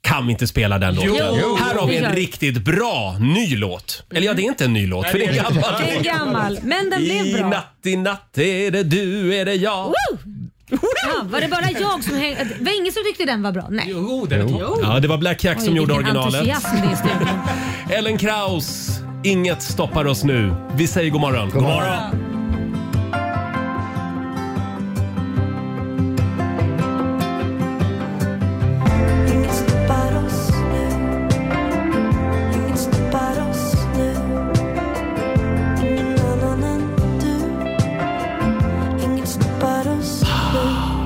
Speaker 1: Kan vi inte spela den låten?
Speaker 13: Jo. Jo.
Speaker 1: Här har vi
Speaker 13: Det är
Speaker 1: en
Speaker 13: klart.
Speaker 1: riktigt bra ny låt. Eller ja, det är inte en ny låt för det är en gammal
Speaker 4: Det är en
Speaker 1: låt.
Speaker 4: gammal, men den
Speaker 1: I
Speaker 4: blev bra.
Speaker 1: natt, i natt är det du, är det jag.
Speaker 4: Woo! Ja, var det bara jag som hängde? Det var ingen som tyckte den var bra? Nej.
Speaker 7: Jo,
Speaker 1: Ja, det var Black Jack som gjorde originalet.
Speaker 4: entusiasm det är i studion.
Speaker 1: Ellen Kraus, inget stoppar oss nu. Vi säger god morgon. God
Speaker 10: morgon.
Speaker 13: Inget stoppar oss nu. Inget stoppar oss nu. Ingen annan än du. Inget stoppar oss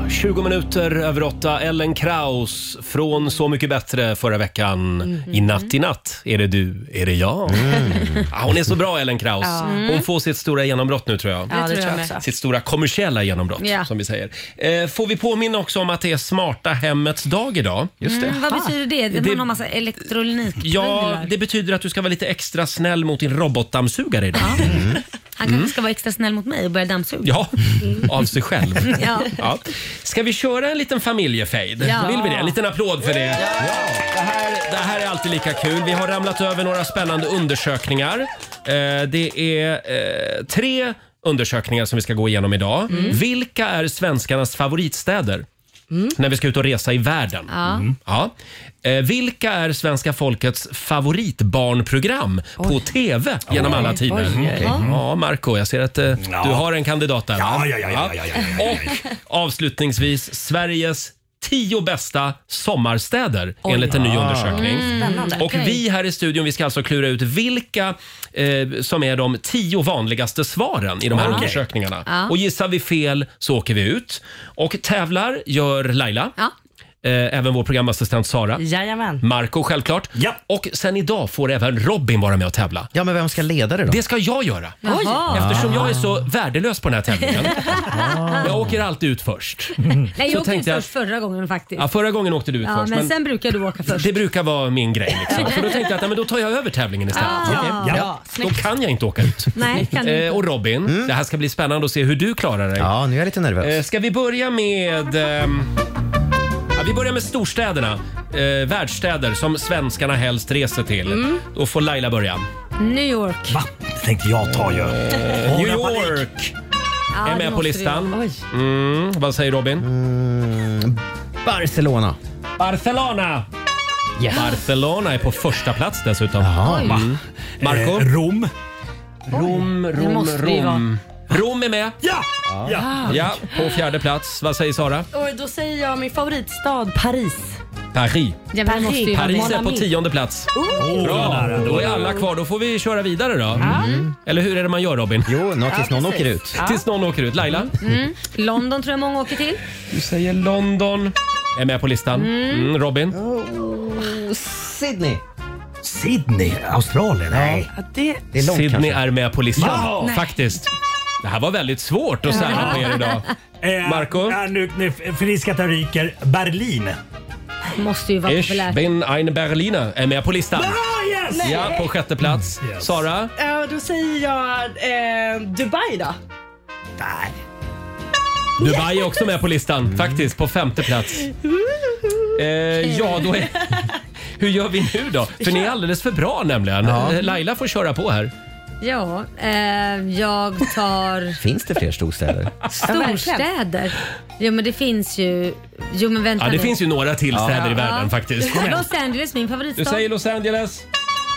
Speaker 13: nu.
Speaker 1: 20 minuter över åtta. Ellen Kraus från Så mycket bättre förra veckan.
Speaker 4: Mhm.
Speaker 1: I natt, i natt är det du, är det jag. <laughs> Ja, hon är så bra Ellen Kraus.
Speaker 4: Ja. Mm.
Speaker 1: Hon får sitt stora genombrott nu tror jag.
Speaker 4: Ja, det tror jag med.
Speaker 1: Sitt stora kommersiella genombrott
Speaker 4: Ja.
Speaker 1: som vi säger. Eh, får vi påminna också om att det är smarta hemmets dag idag.
Speaker 4: Mm, vad betyder det? det?
Speaker 1: Det-
Speaker 4: Man har massa elektronikprylar.
Speaker 1: Ja, det betyder att du ska vara lite extra snäll mot din robotdammsugare idag.
Speaker 4: Han kanske ska vara extra snäll mot mig och börja dammsuga.
Speaker 1: <laughs> Mm. Ja, av sig själv.
Speaker 4: <laughs> Ja.
Speaker 1: Ja. Ska vi köra en liten familjefejd?
Speaker 4: Ja.
Speaker 1: Vill vi det? En liten applåd för det. Det, här, det här är alltid lika kul. Vi har ramlat över några spännande undersökningar. Eh, det är eh, tre undersökningar som vi ska gå igenom idag.
Speaker 13: Mm.
Speaker 1: Vilka är svenskarnas favoritstäder? När vi ska ut och resa i världen.
Speaker 13: Ja.
Speaker 1: Mm. Ja. Eh, vilka är svenska folkets favoritbarnprogram på TV genom
Speaker 13: Oj.
Speaker 1: alla tider? Mm.
Speaker 13: Oj, oj, oj.
Speaker 1: Ja, Marco, jag ser att eh,
Speaker 10: Ja.
Speaker 1: du har en kandidat där. va?
Speaker 10: Ja, ja, ja, ja, ja, ja, ja, ja.
Speaker 1: Och avslutningsvis Sveriges tio bästa sommarstäder
Speaker 13: Oj.
Speaker 1: enligt en ny
Speaker 13: Ah.
Speaker 1: undersökning.
Speaker 13: Mm, spännande.
Speaker 1: Och vi här i studion vi ska alltså klura ut vilka eh, som är de tio vanligaste svaren i de här
Speaker 13: Okej.
Speaker 1: undersökningarna.
Speaker 13: Ja.
Speaker 1: Och gissar vi fel så åker vi ut. Och tävlar gör Laila. Eh, Även vår programassistent Sara.
Speaker 11: Jajamän.
Speaker 1: Marco självklart. Och sen idag får även Robin vara med och tävla.
Speaker 3: Ja, men vem ska leda det då?
Speaker 1: Det ska jag göra.
Speaker 4: Jaha.
Speaker 1: Eftersom jag är så värdelös på den här
Speaker 13: <laughs>
Speaker 1: tävlingen. Jag åker alltid ut först.
Speaker 4: Nej, jag åkte ut
Speaker 1: tänkte jag att-
Speaker 4: först förra gången faktiskt.
Speaker 1: Ja, förra gången åkte du ut
Speaker 4: Ja,
Speaker 1: först.
Speaker 4: men, sen brukar du åka först.
Speaker 1: Det brukar vara min grej. Liksom. Så då tänkte jag att ja, men då tar jag över tävlingen istället.
Speaker 4: Ah, Ja.
Speaker 1: Okej?
Speaker 4: ja,
Speaker 1: Då kan jag inte åka ut.
Speaker 4: Nej, kan du inte.
Speaker 1: Eh, och Robin, det här ska bli spännande att se hur du klarar dig. Ja,
Speaker 3: nu är jag lite nervös.
Speaker 1: Ska vi börja med... ehm, Ja, vi börjar med storstäderna. Eh, världsstäder som svenskarna helst reser till.
Speaker 4: Mm.
Speaker 1: Då får Laila börja.
Speaker 4: New York.
Speaker 10: Va? Det tänkte jag ta ju.
Speaker 1: Eh, New York
Speaker 4: Ja, det
Speaker 1: är med på
Speaker 4: måste
Speaker 1: listan.
Speaker 4: det ju. Oj.
Speaker 1: Mm, vad säger Robin?
Speaker 3: Barcelona.
Speaker 1: Barcelona! Barcelona är på första plats dessutom.
Speaker 4: Oj.
Speaker 1: Mm. Marco?
Speaker 10: Rom.
Speaker 1: Rom,
Speaker 4: det
Speaker 1: Rom,
Speaker 4: måste det ju
Speaker 1: Rom. Rom är med.
Speaker 10: Ja!
Speaker 1: Ja. ja, på fjärde plats. Vad säger Sara?
Speaker 11: Och då säger jag min favoritstad Paris.
Speaker 1: Paris.
Speaker 11: Ja, men det måste ju vara
Speaker 1: Paris
Speaker 11: Mon
Speaker 1: är på
Speaker 11: Ami.
Speaker 1: tionde plats.
Speaker 11: Oh,
Speaker 10: vad
Speaker 1: Bra,
Speaker 10: nära.
Speaker 1: då är alla kvar. Då får vi köra vidare då. Mm. Eller hur är det man gör Robin?
Speaker 3: Jo, nå, tills Ja, någon precis. åker ut. Ja.
Speaker 1: Tills någon åker ut. Laila?
Speaker 4: Mm. London tror jag många åker till.
Speaker 1: Du säger London. Är med på listan.
Speaker 4: Mm.
Speaker 1: Mm, Robin?
Speaker 3: Sydney.
Speaker 10: Sydney? Australien? Nej.
Speaker 11: Det...
Speaker 1: Det är långt, Sydney
Speaker 10: kanske.
Speaker 1: är med på listan
Speaker 10: Ja. Nej.
Speaker 1: faktiskt. Det här var väldigt svårt att sära på er idag.
Speaker 10: Marco? Äh, nu, nu förfriskat jag ryker. Berlin.
Speaker 4: Måste ju vara
Speaker 1: Ich
Speaker 4: populärt.
Speaker 1: bin ein Berliner är med på listan.
Speaker 11: yes! Nej. Mm,
Speaker 1: Ja, på sjätte plats. Sara?
Speaker 11: Ja, då säger jag eh, Dubai då.
Speaker 1: Dubai är också med på listan
Speaker 11: Mm.
Speaker 1: faktiskt, på femte plats. Eh, ja,
Speaker 11: <laughs>
Speaker 1: då är... Hur gör vi nu då? För ni är alldeles för bra nämligen. Eh, Laila får köra på här.
Speaker 4: Ja, eh, jag
Speaker 11: <laughs>
Speaker 4: tar
Speaker 3: Finns det fler
Speaker 1: <laughs>
Speaker 3: storstäder?
Speaker 4: storstäder. Jo men det finns ju... Jo men vänta
Speaker 1: Ja, det
Speaker 4: nu.
Speaker 1: finns ju några till städer i världen faktiskt. Kom igen.
Speaker 4: Los Angeles, min favoritstad.
Speaker 1: Du säger Los Angeles.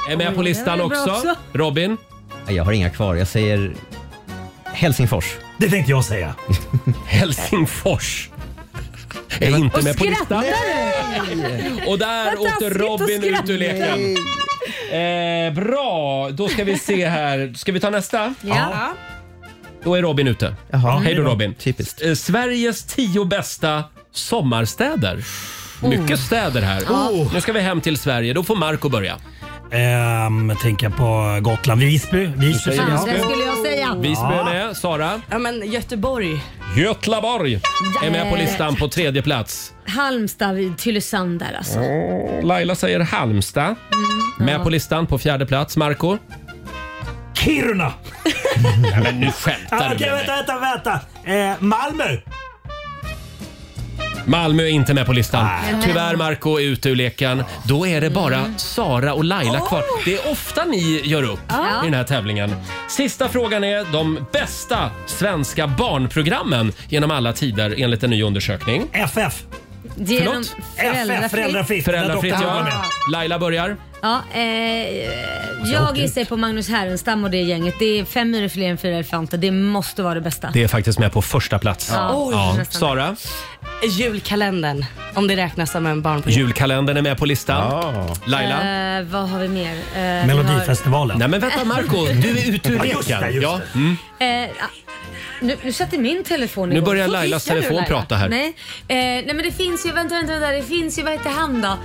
Speaker 1: Är med på
Speaker 11: Mm,
Speaker 4: Oj,
Speaker 1: listan
Speaker 4: det är bra
Speaker 1: också.
Speaker 4: också.
Speaker 1: Robin?
Speaker 3: Jag har inga kvar. Jag säger Helsingfors.
Speaker 10: Det tänkte jag säga.
Speaker 1: Helsingfors. Är inte med på listan. Och där
Speaker 13: Vad
Speaker 1: åkte
Speaker 13: taskigt
Speaker 1: Robin
Speaker 13: att skratta.
Speaker 1: ut ur leken. Eh, bra, då ska vi se här. Ska vi ta nästa?
Speaker 13: Ja.
Speaker 1: Då är Robin ute. Hej då
Speaker 3: Mm.
Speaker 1: Robin. Typiskt. Sveriges tio bästa sommarstäder. Mycket städer här.
Speaker 10: Oh.
Speaker 1: Nu ska vi hem till Sverige. Då får Marco börja.
Speaker 10: Ehm, tänker jag på Gotland. Visby. Visby.
Speaker 1: säger
Speaker 10: ja.
Speaker 1: Visby. Det skulle
Speaker 11: jag säga.
Speaker 1: Visby är med. Sara?
Speaker 11: Ja, men Göteborg.
Speaker 1: Götlaborg är med på listan på tredje plats.
Speaker 4: Halmstad vid Tylösand där alltså.
Speaker 1: Laila säger Halmstad. Med på listan på fjärde plats. Marco?
Speaker 10: Kiruna!
Speaker 1: Nej, men nu
Speaker 10: Ah,
Speaker 1: skämtar
Speaker 10: Okej,
Speaker 1: du med mig.
Speaker 10: vänta, vänta, vänta. Eh, Malmö.
Speaker 1: Malmö är inte med på listan. Tyvärr Marco är ute ur leken. Då är det bara
Speaker 11: Mm.
Speaker 1: Sara och Laila kvar. Det är ofta ni gör upp
Speaker 13: Ja.
Speaker 1: i den här tävlingen. Sista frågan är de bästa svenska barnprogrammen genom alla tider enligt en ny undersökning.
Speaker 10: FF.
Speaker 4: Genom
Speaker 1: Förlåt?
Speaker 4: föräldrafritt.
Speaker 10: Föräldrafritt.
Speaker 1: Föräldrafritt,
Speaker 10: Där doktorn var
Speaker 1: ja.
Speaker 10: med.
Speaker 1: Laila börjar.
Speaker 4: Ja, eh,
Speaker 1: Alltså,
Speaker 4: jag gissar på Magnus Härenstam och det gänget. Det är fem myror fler än fyra elefanter. Det måste vara det bästa.
Speaker 1: Det är faktiskt med på första plats.
Speaker 11: Ja. Oj, nästan.
Speaker 1: Sara,
Speaker 11: Julkalendern, om det räknas som en barnprogram.
Speaker 1: julkalendern är med på listan. Laila?
Speaker 4: Eh, vad har vi mer? Eh,
Speaker 10: Melodifestivalen.
Speaker 1: Nej men vänta Marco, du är ute ur
Speaker 4: Ja,
Speaker 1: leken.
Speaker 4: just
Speaker 10: det, just
Speaker 1: ja. Mm.
Speaker 4: vi har, eh, ah, nu, nu satte min telefon
Speaker 1: Nu
Speaker 4: igång.
Speaker 1: börjar
Speaker 4: Så
Speaker 1: Lailas
Speaker 4: viskar du,
Speaker 1: telefon prata här.
Speaker 4: Nej. Eh, nej men det finns ju, vänta vänta, vänta det finns ju, vad heter han då?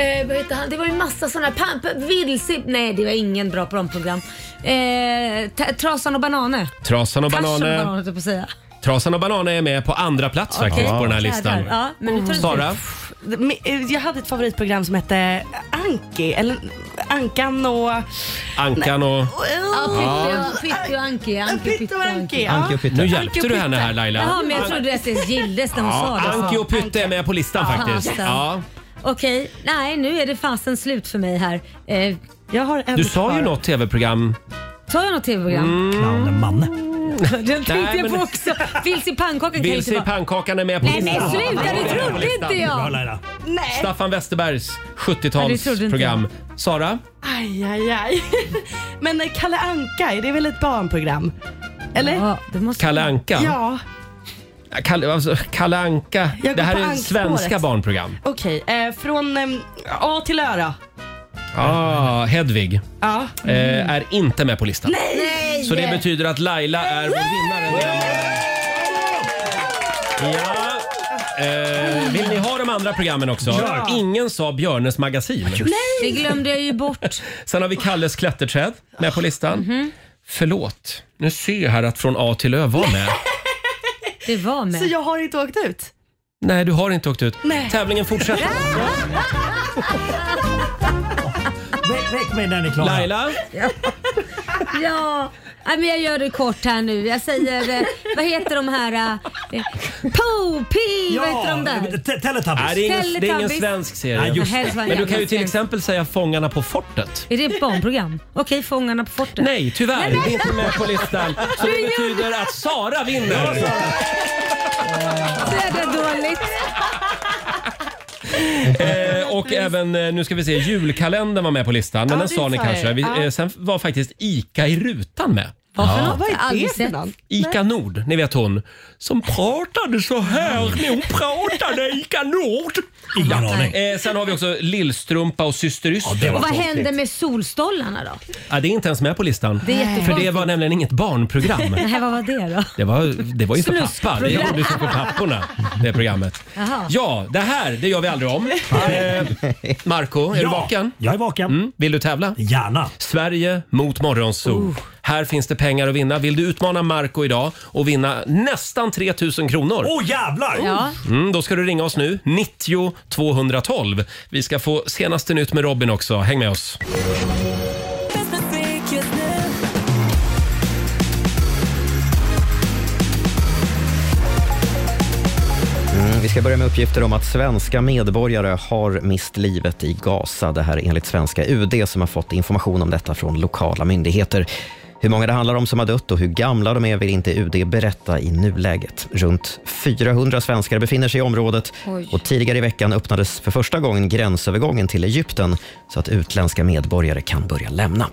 Speaker 4: Eh, vad heter han? Det var ju massa sådana, pam, pam, vilse, nej det var ingen bra program. Eh, ta- Trasan och bananer.
Speaker 1: Trasan och
Speaker 4: Tarsan
Speaker 1: bananen.
Speaker 4: och bananer höll jag på att säga.
Speaker 1: Trasan och bananen är med på andra plats faktiskt på den här listan.
Speaker 4: Jädrar, Ja, men nu tar det
Speaker 1: Sara?
Speaker 4: slut.
Speaker 11: Men, eh, Jag hade ett favoritprogram som hette Anki, eller Ankan och...
Speaker 1: Ankan och...
Speaker 4: Ja, Pytte och- Pytte och Anki. Anki, Pytte och Anki. ja.
Speaker 1: Anki och Pytte. Nu hjälpte du henne här, Laila.
Speaker 4: Jaha, men jag trodde att det gildes när hon
Speaker 1: Ja,
Speaker 4: sa det.
Speaker 1: Anki och Pytte är med på listan
Speaker 4: Ja,
Speaker 1: faktiskt.
Speaker 4: fasen.
Speaker 1: Ja.
Speaker 4: Okej, nej nu är det fasen slut för mig här. Eh, jag har en
Speaker 1: Du sa ju något tv-program.
Speaker 4: Tar jag något tv-program?
Speaker 10: Clownen Manne.
Speaker 4: Den tänkte
Speaker 1: Mm. Nej,
Speaker 4: jag
Speaker 1: men-
Speaker 4: på också. Vilse i pannkakan kan ju
Speaker 1: Vilse i
Speaker 4: inte vara...
Speaker 1: pannkakan är med på
Speaker 4: Nej
Speaker 1: listan.
Speaker 4: men sluta, det
Speaker 1: Är med på
Speaker 4: trodde
Speaker 1: listan.
Speaker 4: inte jag.
Speaker 11: Nej.
Speaker 1: Staffan Westerbergs
Speaker 11: Ja, det trodde inte
Speaker 1: 70-talsprogram. Sara?
Speaker 11: Aj, aj, aj. Men eh, Kalle Anka, är det väl ett barnprogram? Eller? Ja,
Speaker 4: det måste
Speaker 1: Kalle Anka?
Speaker 11: Ja,
Speaker 1: Kalle, alltså, Kalle Anka.
Speaker 11: Jag
Speaker 1: Det
Speaker 11: går
Speaker 1: här
Speaker 11: på
Speaker 1: är
Speaker 11: ankspåret.
Speaker 1: svenska barnprogram.
Speaker 11: okej. Eh, från eh, A till Ö då.
Speaker 1: Ah, Hedvig
Speaker 11: Ja.
Speaker 1: eh, är inte med på listan.
Speaker 11: Nej!
Speaker 1: Så det betyder att Laila är vår vinnare. den här morgonen. Ja. Eh, vill ni ha de andra programmen också?
Speaker 4: Ja.
Speaker 1: Ingen sa Björnes magasin.
Speaker 4: Det glömde jag ju bort.
Speaker 1: Sen har vi Kalles klätterträd med på listan.
Speaker 11: Mhm.
Speaker 1: Förlåt, nu ser jag här att Från A till Ö var med.
Speaker 4: Det var med.
Speaker 11: Så jag har inte åkt ut?
Speaker 1: Nej, du har inte åkt ut.
Speaker 11: Nej.
Speaker 1: Tävlingen fortsätter.
Speaker 10: <laughs> Väck, väck mig när ni är klara.
Speaker 1: Laila?
Speaker 4: Ja, Nej, men jag gör det kort här nu. Jag säger, eh, vad heter de här eh, Po, Pi, vad heter de där?
Speaker 10: Teletubbies.
Speaker 1: Nej, det, är ingen, det är ingen
Speaker 4: Teletubbies.
Speaker 1: svensk serie.
Speaker 4: Nej, just det. Helst var det
Speaker 1: Men du kan ju
Speaker 4: jävla
Speaker 1: till
Speaker 4: svensk.
Speaker 1: exempel säga Fångarna på fortet.
Speaker 4: Är det ett barnprogram? Okej, Fångarna på fortet.
Speaker 1: Nej, tyvärr. Det är inte med på listan. Så
Speaker 4: Du
Speaker 1: det
Speaker 4: gör-
Speaker 1: betyder att Sara vinner.
Speaker 4: Så är det dåligt.
Speaker 1: Eh, och även, eh, nu ska vi se, julkalendern var med på listan. Men
Speaker 4: Ja,
Speaker 1: den
Speaker 4: det
Speaker 1: sa ni
Speaker 4: sa jag.
Speaker 1: kanske. Vi,
Speaker 4: Ja.
Speaker 1: eh, sen var faktiskt ICA i rutan med.
Speaker 4: Varför
Speaker 11: Vad
Speaker 4: ja.
Speaker 11: är det
Speaker 4: Aldrig
Speaker 11: för
Speaker 4: sett.
Speaker 11: någon?
Speaker 1: Ica Nord, ni vet hon, som pratade så här när hon pratade Ica Nord.
Speaker 10: Ingen
Speaker 1: aning. Eh, sen har vi också Lillstrumpa och Syster Yster.
Speaker 4: Och vad hände med solstollarna då?
Speaker 1: Ja, det är inte ens med på listan.
Speaker 4: Det är
Speaker 1: för det
Speaker 4: jättekonstigt.
Speaker 1: var nämligen inget barnprogram.
Speaker 4: <laughs> Nej, vad var det
Speaker 11: <laughs>
Speaker 4: då?
Speaker 1: Det var, det var ju för pappa. Det
Speaker 4: Snuskprogram.
Speaker 1: gjordes ju för papporna, det programmet.
Speaker 4: Jaha.
Speaker 1: Ja, det här det gör vi aldrig om. Eh, Marco, är du
Speaker 10: Ja,
Speaker 1: vaken?
Speaker 10: Jag är vaken.
Speaker 1: Mm. Vill du tävla?
Speaker 10: Gärna.
Speaker 1: Sverige mot Morgonzoo.
Speaker 4: Oh.
Speaker 1: Här finns det pengar att vinna. Vill du utmana Marco idag och vinna nästan 3 000 kronor?
Speaker 10: Åh jävlar!
Speaker 4: Ja.
Speaker 1: Mm, då ska du ringa oss nu, 90 212. Vi ska få senaste nytt med Robin också. Häng med oss.
Speaker 3: Mm, vi ska börja med uppgifter om att svenska medborgare har mist livet i Gaza. Det här är enligt svenska UD som har fått information om detta från lokala myndigheter. Hur många det handlar om som har dött och hur gamla de är vill inte UD berätta i nuläget. Runt 400 svenskar befinner sig i området
Speaker 13: Oj.
Speaker 3: och tidigare i veckan öppnades för första gången gränsövergången till Egypten så att utländska medborgare kan börja lämna.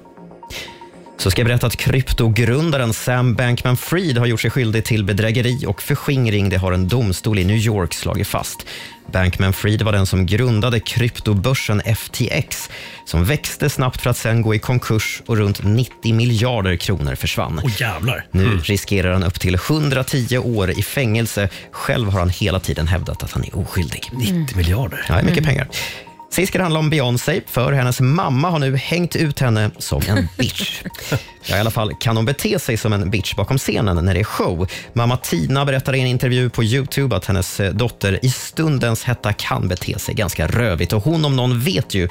Speaker 3: Så ska jag berätta att kryptogrundaren Sam Bankman-Fried har gjort sig skyldig till bedrägeri och förskingring. Det har en domstol i New York slagit fast. Bankman-Fried var den som grundade kryptobörsen FTX som växte snabbt för att sen gå i konkurs och runt 90 miljarder kronor försvann.
Speaker 10: Åh jävlar.
Speaker 3: Nu riskerar han upp till 110 år i fängelse. Själv har han hela tiden hävdat att han är oskyldig.
Speaker 10: 90 miljarder.
Speaker 3: Ja, det är mycket pengar. Sist ska det handla om Beyoncé, för hennes mamma har nu hängt ut henne som en bitch. Ja, I alla fall kan hon bete sig som en bitch bakom scenen när det är show. Mamma Tina berättar i en intervju på Youtube att hennes eh, dotter i stundens hetta kan bete sig ganska rövigt. Och hon om någon vet ju,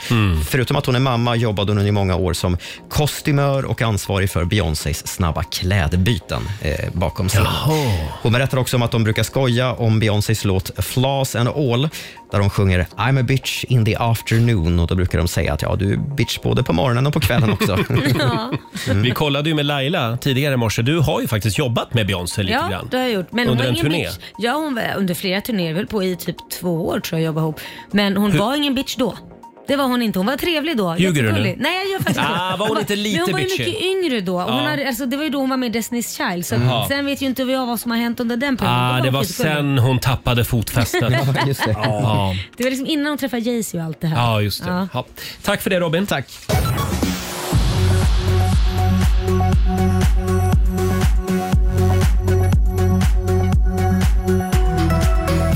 Speaker 3: förutom att hon är mamma, jobbade hon i många år som kostymör och ansvarig för Beyoncés snabba klädbyten eh, bakom scenen. Hon berättar också om att de brukar skoja om Beyoncés låt Flaws and All där de sjunger I'm a bitch in the afternoon och då brukar de säga att ja, du är bitch både på morgonen och på kvällen också.
Speaker 4: Mm.
Speaker 1: Vi kollade ju med Laila tidigare i morse. Du har ju faktiskt jobbat med Beyoncé lite
Speaker 4: ja,
Speaker 1: grann.
Speaker 4: det har jag gjort. Men
Speaker 1: Under
Speaker 4: hon
Speaker 1: en
Speaker 4: var ingen
Speaker 1: turné.
Speaker 4: Bitch. Ja, hon var under flera turnéer, väl på i typ två år tror jag jobbade ihop. Men hon
Speaker 1: Hur-
Speaker 4: var ingen bitch då. Det var hon inte. Hon var trevlig då.
Speaker 1: Ljuger du nu?
Speaker 4: Jättegullig. Nej, jag gör faktiskt inte
Speaker 1: Ah,
Speaker 4: det.
Speaker 1: var hon inte lite
Speaker 4: Men hon var ju
Speaker 1: bitchy?
Speaker 4: mycket yngre då. Hon
Speaker 1: Ja.
Speaker 4: hade, alltså, det var ju då hon var med i Destiny's Child. Så
Speaker 1: Jaha.
Speaker 4: Sen vet ju inte jag vad som har hänt under den perioden. Då
Speaker 1: Ah, det
Speaker 4: hon
Speaker 1: var
Speaker 4: skitgullig.
Speaker 1: sen hon tappade
Speaker 4: <laughs>
Speaker 1: fotfästet.
Speaker 4: Ja, just det.
Speaker 1: Ja.
Speaker 4: Det var liksom innan hon träffade Jay-Z och allt det här.
Speaker 1: Ja, just det.
Speaker 4: Ja.
Speaker 1: Ja. Tack för det Robin.
Speaker 3: Tack.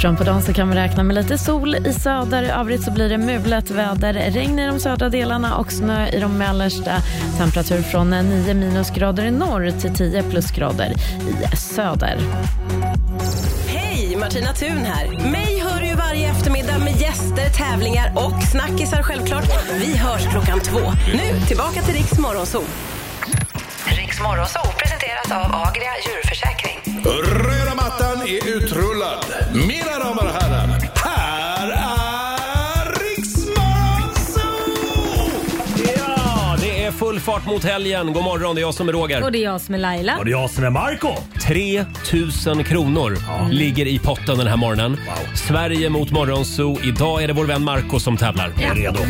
Speaker 18: Fram på dagen så kan vi räkna med lite sol i söder. I övrigt så blir det mulet väder, regn i de södra delarna och snö i de mellersta. Temperatur från 9 minusgrader i norr till 10 plusgrader i söder.
Speaker 11: Hej, Martina Thun här. Mig hör du ju varje eftermiddag med gäster, tävlingar och snackisar självklart. Vi hörs klockan två. Nu tillbaka till Riks Morgonzoo.
Speaker 19: Riks Morgonzoo presenteras av Agria djurförsäkring.
Speaker 6: Röda mattan är utrullad. Mina damer och herrar, här är
Speaker 1: Ja, det är full fart mot helgen. God morgon, det är jag som är Roger.
Speaker 4: Och det är jag som är Laila.
Speaker 1: det jag som är Marco 3 000 kronor Mm. ligger i potten den här morgonen. Sverige mot Morgonzoo. Idag är det vår vän Marco som tävlar.
Speaker 13: Jag är redo.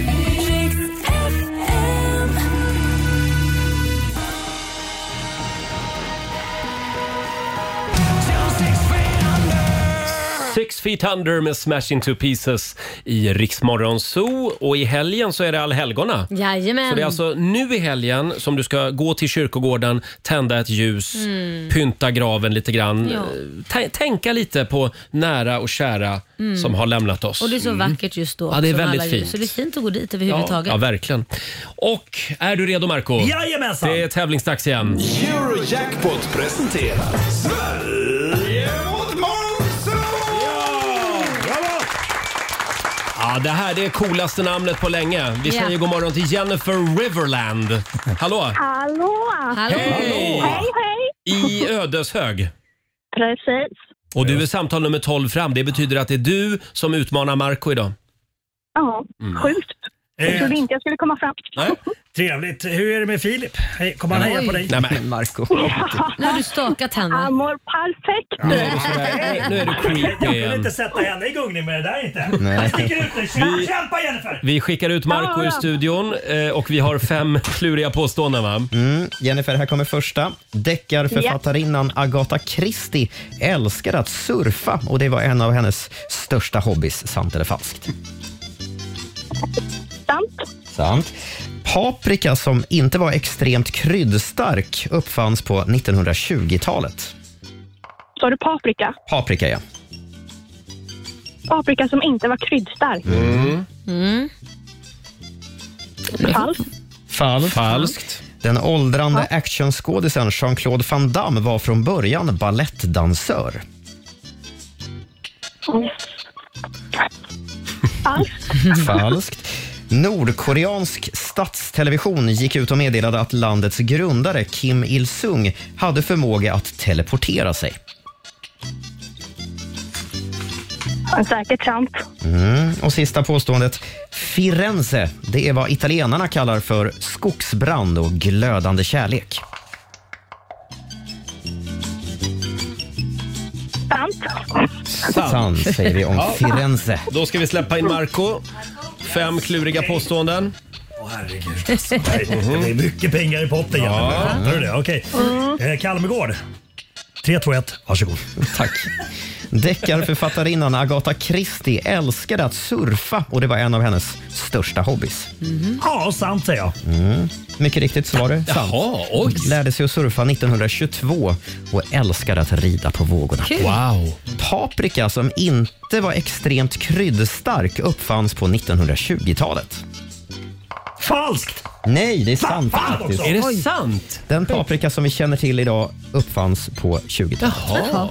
Speaker 1: Six feet under med Smash into pieces i Rix Morgonzoo. Och i helgen så är det allhelgona.
Speaker 4: Jajamän.
Speaker 1: Så det är alltså nu i helgen som du ska gå till kyrkogården, tända ett ljus,
Speaker 4: Mm.
Speaker 1: pynta graven lite grann. eh,
Speaker 4: Ja.
Speaker 1: Tä- Tänka lite på nära och kära
Speaker 4: Mm.
Speaker 1: som har lämnat oss.
Speaker 4: Och det är så
Speaker 1: Mm.
Speaker 4: vackert just då.
Speaker 1: Ja, det är
Speaker 4: också med
Speaker 1: väldigt
Speaker 4: alla ljus.
Speaker 1: fint.
Speaker 4: Så det är fint att gå dit
Speaker 1: Ja,
Speaker 4: överhuvudtaget.
Speaker 1: ja, verkligen. Och är du redo Marco?
Speaker 10: Jajamensan!
Speaker 1: Det är tävlingsdags igen.
Speaker 6: Eurojackpot presenterar Sverige mot Monzo!
Speaker 1: Ja, det här det är coolaste namnet på länge. Vi
Speaker 6: Ja.
Speaker 1: säger god morgon till Jennifer Riverland. Hallå!
Speaker 20: Hallå!
Speaker 1: Hej!
Speaker 20: Hej, hej!
Speaker 1: I Ödeshög.
Speaker 20: Precis.
Speaker 1: Och du är samtal nummer 12 fram. Det betyder att det är du som utmanar Marco idag.
Speaker 5: Ja,
Speaker 1: Mm.
Speaker 5: sjukt. Jag
Speaker 1: Eh.
Speaker 5: trodde inte jag skulle komma fram. <laughs>
Speaker 10: Trevligt. Hur är det med Filip? Hej, Kommer han
Speaker 1: Nej,
Speaker 10: heja
Speaker 1: men-
Speaker 10: på dig?
Speaker 1: Nej, men
Speaker 10: Marco.
Speaker 4: Nu har du stakat henne.
Speaker 5: Han mår perfekt
Speaker 10: Nu är det sådär.
Speaker 1: Nu är du
Speaker 10: Jag
Speaker 1: creepy
Speaker 10: vill inte
Speaker 1: igen.
Speaker 10: sätta henne i gungning med det där inte.
Speaker 1: Nej.
Speaker 10: Jag sticker ut dig. Kämpa,
Speaker 1: Vi-
Speaker 10: kämpa Jennifer!
Speaker 1: Vi skickar ut Marco ur studion eh, och vi har fem kluriga påståenden va?
Speaker 3: Mm, Jennifer, här kommer första. Deckarförfattarinnan Agatha Christie älskar att surfa och det var en av hennes största hobbys, sant eller falskt?
Speaker 5: Sant.
Speaker 3: Sant. Paprika som inte var extremt kryddstark uppfanns på 1920-talet.
Speaker 5: Sa du paprika?
Speaker 3: Paprika, ja.
Speaker 5: Paprika som inte var kryddstark. Mm. Falskt.
Speaker 3: Falskt. Den åldrande actionskådisen Jean-Claude Van Damme var från början ballettdansör.
Speaker 5: Falskt.
Speaker 3: Falskt. Nordkoreansk statstelevision gick ut och meddelade att landets grundare Kim Il-Sung hade förmåga att teleportera sig.
Speaker 5: Säkert sant.
Speaker 3: Mm. Och sista påståendet. Firenze, det är vad italienarna kallar för skogsbrand och glödande kärlek.
Speaker 5: Sant.
Speaker 3: Sant säger vi <laughs> om
Speaker 1: Ja.
Speaker 3: Firenze.
Speaker 1: Då ska vi släppa in Marco. Fem kluriga påståenden.
Speaker 10: Det är mycket pengar i potten
Speaker 1: Ja.
Speaker 10: Jennifer. Fattar du det? Okej. Eh, Kalmegård. 3, 2, 1. Varsågod.
Speaker 3: Tack. Deckarförfattarinnan Agatha Christie älskade att surfa och det var en av hennes största hobbys.
Speaker 10: Ja, sant säger jag.
Speaker 3: Mm. Mycket riktigt så var det sant.
Speaker 10: Jaha, oj.
Speaker 3: Lärde sig att surfa 1922 och älskade att rida på vågorna.
Speaker 1: Kul. Wow.
Speaker 3: Paprika som inte var extremt kryddstark uppfanns på 1920-talet.
Speaker 10: Falskt!
Speaker 3: Nej, det är sant
Speaker 1: fan
Speaker 3: faktiskt.
Speaker 1: också. Är det Oj. sant?
Speaker 3: Den paprika som vi känner till idag uppfanns på 20-talet.
Speaker 1: Jaha.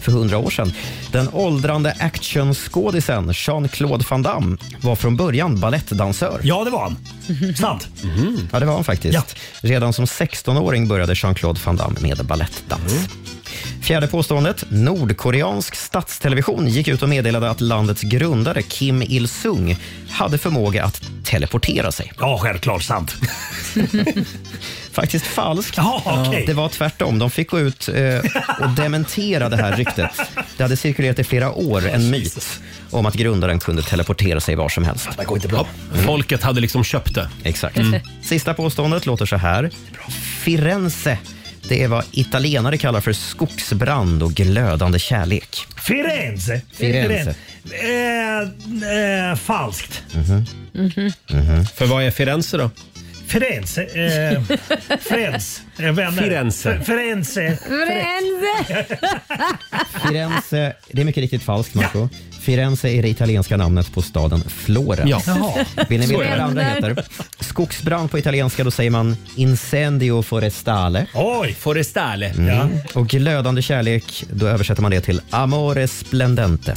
Speaker 3: För hundra år sedan. Den åldrande actionskådisen Jean-Claude Van Damme var från början ballettdansör.
Speaker 10: Ja, det var han. Sant.
Speaker 3: Ja, det var han faktiskt. Redan som 16-åring började Jean-Claude Van Damme med balettdans. Fjärde påståendet. Nordkoreansk statstelevision gick ut och meddelade att landets grundare Kim Il-Sung hade förmåga att teleportera sig.
Speaker 10: Ja, självklart sant.
Speaker 3: Faktiskt falskt.
Speaker 10: okej.
Speaker 3: Det var tvärtom. De fick gå ut eh, och dementera det här ryktet. Det hade cirkulerat i flera år, en myt om att grundaren kunde teleportera sig var som helst. Det går inte bra.
Speaker 1: Folket hade liksom köpt det.
Speaker 3: Exakt.
Speaker 1: Mm.
Speaker 3: Sista påståendet låter så här. Firenze. Det är vad italienare kallar för skogsbrand och glödande kärlek.
Speaker 10: Firenze.
Speaker 3: Firenze.
Speaker 10: Eh, eh, falskt.
Speaker 3: Mhm.
Speaker 1: För vad är Firenze då?
Speaker 10: Firenze. Eh, Friends. Eh, vänner.
Speaker 1: Firenze.
Speaker 10: F- Firenze.
Speaker 4: Firenze!
Speaker 3: Firenze, det är mycket riktigt falskt, Marco. Firenze är det italienska namnet på staden Florens.
Speaker 13: Ja. Jaha.
Speaker 3: Vill ni
Speaker 13: Så
Speaker 3: veta
Speaker 13: är
Speaker 3: vad det
Speaker 13: det.
Speaker 3: andra heter? Skogsbrand på italienska, då säger man incendio forestale.
Speaker 10: Oj!
Speaker 1: Forestale.
Speaker 3: Mm. Och glödande kärlek, då översätter man det till amore splendente.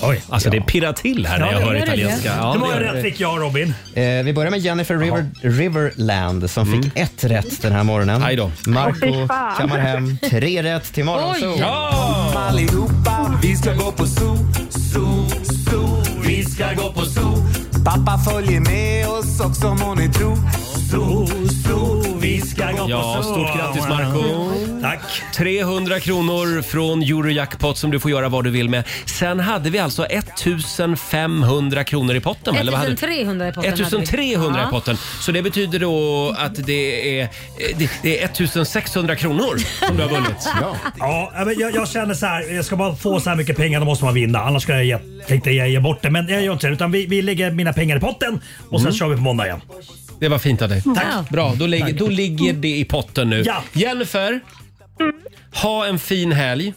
Speaker 10: Oj,
Speaker 1: alltså det pirrar till här när jag hör italienska. Ja,
Speaker 10: Hur
Speaker 1: det
Speaker 10: många
Speaker 1: gör det.
Speaker 10: rätt fick jag Robin?
Speaker 3: Eh, vi börjar med Jennifer River, Riverland som
Speaker 1: Mm.
Speaker 3: fick ett rätt den här morgonen. Marco
Speaker 13: Fy fan.
Speaker 3: kammar hem tre rätt till morgonzoo.
Speaker 13: Oj. Kom allihopa, vi ska gå på zoo, zoo, zoo. Vi ska gå på zoo. Pappa följer med oss också må ni tro. Zoo, zoo, vi ska gå
Speaker 1: Ja,
Speaker 13: på zoo.
Speaker 1: stort grattis Marco
Speaker 10: Tack!
Speaker 1: 300 kronor från Eurojackpot som du får göra vad du vill med. Sen hade vi alltså 1500 kronor i potten. eller vad hade-
Speaker 4: 1300 i potten hade vi.
Speaker 1: 1300
Speaker 4: Ja.
Speaker 1: i potten. Så det betyder då att det är, det, det är 1600 kronor som du har vunnit.
Speaker 10: Ja, men jag, jag känner så här, ska man få så här mycket pengar då måste man vinna. Annars skulle jag ge, tänkte jag ge bort det. Men jag gör inte det. Utan vi, vi lägger mina pengar i potten och sen
Speaker 1: Mm.
Speaker 10: kör vi på måndag igen.
Speaker 1: Det var fint av dig.
Speaker 10: Tack.
Speaker 1: Bra, då ligger, då ligger det i potten nu.
Speaker 10: Ja.
Speaker 1: Jennifer, ha en fin helg.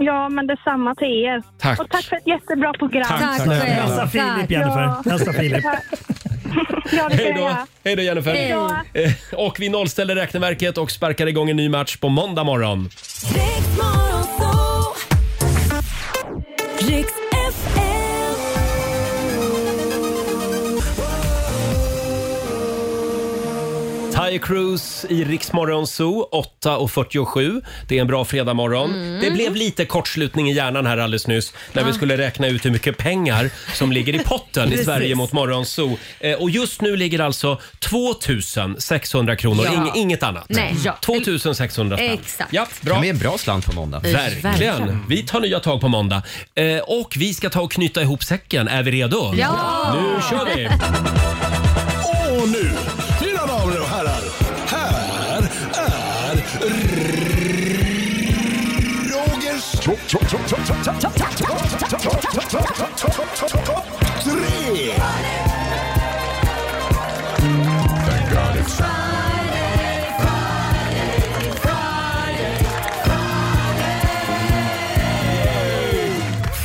Speaker 5: Ja, men detsamma till er.
Speaker 1: Tack.
Speaker 5: Och tack för ett jättebra program.
Speaker 1: Tack, tack, Tack, tack.
Speaker 10: Hälsa Filip, Jennifer. Hälsa Filip.
Speaker 5: Ja, det
Speaker 1: Hej
Speaker 5: ska jag
Speaker 1: då,
Speaker 5: göra.
Speaker 1: hej då Jennifer.
Speaker 5: Hej då.
Speaker 1: Eh, Och vi nollställer räkneverket och sparkar igång en ny match på måndag morgon.
Speaker 13: Riks FM.
Speaker 1: Mariah Cruise i Riksmorgon Zoo 8.47. Det är en bra fredagmorgon.
Speaker 13: Mm.
Speaker 1: Det blev lite kortslutning i hjärnan här alldeles nyss när vi
Speaker 13: Ja.
Speaker 1: skulle räkna ut hur mycket pengar som ligger i potten i
Speaker 13: Precis.
Speaker 1: Sverige mot Morgonzoo. Eh, och just nu ligger alltså 2600 kronor,
Speaker 4: Ja.
Speaker 1: Ing- inget annat.
Speaker 4: Nej. Ja.
Speaker 1: 2600 spänn.
Speaker 4: Exakt.
Speaker 1: Ja, bra.
Speaker 4: Kan
Speaker 1: bli
Speaker 17: en bra slant på måndag.
Speaker 1: Verkligen.
Speaker 4: Verkligen.
Speaker 1: Vi tar nya tag på måndag. Eh, och vi ska ta och knyta ihop säcken. Är vi redo?
Speaker 6: Ja!
Speaker 1: Nu kör vi!
Speaker 6: Och nu, mina damer och herrar, här är Rogers... Tre!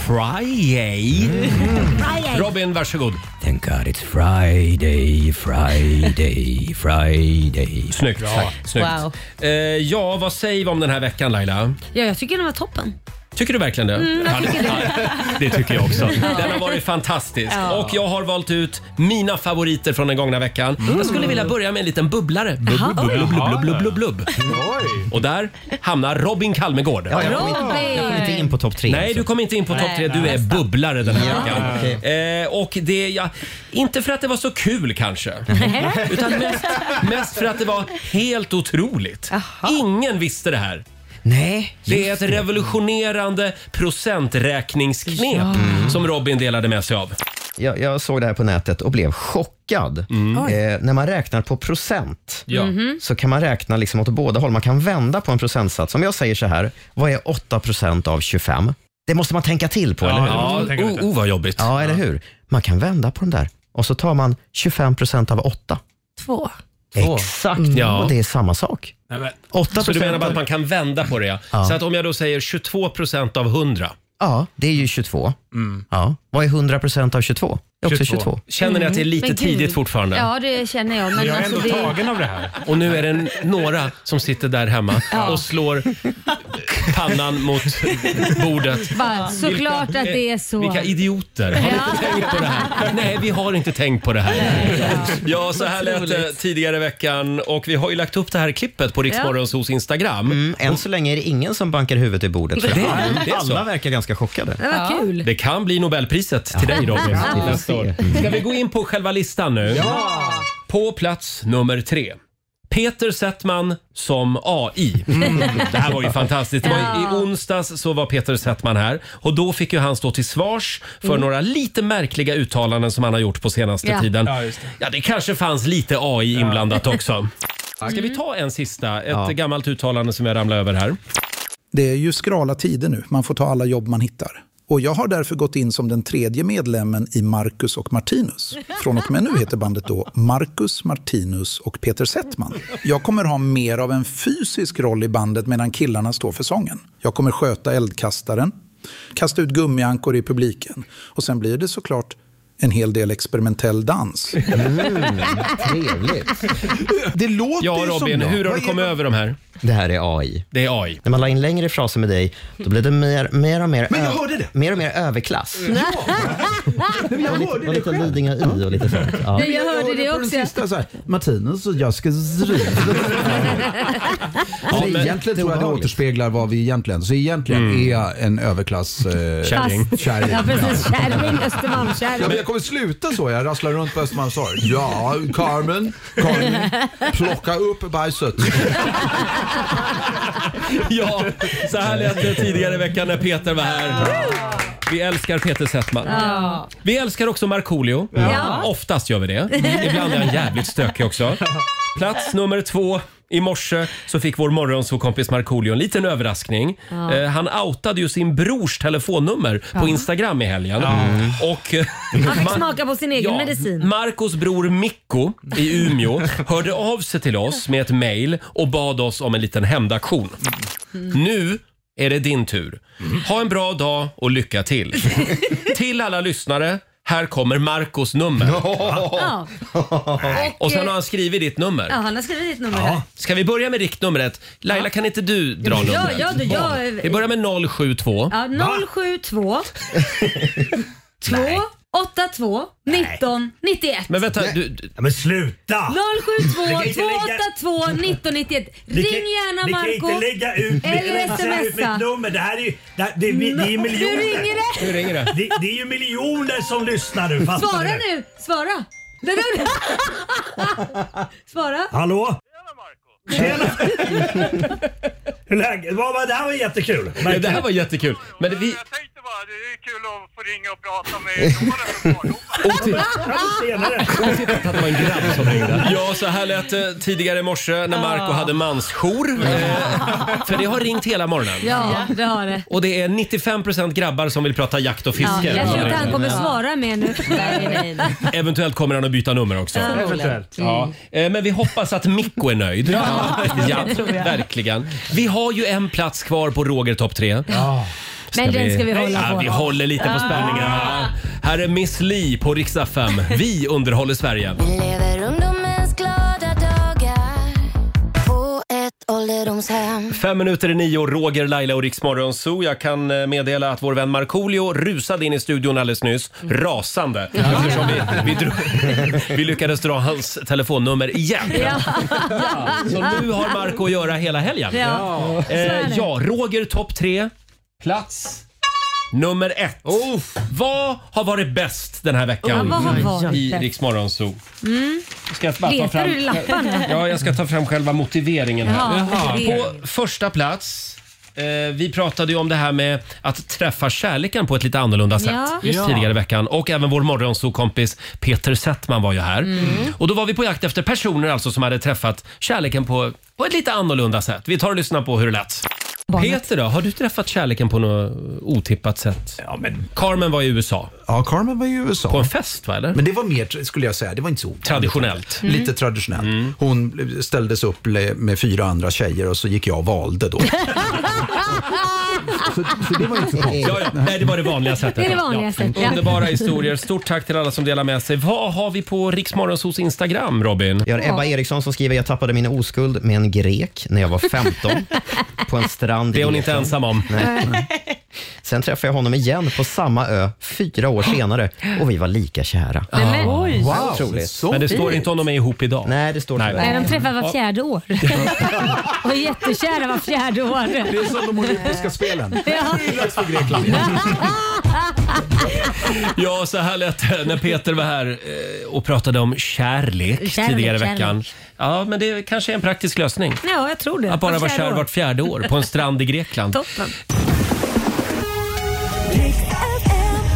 Speaker 1: Friday.
Speaker 13: Friday.
Speaker 1: Robin, varsågod.
Speaker 17: Thank God it's Friday, Friday, Friday.
Speaker 1: Snyggt.
Speaker 17: Tack.
Speaker 1: Snyggt.
Speaker 4: Wow.
Speaker 1: Eh, ja, vad säger vi om den här veckan Laila?
Speaker 4: Ja, jag tycker den var toppen.
Speaker 1: Tycker du verkligen det?
Speaker 4: Mm, jag tycker
Speaker 1: Ja,
Speaker 4: det.
Speaker 1: det tycker jag också.
Speaker 4: Ja.
Speaker 1: Den har varit fantastisk.
Speaker 4: Ja.
Speaker 1: Och jag har valt ut mina favoriter från den gångna veckan.
Speaker 13: Mm.
Speaker 1: Jag skulle vilja börja med en liten bubblare. Blubb,
Speaker 13: Jaha.
Speaker 1: blubb, blubb,
Speaker 13: Jaha.
Speaker 1: blubb, blubb, blubb, blubb. Och där hamnar Robin Kalmegård.
Speaker 13: Ja, jag kom inte- Robin! jag kom inte in
Speaker 1: på topp
Speaker 13: tre,
Speaker 1: Nej,
Speaker 13: alltså.
Speaker 3: liksom.
Speaker 1: du kom inte in på topp
Speaker 13: Nej,
Speaker 1: tre. Du är
Speaker 13: nästan.
Speaker 1: bubblare den här
Speaker 13: Ja,
Speaker 1: veckan. Eh, och det, ja, inte för att det var så kul kanske.
Speaker 13: <laughs>
Speaker 4: <laughs>
Speaker 1: Utan mest, mest för att det var helt otroligt. Ingen visste det här.
Speaker 17: Nej,
Speaker 1: Det är
Speaker 17: just
Speaker 1: ett revolutionerande procenträkningsknep
Speaker 13: Mm.
Speaker 1: som Robin delade med sig av.
Speaker 3: Jag, jag såg det här på nätet och blev chockad. Eh, när man räknar på procent
Speaker 1: Mm. Ja. Mhm.
Speaker 3: så kan man räkna liksom åt båda håll. Man kan vända på en procentsats. Om jag säger så här, vad är 8 procent av 25? Det måste man tänka till på,
Speaker 1: Ja,
Speaker 3: eller
Speaker 1: ja,
Speaker 3: hur?
Speaker 1: Mm. tänka lite. oh, vad jobbigt.
Speaker 3: Ja, eller hur? Man kan vända på den där och så tar man 25 procent av 8.
Speaker 4: Två.
Speaker 3: Exakt, och det är samma sak.
Speaker 1: Så du
Speaker 3: 8%
Speaker 1: menar bara att
Speaker 3: av-
Speaker 1: man kan vända på det ja.
Speaker 3: Ja.
Speaker 1: Så att om jag då säger 22 procent av 100.
Speaker 3: Ja, det är ju 22. Ja. Vad är 100 procent av 22? Det är också 22.
Speaker 1: Känner ni att det är lite
Speaker 4: Mm. Men gud.
Speaker 1: tidigt fortfarande?
Speaker 4: Ja, det känner jag. Men alltså, det...
Speaker 1: av det här. Och nu är det några som sitter där hemma
Speaker 4: Ja.
Speaker 1: och slår pannan mot bordet.
Speaker 4: Va, såklart att det är så.
Speaker 1: Vilka idioter! Har ni inte tänkt på det här? Nej, vi har inte tänkt på det här. Ja, så här lät det tidigare i veckan och vi har ju lagt upp det här klippet på
Speaker 3: Ja.
Speaker 1: Riksmorgons hos Instagram.
Speaker 3: Mm, Än så länge är det ingen som bankar huvudet i bordet. tror jag.
Speaker 1: Det är- det är så.
Speaker 3: Alla verkar ganska chockade.
Speaker 4: Det var kul.
Speaker 1: Det kan bli Nobelpriset till dig Robin
Speaker 3: Ja, vi får
Speaker 1: nästa år. Ska vi gå in på själva listan nu? På plats nummer tre. Peter Settman som AI.
Speaker 13: Mm.
Speaker 1: Det här var ju fantastiskt. Det var ju, I
Speaker 13: Ja.
Speaker 1: onsdags så var Peter Settman här och då fick ju han stå till svars för
Speaker 13: Mm.
Speaker 1: några lite märkliga uttalanden som han har gjort på senaste
Speaker 13: Ja.
Speaker 1: tiden.
Speaker 13: Ja, just det.
Speaker 1: Ja, det kanske fanns lite AI inblandat också. Ska vi ta en sista? Ett
Speaker 20: Ja.
Speaker 1: gammalt uttalande som jag ramlade över här.
Speaker 20: Det är ju skrala tider nu. Man får ta alla jobb man hittar. Och jag har därför gått in som den tredje medlemmen i Marcus och Martinus. Från och med nu heter bandet då Marcus, Martinus och Peter Settman. Jag kommer ha mer av en fysisk roll i bandet medan killarna står för sången. Jag kommer sköta eldkastaren, kasta ut gummiankor i publiken och sen blir det såklart en hel del experimentell dans.
Speaker 3: trevligt.
Speaker 20: Det låter
Speaker 1: Ja,
Speaker 20: ju som
Speaker 1: Robin,
Speaker 20: jag.
Speaker 1: hur har
Speaker 20: Vad
Speaker 1: du
Speaker 20: är
Speaker 1: kommit över de här?
Speaker 3: Det här är AI.
Speaker 1: Det är AI.
Speaker 3: När man la in längre fraser med dig, då blev det mer, mer och mer...
Speaker 13: Men
Speaker 3: ö-
Speaker 13: jag hörde det.
Speaker 3: Mer och mer överklass.
Speaker 13: Men jag hörde
Speaker 3: Och lite Lidingö I och lite sånt. Ja.
Speaker 13: Nej, jag hörde det
Speaker 20: på den
Speaker 13: också.
Speaker 20: Sista, så här, Martinus och jag ska
Speaker 13: <laughs>
Speaker 20: driva.
Speaker 21: Så Alltså, egentligen tror jag det återspeglar vad vi egentligen... Så egentligen är jag en överklass... Eh,
Speaker 13: Mm. Kärring.
Speaker 21: kärring.
Speaker 13: Ja, precis. Kärring,
Speaker 21: Ja, men
Speaker 13: Östermalmskärring.
Speaker 21: jag kommer sluta så. Jag rasslar runt på Östermalmstorg. Ja, Carmen, Carmen, plocka upp bajset.
Speaker 1: Ja, så här lät det tidigare i veckan när Peter var här. Vi älskar Peter Settman.
Speaker 13: Ja.
Speaker 1: Vi älskar också Markoolio.
Speaker 13: Ja.
Speaker 1: Oftast gör vi det. Ibland är han jävligt stökig också. Plats nummer två. I morse så fick vår morgonsåkompis Markoolio en liten överraskning.
Speaker 13: Ja.
Speaker 1: Eh, han outade ju sin brors telefonnummer på
Speaker 4: Ja.
Speaker 1: Instagram i helgen. Och,
Speaker 4: Han fick
Speaker 1: Ma-
Speaker 4: smaka på sin egen medicin.
Speaker 1: Marcos bror Mikko i Umeå hörde av sig till oss med ett mejl och bad oss om en liten hämndaktion. Nu är det din tur. Ha en bra dag och lycka till. till alla lyssnare, här kommer Marcos nummer.
Speaker 4: Ja. eh,
Speaker 1: Och sen har han skrivit ditt nummer.
Speaker 4: Ja, han har skrivit ditt nummer här.
Speaker 1: Ska vi börja med riktnumret? Laila, kan inte du dra
Speaker 4: Ja,
Speaker 1: numret?
Speaker 4: ja, det- ja.
Speaker 1: Vi börjar med 072.
Speaker 4: Ja, 072 2 82 19 91.
Speaker 1: Men vänta, du... du
Speaker 10: men sluta!
Speaker 4: 072
Speaker 10: Vi kan inte lägga-
Speaker 4: 282 1991. Ring
Speaker 10: Ni kan-
Speaker 4: gärna
Speaker 10: Ni kan
Speaker 4: Marco
Speaker 10: inte lägga ut,
Speaker 4: eller
Speaker 10: lägga ut mitt
Speaker 4: smsa.
Speaker 10: nummer. Det här är ju det, det, det, det är ju
Speaker 4: Nå,
Speaker 10: miljoner.
Speaker 4: hur ringer det? Hur ringer det?
Speaker 10: det? Det är ju miljoner som lyssnar nu. fattar du
Speaker 4: Svara
Speaker 10: det?
Speaker 4: nu, svara. Där är du. svara.
Speaker 10: Hallå? Tjena Hur läget? Vad var- Det här var jättekul.
Speaker 1: Nej, det här var jättekul. Men det, vi... Otippat. Otippat att det var en grabb som ringde. Ja, så här lät det tidigare i morse när Marco
Speaker 13: Ah.
Speaker 1: hade mansjour. Eh, För det har ringt hela morgonen.
Speaker 4: Ja, det har det.
Speaker 1: Och det är 95% grabbar som vill prata jakt och
Speaker 4: Ja,
Speaker 1: fiske.
Speaker 4: jag tror inte han kommer
Speaker 1: Ja.
Speaker 4: svara mer nu.
Speaker 1: Eventuellt kommer han att byta nummer också.
Speaker 4: Ja, eventuellt.
Speaker 1: Ja. Eh, Men vi hoppas att Mikko är nöjd.
Speaker 13: Ja,
Speaker 1: ja
Speaker 13: det tror jag.
Speaker 1: verkligen. Vi har ju en plats kvar på Roger topp 3.
Speaker 13: Men den ska vi hålla
Speaker 1: ja,
Speaker 13: på.
Speaker 1: Vi håller lite på spänningen. Ja. Här är Miss Li på riksdag 5. Vi underhåller Sverige.
Speaker 13: Vi lever ungdomens glada dagar på ett ålderdomshem.
Speaker 1: Fem minuter i nio, Roger, Laila och Riksmorgon Zoo. Jag kan eh, meddela att vår vän Markoolio rusade in i studion alldeles nyss, rasande. Eftersom vi, vi, drog, vi lyckades dra hans telefonnummer igen. Så nu har Marco att göra hela helgen.
Speaker 13: Ja, så är det.
Speaker 1: eh, ja Roger topp tre. Plats nummer ett. Vad har varit bäst den här veckan
Speaker 4: Ja, vad har varit
Speaker 1: i
Speaker 4: bäst?
Speaker 1: Rix Morgon Zoo?
Speaker 4: Mm.
Speaker 1: Ska jag bara ta
Speaker 4: Letar
Speaker 1: fram-
Speaker 4: du i lapparna?
Speaker 1: Ja, jag ska ta fram själva motiveringen här.
Speaker 4: Jaha, Jaha. motivering.
Speaker 1: På första plats eh, vi pratade ju om det här med att träffa kärleken på ett lite annorlunda sätt
Speaker 13: Ja. Ja.
Speaker 1: tidigare i veckan. Och även vår morgonsokompis Peter Settman var ju här.
Speaker 13: Mm.
Speaker 1: Och då var vi på jakt efter personer alltså som hade träffat kärleken på, på ett lite annorlunda sätt. Vi tar och lyssnar på hur det lät. Peter då, har du träffat kärleken på något otippat sätt? Ja, men... Carmen var i USA.
Speaker 21: Ja, Carmen var i USA.
Speaker 1: På en fest va, eller?
Speaker 21: Men det var mer, skulle jag säga, det var inte så ovanligt.
Speaker 1: Traditionellt. Mm.
Speaker 21: Lite traditionellt. Hon ställdes upp le- med fyra andra tjejer och så gick jag och valde
Speaker 13: <laughs>
Speaker 21: då. det var inte så konstigt.
Speaker 1: Ja, ja. Nej, det var det vanliga sättet.
Speaker 4: Det är det vanliga sättet, ja.
Speaker 1: Underbara historier. Stort tack till alla som delar med sig. Vad har vi på Riksmorgonsos Instagram, Robin?
Speaker 3: Jag har Ebba Eriksson som skriver jag tappade min oskuld med en grek när jag var 15 på en strand.
Speaker 1: Det är hon
Speaker 3: i
Speaker 1: inte
Speaker 3: Grekland.
Speaker 1: ensam om.
Speaker 3: Nej. Sen träffade jag honom igen på samma ö fyra år senare och vi var lika kära.
Speaker 4: Nej, men-
Speaker 3: Ah,
Speaker 4: Oj.
Speaker 3: wow,
Speaker 1: Otroligt.
Speaker 3: otroligt.
Speaker 1: Men det står inte om de är ihop idag.
Speaker 3: Nej, det står inte.
Speaker 4: Nej, de träffar var
Speaker 1: Ja.
Speaker 4: fjärde år. Och är jättekära var fjärde år.
Speaker 21: Det är som de olympiska spelen.
Speaker 4: Ja.
Speaker 21: Det är dags för Grekland.
Speaker 1: Ja, så här lät det när Peter var här eh, och pratade om kärlek,
Speaker 4: Kärlek,
Speaker 1: tidigare i
Speaker 4: kärlek.
Speaker 1: veckan. Ja, men det kanske är en praktisk lösning.
Speaker 4: Ja, jag tror det.
Speaker 1: Att bara
Speaker 4: Var
Speaker 1: vara
Speaker 4: fjärde
Speaker 1: kär
Speaker 4: år.
Speaker 1: vart fjärde år på en strand i Grekland.
Speaker 4: Toppen.